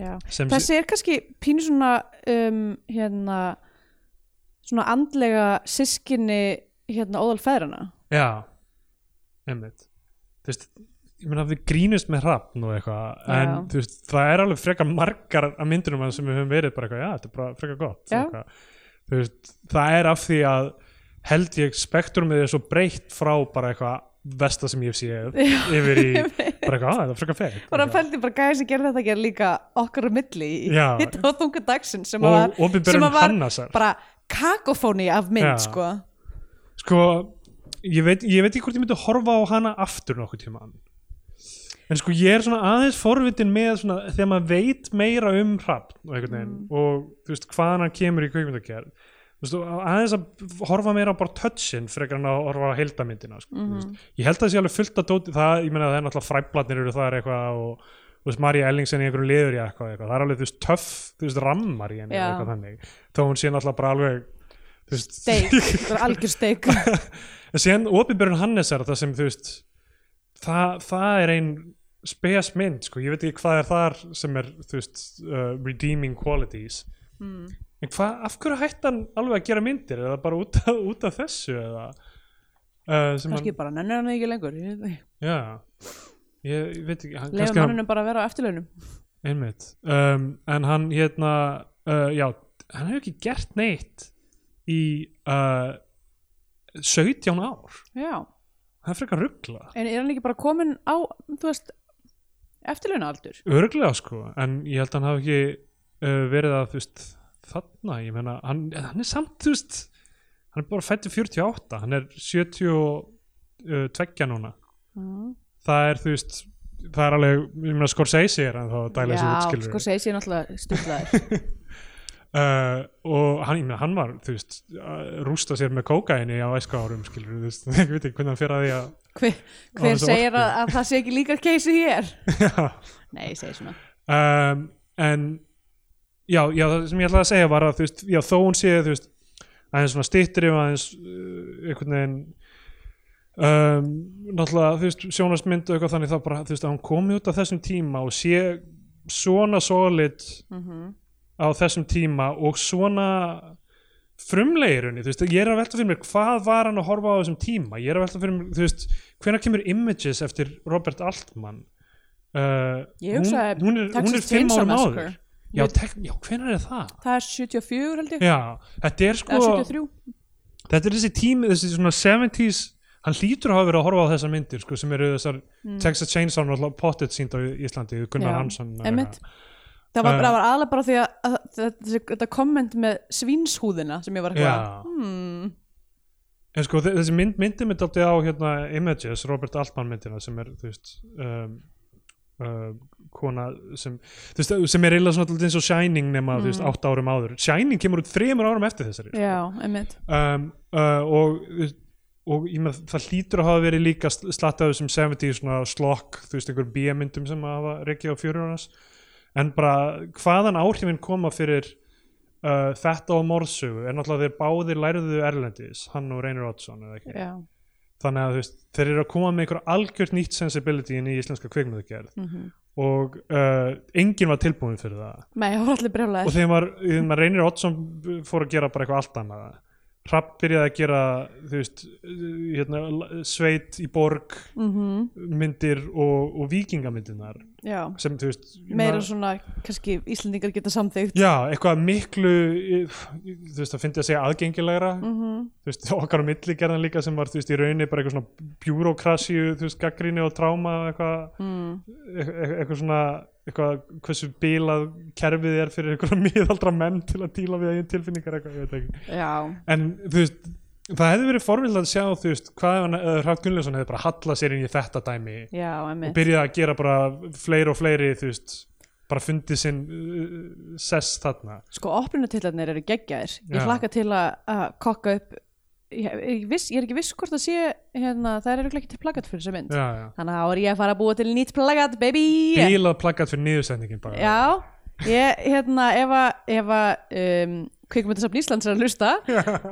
[SPEAKER 2] já.
[SPEAKER 1] sem
[SPEAKER 2] Þessi er kannski pínu svona um, hérna svona andlega sískinni hérna óðal feðrana
[SPEAKER 1] Já, einmitt Þú veist, ég meina við grínust með hrafn og eitthvað en
[SPEAKER 2] Já.
[SPEAKER 1] þú veist, það er alveg frekar margar af myndunum hans sem við höfum verið bara eitthvað, já, þetta er bara frekar gott
[SPEAKER 2] Já.
[SPEAKER 1] eitthvað. Þú veist, það er af því að held ég spektrumið er svo breytt frá bara eitthvað versta sem ég hef séð yfir í bara eitthvað, "Á, þetta er frekar fegt
[SPEAKER 2] bara fældi bara gæði sem gerði þetta ekki líka okkar á milli í
[SPEAKER 1] Já.
[SPEAKER 2] hitt og þunga dagsinn sem var,
[SPEAKER 1] og
[SPEAKER 2] sem
[SPEAKER 1] opinberun
[SPEAKER 2] að var
[SPEAKER 1] Hannasar
[SPEAKER 2] bara kakofóni af
[SPEAKER 1] Já.
[SPEAKER 2] mynd sko
[SPEAKER 1] sko, ég veit, ég veit ekki hvort ég myndi horfa á hana aftur nokkuð tíma en sko ég er svona aðeins forvitin með svona,
[SPEAKER 2] Mm.
[SPEAKER 1] þegar maður veit meira um hrapp og einhvern veginn og þú veist hvaðan hann kemur í kvikmyndagerð þú veist, og aðeins að horfa meira á bara touchin frekar en að horfa á heildamyndina sko. mm
[SPEAKER 2] Mhm.
[SPEAKER 1] ég held að það sé alveg fullt að dóti það, ég meina það er náttúrulega fræblatnir eru þar eitthvað og þú veist, Marja Ellingsen í einhverju liður í eitthvað, eitthvað, það er alveg þú veist töff, þú veist, rammar í henni
[SPEAKER 2] Já.
[SPEAKER 1] eða eitthvað þannig, þó hún sé náttúrulega bara alveg þú veist,
[SPEAKER 2] steik, þetta er algjör steik
[SPEAKER 1] en síðan opinbjörn Hannes er það sem þú veist það, það er ein spes mynd sko, ég veit ekki hvað er þar sem er þú veist, uh, redeeming qualities
[SPEAKER 2] Hmm.
[SPEAKER 1] en hvað, af hverju hætti hann alveg að gera myndir, er það bara út af, út af þessu eða uh, sem
[SPEAKER 2] kannski bara nennir hann ekki lengur lefa
[SPEAKER 1] hann, já ég, ég veit ekki, hann, kannski hann
[SPEAKER 2] manninu bara að vera á eftirlaunum
[SPEAKER 1] einmitt, um, en hann hérna, uh, já hann hefur ekki gert neitt í uh, 17 ár
[SPEAKER 2] já,
[SPEAKER 1] það er frekar ruggla
[SPEAKER 2] en er hann ekki bara komin á þú veist, eftirlauna aldur
[SPEAKER 1] Örglega sko, en ég held að hann hafi ekki uh, verið að þú veist þarna, ég meina, hann, hann er samt þú veist, hann er bara fættur 48 hann er 72 núna,
[SPEAKER 2] mm.
[SPEAKER 1] það er þú veist það er alveg, ég meina Scorsese er hann þá að dæla þessu
[SPEAKER 2] já,
[SPEAKER 1] útskilur
[SPEAKER 2] sko segi ég náttúrulega stundlaður
[SPEAKER 1] uh, og hann, ég meina, hann var þú veist, að rústa sér með kókaini á æsku árum skilur, þú veist, ég veit ekki hvernig hann fyrir að því að
[SPEAKER 2] hver,
[SPEAKER 1] Á
[SPEAKER 2] hver
[SPEAKER 1] þessu
[SPEAKER 2] segir
[SPEAKER 1] orku.
[SPEAKER 2] að, að það sé ekki líka keisið hér
[SPEAKER 1] Já.
[SPEAKER 2] nei, ég segi svona
[SPEAKER 1] um, en já, já, það sem ég ætlaði að segja var að þú veist, já, þó hún sé þú veist, aðeins svona stýttri og aðeins uh, einhvern veginn um, náttúrulega, þú veist, sjónastmynd og eitthvað þannig þá bara, þú veist, að hún komi út á þessum tíma og sé svona solid
[SPEAKER 2] Mhm.
[SPEAKER 1] á þessum tíma og svona frumleirunni, þú veist, ég er að velta fyrir mér hvað var hann að horfa á þessum tíma ég er að velta fyrir mér, þú veist, hvenær kemur Images eftir Robert Altman uh,
[SPEAKER 2] Ég hugsaði
[SPEAKER 1] hún, hún er, hún er
[SPEAKER 2] Texas
[SPEAKER 1] fimm
[SPEAKER 2] Chainsaw
[SPEAKER 1] árum
[SPEAKER 2] Massacre.
[SPEAKER 1] áður já, tek, já, hvenær er það?
[SPEAKER 2] það er 74 held ég
[SPEAKER 1] Já, þetta er sko
[SPEAKER 2] eða 73
[SPEAKER 1] þetta er þessi tími, þessi svona 70s hann hlýtur að hafa verið að horfa á þessar myndir sko, sem eru þessar Texas Chainsaw náttúrulega pottet sínd á Íslandi, Gunnar
[SPEAKER 2] Mm. Já,
[SPEAKER 1] Hansson
[SPEAKER 2] einmitt. það var,
[SPEAKER 1] Eh.
[SPEAKER 2] það var aðlega bara því að, að, að, að þetta komment með svínshúðina sem ég var eitthvað
[SPEAKER 1] Já.
[SPEAKER 2] hmm,
[SPEAKER 1] En sko þe- þessi mynd, myndi mitt aldrei á hérna, Images, Robert Altman myndina sem er, þú veist um, uh, kona sem þú veist, sem er eila svona alltaf eins og Shining nema, þú veist, átta árum áður. Shining kemur út þremur árum eftir þessari. sko.
[SPEAKER 2] Mm. já, einmitt
[SPEAKER 1] Um, uh, og þú veist, og ég með það hlýtur að hafa verið líka slattaðu sem 70 svona slokk, þú veist, einhver bíamyndum sem hafa reikið á fjörunarnas en bara hvaðan áhrifin koma fyrir uh, þetta og morðsögu er náttúrulega þeir báðir læriðu erlendis, hann og Reynir Oddsson eða ekki
[SPEAKER 2] já,
[SPEAKER 1] þannig að þú veist, þeir eru að koma með einhver algjört nýtt sensibility inn í íslenska kvikmyndagerð
[SPEAKER 2] mhm
[SPEAKER 1] og uh, enginn var tilbúin fyrir það
[SPEAKER 2] Nei, það var allir
[SPEAKER 1] og
[SPEAKER 2] brjálæðir
[SPEAKER 1] þegar maður, þegar maður reynir Oddsson fór að gera bara eitthvað allt annað Hrapp byrjaði að gera þú veist, hérna, sveit í borg
[SPEAKER 2] mm -hmm.
[SPEAKER 1] myndir og, og vikingamyndirnar
[SPEAKER 2] Já,
[SPEAKER 1] sem þú veist ég
[SPEAKER 2] meira
[SPEAKER 1] meina-
[SPEAKER 2] svona kannski Íslendingar geta samþygt
[SPEAKER 1] Já, eitthvað miklu þú veist, það fyndi að segja aðgengilegra
[SPEAKER 2] Mhm.
[SPEAKER 1] þú veist, okkar á milli gerðan líka sem var, þú veist, í rauninni bara eitthvað svona bjúrókrasíu, þú veist, gaggrinni og tráma og eitthvað,
[SPEAKER 2] mm.
[SPEAKER 1] eitthvað, eitthvað svona eitthvað, hversu bílað kerfið er fyrir eitthvað miðaldra menn til að díla við eigin tilfinningar eitthvað, ég veit ekki
[SPEAKER 2] Já,
[SPEAKER 1] en þú veist, það hefði verið forvild að sjá, þú veist, hvað ef hann Hrafn Gunnljónsson hefði bara hallað sér inn í þetta dæmi
[SPEAKER 2] já, emmi
[SPEAKER 1] og byrjaði að gera bara fleiri og fleiri, þú veist bara fundið sinn uh, sess þarna
[SPEAKER 2] Sko, opnunatillarnir eru geggjaðir Ég
[SPEAKER 1] Já.
[SPEAKER 2] hlakka til að að kokka upp ég, ég, viss, ég er ekki viss hvort að sé hérna, það eru ekki til plakat fyrir þessu mynd
[SPEAKER 1] já, já.
[SPEAKER 2] Þannig að þá er ég að fara að búa til nýtt plakat, baby
[SPEAKER 1] bílað plakkat fyrir niðursendingin bara
[SPEAKER 2] Já, ég, hérna, ef að, ef að um, kvikmyndasafn Íslands er að hlusta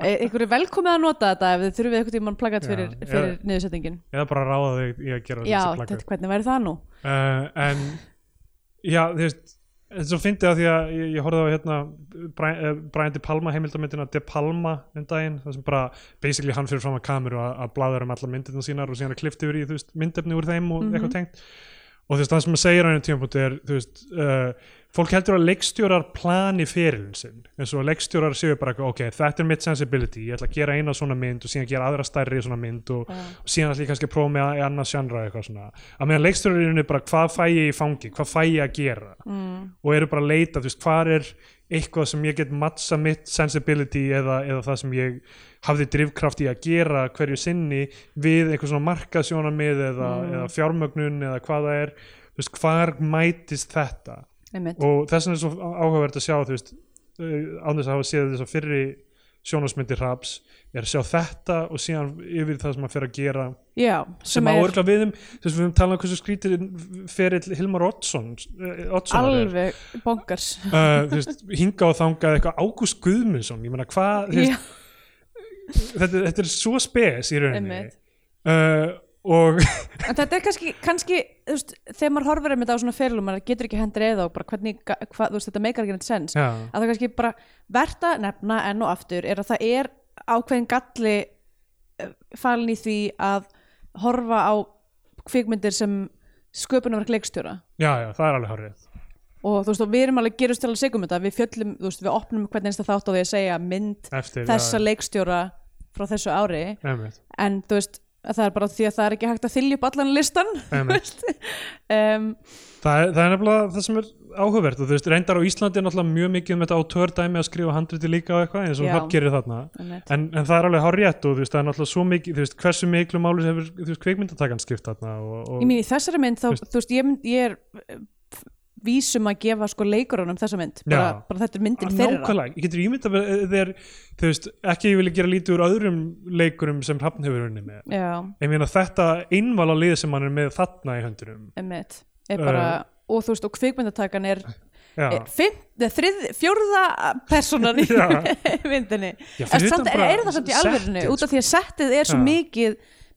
[SPEAKER 2] e- ykkur er velkomið að nota þetta ef þið þurfið eitthvað tímann plakat
[SPEAKER 1] Já,
[SPEAKER 2] fyrir,
[SPEAKER 1] eða-
[SPEAKER 2] fyrir niðursettingin
[SPEAKER 1] eða bara ráða þig í að gera
[SPEAKER 2] Já,
[SPEAKER 1] þessi
[SPEAKER 2] þetta,
[SPEAKER 1] plakkat
[SPEAKER 2] hvernig væri það nú?
[SPEAKER 1] uh, en já, þú veist en svo fyndi að því að ég, ég horfði á hérna Brian, eh, Brian De Palma heimildamyndina De Palma um daginn það sem bara basically hann fyrir fram að kameru að, að bláður um allar myndirna sínar og síðan að klifta yfir í þú veist, myndefni úr þeim og eitthvað tengt og þú veist, það sem að segja hann í tímapunkti er þú veist, uh, fólk heldur að leikstjórar plani fyrirlin sinn eins og leikstjórar séu bara, eitthvað, ok, þetta er mitt sensibility ég ætla að gera eina svona mynd og síðan gera aðra stærri svona mynd og, og síðan ætla ég kannski að prófa með að annað sjandra eitthvað svona að meðan leikstjórar eru bara, hvað fæ ég í fangi hvað fæ ég að gera mm. og eru bara að leita, þú veist, hvað er eitthvað sem ég get matcha mitt sensibility eða, eða það sem ég hafði drifkraft í að gera hverju sinni við einhver svona markasjónamið eða, eða fjármögnun eða hvað það er þú veist, hvar mætist þetta
[SPEAKER 2] Einmitt.
[SPEAKER 1] eh, og þess vegna er svo á- áhugavert að sjá þú veist, uh, án þess að hafa séð þess að fyrri sjónasmyndir hraps er að sjá þetta og síðan yfir það sem að fer að gera
[SPEAKER 2] já,
[SPEAKER 1] sem að orgla við um þess að við höfum talað um hversu skrítir ferill Hilmar Oddsson eh, Oddsson
[SPEAKER 2] alveg bonkars
[SPEAKER 1] uh, þú veist, hinga og þangað eitthvað Ágúst Guðmundsson, ég meina hvað þú veist,
[SPEAKER 2] já,
[SPEAKER 1] þetta, þetta er svo spes í rauninni
[SPEAKER 2] einmitt.
[SPEAKER 1] uh, og
[SPEAKER 2] en þetta er kannski, kannski þú veist, þegar maður horfir einmitt á svona ferilum maður getur ekki hendur eða og bara hvernig ga- hvað, þú veist, þetta meikar ekki neitt sens
[SPEAKER 1] já,
[SPEAKER 2] að það kannski bara verðt að nefna enn og aftur er að það er ákveðin galli eh, falin í því að horfa á kvikmyndir sem sköpunarverk leikstjóra
[SPEAKER 1] já, já, það er alveg hárið
[SPEAKER 2] og þú veist og við erum alveg gerust til að segja um þetta við fjöllum, þú veist, við opnum hvern einsta þátt á því að segja mynd
[SPEAKER 1] eftir
[SPEAKER 2] þessa leikstjóra frá þessu ári
[SPEAKER 1] einmitt,
[SPEAKER 2] en þú veist, að það er bara því að það er ekki hægt að þylja upp allan listan
[SPEAKER 1] einmitt.
[SPEAKER 2] um,
[SPEAKER 1] Það, er- það er nefnilega það sem er áhugavert og þú veist, reyndar á Íslandi er náttúrulega mjög mikið um þetta autördæmi að skrifa handriti líka og eitthvað eins og
[SPEAKER 2] Já.
[SPEAKER 1] það gerir þarna
[SPEAKER 2] einmitt.
[SPEAKER 1] en, en það er alveg hárétt og þú veist, það er náttúrulega svo mikið, þú veist, hversu miklu máli hefur, þú veist, kveikmyndatakan skipt þarna og, og
[SPEAKER 2] ég mín í þessari mynd þá, þú veist, ég, mynd- ég er eh, f- vísum að gefa sko leikurunum þessa mynd, bara,
[SPEAKER 1] Já.
[SPEAKER 2] bara þetta er myndin þeirra
[SPEAKER 1] nákvæmlega, ég getur ímyndað mér, eh, þeir, þú veist, ekki ég vilja gera lítið úr öðrum leikurum sem hrafn hefur unni með
[SPEAKER 2] Já,
[SPEAKER 1] en ég meina þetta einvala lið sem hann er með þarna í höndunum
[SPEAKER 2] einmitt er bara, og þú veist, og kvikmyndatakan er,
[SPEAKER 1] Eh. Já,
[SPEAKER 2] er fimm, eh, þrið, fjórða personan í
[SPEAKER 1] Já.
[SPEAKER 2] myndinni
[SPEAKER 1] Já,
[SPEAKER 2] er,
[SPEAKER 1] fyrir
[SPEAKER 2] samt,
[SPEAKER 1] utan bara
[SPEAKER 2] er það samt í alverðinu
[SPEAKER 1] settið,
[SPEAKER 2] út af því að settið er svo
[SPEAKER 1] Já.
[SPEAKER 2] mikið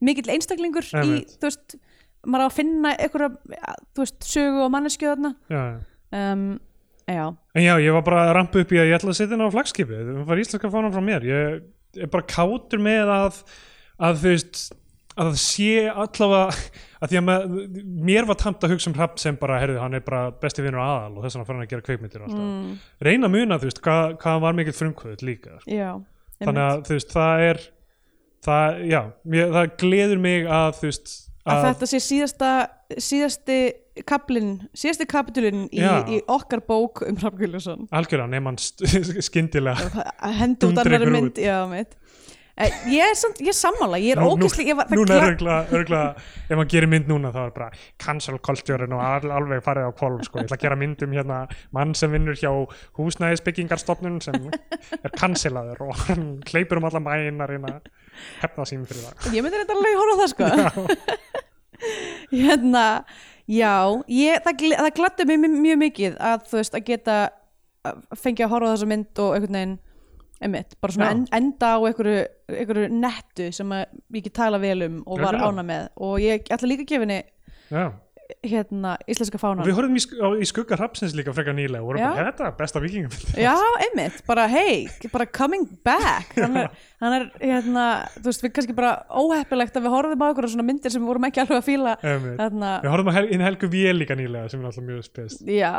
[SPEAKER 2] mikill einstaklingur í,
[SPEAKER 1] Einmitt.
[SPEAKER 2] þú veist maður á að finna einhverja ja, þú veist, sögu og manneskju þarna
[SPEAKER 1] já, já
[SPEAKER 2] um, já,
[SPEAKER 1] En já, ég var bara að rampa upp í að ég ætla að setja henni á flagskipi það var íslenska fánan frá mér ég er bara kátur með að að þú veist að það sé allavega að því að með, mér var tamt að hugsa um hrapp sem bara, herðu, hann er bara besti vinur aðal og þess vegna fara hann að gera kveikmyndir og alltaf
[SPEAKER 2] mm,
[SPEAKER 1] reyna að muna, þú veist, hvað, hvað hann var mikill frumkvöld líka, sko.
[SPEAKER 2] já einmitt.
[SPEAKER 1] þannig að þú veist, það er það, já, mér, það gleður mig að, þú veist,
[SPEAKER 2] að þetta sé síðasta síðasti kaplinn síðasti kapitulinn í,
[SPEAKER 1] Já.
[SPEAKER 2] í okkar bók um Hrafn Gullason
[SPEAKER 1] algjörlega nefn hann skyndilega
[SPEAKER 2] hendur út
[SPEAKER 1] Dundrekur
[SPEAKER 2] annari
[SPEAKER 1] út.
[SPEAKER 2] mynd já, mitt Eh, ég er, samt, ég er sammála, ég er
[SPEAKER 1] Nú- nú-
[SPEAKER 2] ógæsli ég var, það
[SPEAKER 1] núna
[SPEAKER 2] gla-
[SPEAKER 1] er örgla, örgla ef maður gerir mynd núna þá er bara cancel kultúrin og all, alveg farið á kvolf sko. ég ætla að gera mynd um hérna mann sem vinnur hjá húsnæðisbyggingarstofnun sem er cancelaður og hann hleypur um alla mæin að reyna að hefna sín fyrir það
[SPEAKER 2] ég myndi þetta alveg horfa á það sko hérna já, ég, það, gl- það glattu mig mi- mjög mikið að þú veist að geta að fengja að horfa á þessa mynd og einhvern veginn einmitt, bara svona
[SPEAKER 1] Já.
[SPEAKER 2] en, enda á einhverju, einhverju nettu sem að ég ekki tala vel um og var
[SPEAKER 1] Algjörlega.
[SPEAKER 2] ána með og ég ætla líka að gefa henni
[SPEAKER 1] Já.
[SPEAKER 2] hérna, íslenska
[SPEAKER 1] og
[SPEAKER 2] fánan
[SPEAKER 1] við horfum í, sk á, í skugga hrapsins líka frekar nýlega og vorum
[SPEAKER 2] Já.
[SPEAKER 1] bara þetta er besta vikingum
[SPEAKER 2] já, einmitt, bara hey bara coming back hann er, hann er hérna, þú veist, við kannski bara óheppilegt að við horfum á einhverja svona myndir sem við vorum ekki alveg að fíla hérna,
[SPEAKER 1] Einmitt.
[SPEAKER 2] þarna,
[SPEAKER 1] við horfum að hel inn Helgu Vél líka nýlega sem er alltaf mjög spes
[SPEAKER 2] já,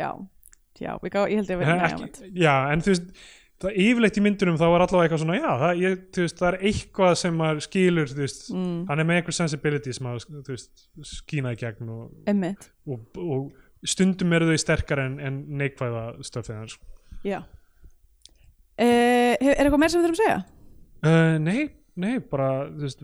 [SPEAKER 2] já já, við gá, ég held ég að vera
[SPEAKER 1] Ekki- Eh, já, en þú veist það yfirleitt í myndunum þá var allavega eitthvað svona já, það, ég, þú veist, það er eitthvað sem maður skilur þú veist,
[SPEAKER 2] Mm.
[SPEAKER 1] hann er með eitthvað sensibility sem maður þú veist, skína í gegn og,
[SPEAKER 2] einmitt,
[SPEAKER 1] og, og stundum eru þau sterkar en, en neikvæða sko. stöfið hans
[SPEAKER 2] já Uh, er eitthvað meir sem við þurfum að segja?
[SPEAKER 1] uh, nei, nei, bara þú veist,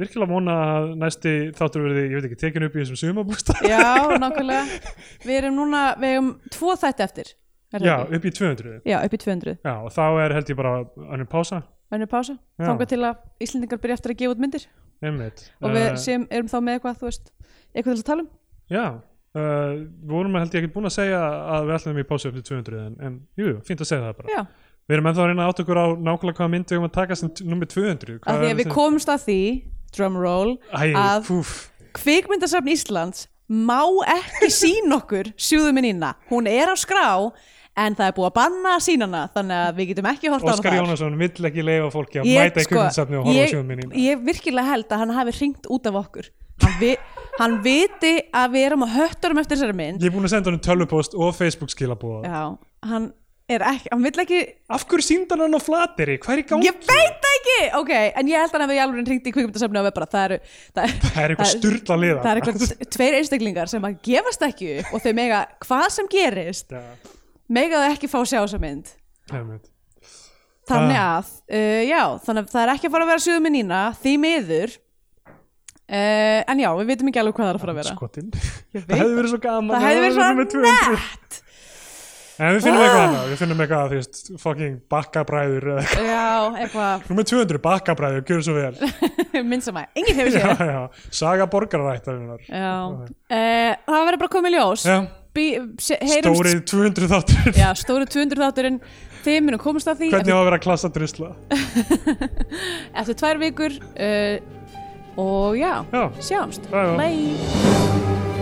[SPEAKER 1] virkilega vona að næsti þáttur verði, ég veit ekki, tekin upp í þessum sumabústa
[SPEAKER 2] Já, nákvæmlega. Við erum núna, við erum tvo þætti eftir. er það
[SPEAKER 1] já,
[SPEAKER 2] ekki?
[SPEAKER 1] upp í 200
[SPEAKER 2] Já, upp í 200.
[SPEAKER 1] já, og þá er held ég bara önnur pása
[SPEAKER 2] Önnur pása.
[SPEAKER 1] Já.
[SPEAKER 2] Þangað til að Íslendingar byrja eftir að gefa út myndir.
[SPEAKER 1] einmitt
[SPEAKER 2] og við
[SPEAKER 1] Eh,
[SPEAKER 2] sem erum þá með eitthvað, þú veist, eitthvað til að tala um
[SPEAKER 1] Já, uh, við vorum held ég ekki búin að segja að við ætlum í pásu upp til 200 en, en jú, jú, fínt að segja það bara
[SPEAKER 2] já,
[SPEAKER 1] Við erum ennþá að reyna að átta okkur á nákvæmlega hvaða mynd við erum að taka sem t- nummer 200
[SPEAKER 2] af því að við komumst að því drumroll,
[SPEAKER 1] Eh, Æ,
[SPEAKER 2] að-
[SPEAKER 1] púf,
[SPEAKER 2] kvikmyndasafn Íslands má ekki sín okkur sjúðuminina, hún er á skrá en það er búið að banna að sína hana þannig að við getum ekki hort á hana
[SPEAKER 1] Óskar
[SPEAKER 2] þar.
[SPEAKER 1] Jónasson vill ekki leifa fólki að
[SPEAKER 2] ég,
[SPEAKER 1] mæta í
[SPEAKER 2] sko,
[SPEAKER 1] kvikmyndsafni og horfa
[SPEAKER 2] ég,
[SPEAKER 1] á sjóðum minni
[SPEAKER 2] ég virkilega held að hann hafi hringt út af okkur hann, vi, hann viti að við erum á hötturum eftir þessari mynd
[SPEAKER 1] Ég er búin að senda honum tölvupost og Facebook skilabóð
[SPEAKER 2] já, hann er ekki, hann vill ekki
[SPEAKER 1] Af hverju síndan hann á flateri? Hvað er í gangi?
[SPEAKER 2] Ég veit það ekki, ok, en ég held að hann að við í alveg hringt í kvikmyndasöfni og við bara, það eru það, er-
[SPEAKER 1] Það er eitthvað sturla liða
[SPEAKER 2] það er eitthvað t- tveir einstaklingar sem að gefast ekki upp og þau mega, hvað sem gerist
[SPEAKER 1] eitthvað
[SPEAKER 2] mega þau ekki fá að sjá þessa mynd
[SPEAKER 1] Það
[SPEAKER 2] þannig
[SPEAKER 1] Ah.
[SPEAKER 2] að, uh, já, þannig að það er ekki að fara að vera sjöðu með Nína, því miður uh, en já, við vitum ekki alveg hvað það er að fara að vera
[SPEAKER 1] Skotin
[SPEAKER 2] Ég
[SPEAKER 1] Sko, Það
[SPEAKER 2] veit
[SPEAKER 1] hefði verið svo gaman
[SPEAKER 2] það
[SPEAKER 1] að
[SPEAKER 2] hefði
[SPEAKER 1] vera
[SPEAKER 2] verið
[SPEAKER 1] númer
[SPEAKER 2] svo
[SPEAKER 1] 200.
[SPEAKER 2] nett
[SPEAKER 1] en við finnum
[SPEAKER 2] Ah.
[SPEAKER 1] eitthvað annað, við finnum eitthvað þú veist, fucking bakkabræður eða eitthvað.
[SPEAKER 2] Já, eitthvað
[SPEAKER 1] Númer 200 bakkabræður, gjör svo vel
[SPEAKER 2] mynd sem að enginn hefur
[SPEAKER 1] já,
[SPEAKER 2] séð
[SPEAKER 1] já, saga borgararættarinnar
[SPEAKER 2] Já, Eh, það verður bara komið ljós
[SPEAKER 1] já,
[SPEAKER 2] Bí, sé, heyrum,
[SPEAKER 1] stórið 200 þáttur
[SPEAKER 2] Já, stóri 200 þátturinn Þið munum komast að því
[SPEAKER 1] hvernig á að vera klassa drusla
[SPEAKER 2] eftir, eftir tvær vikur uh, Og já,
[SPEAKER 1] já,
[SPEAKER 2] sjáumst
[SPEAKER 1] já, já
[SPEAKER 2] Bye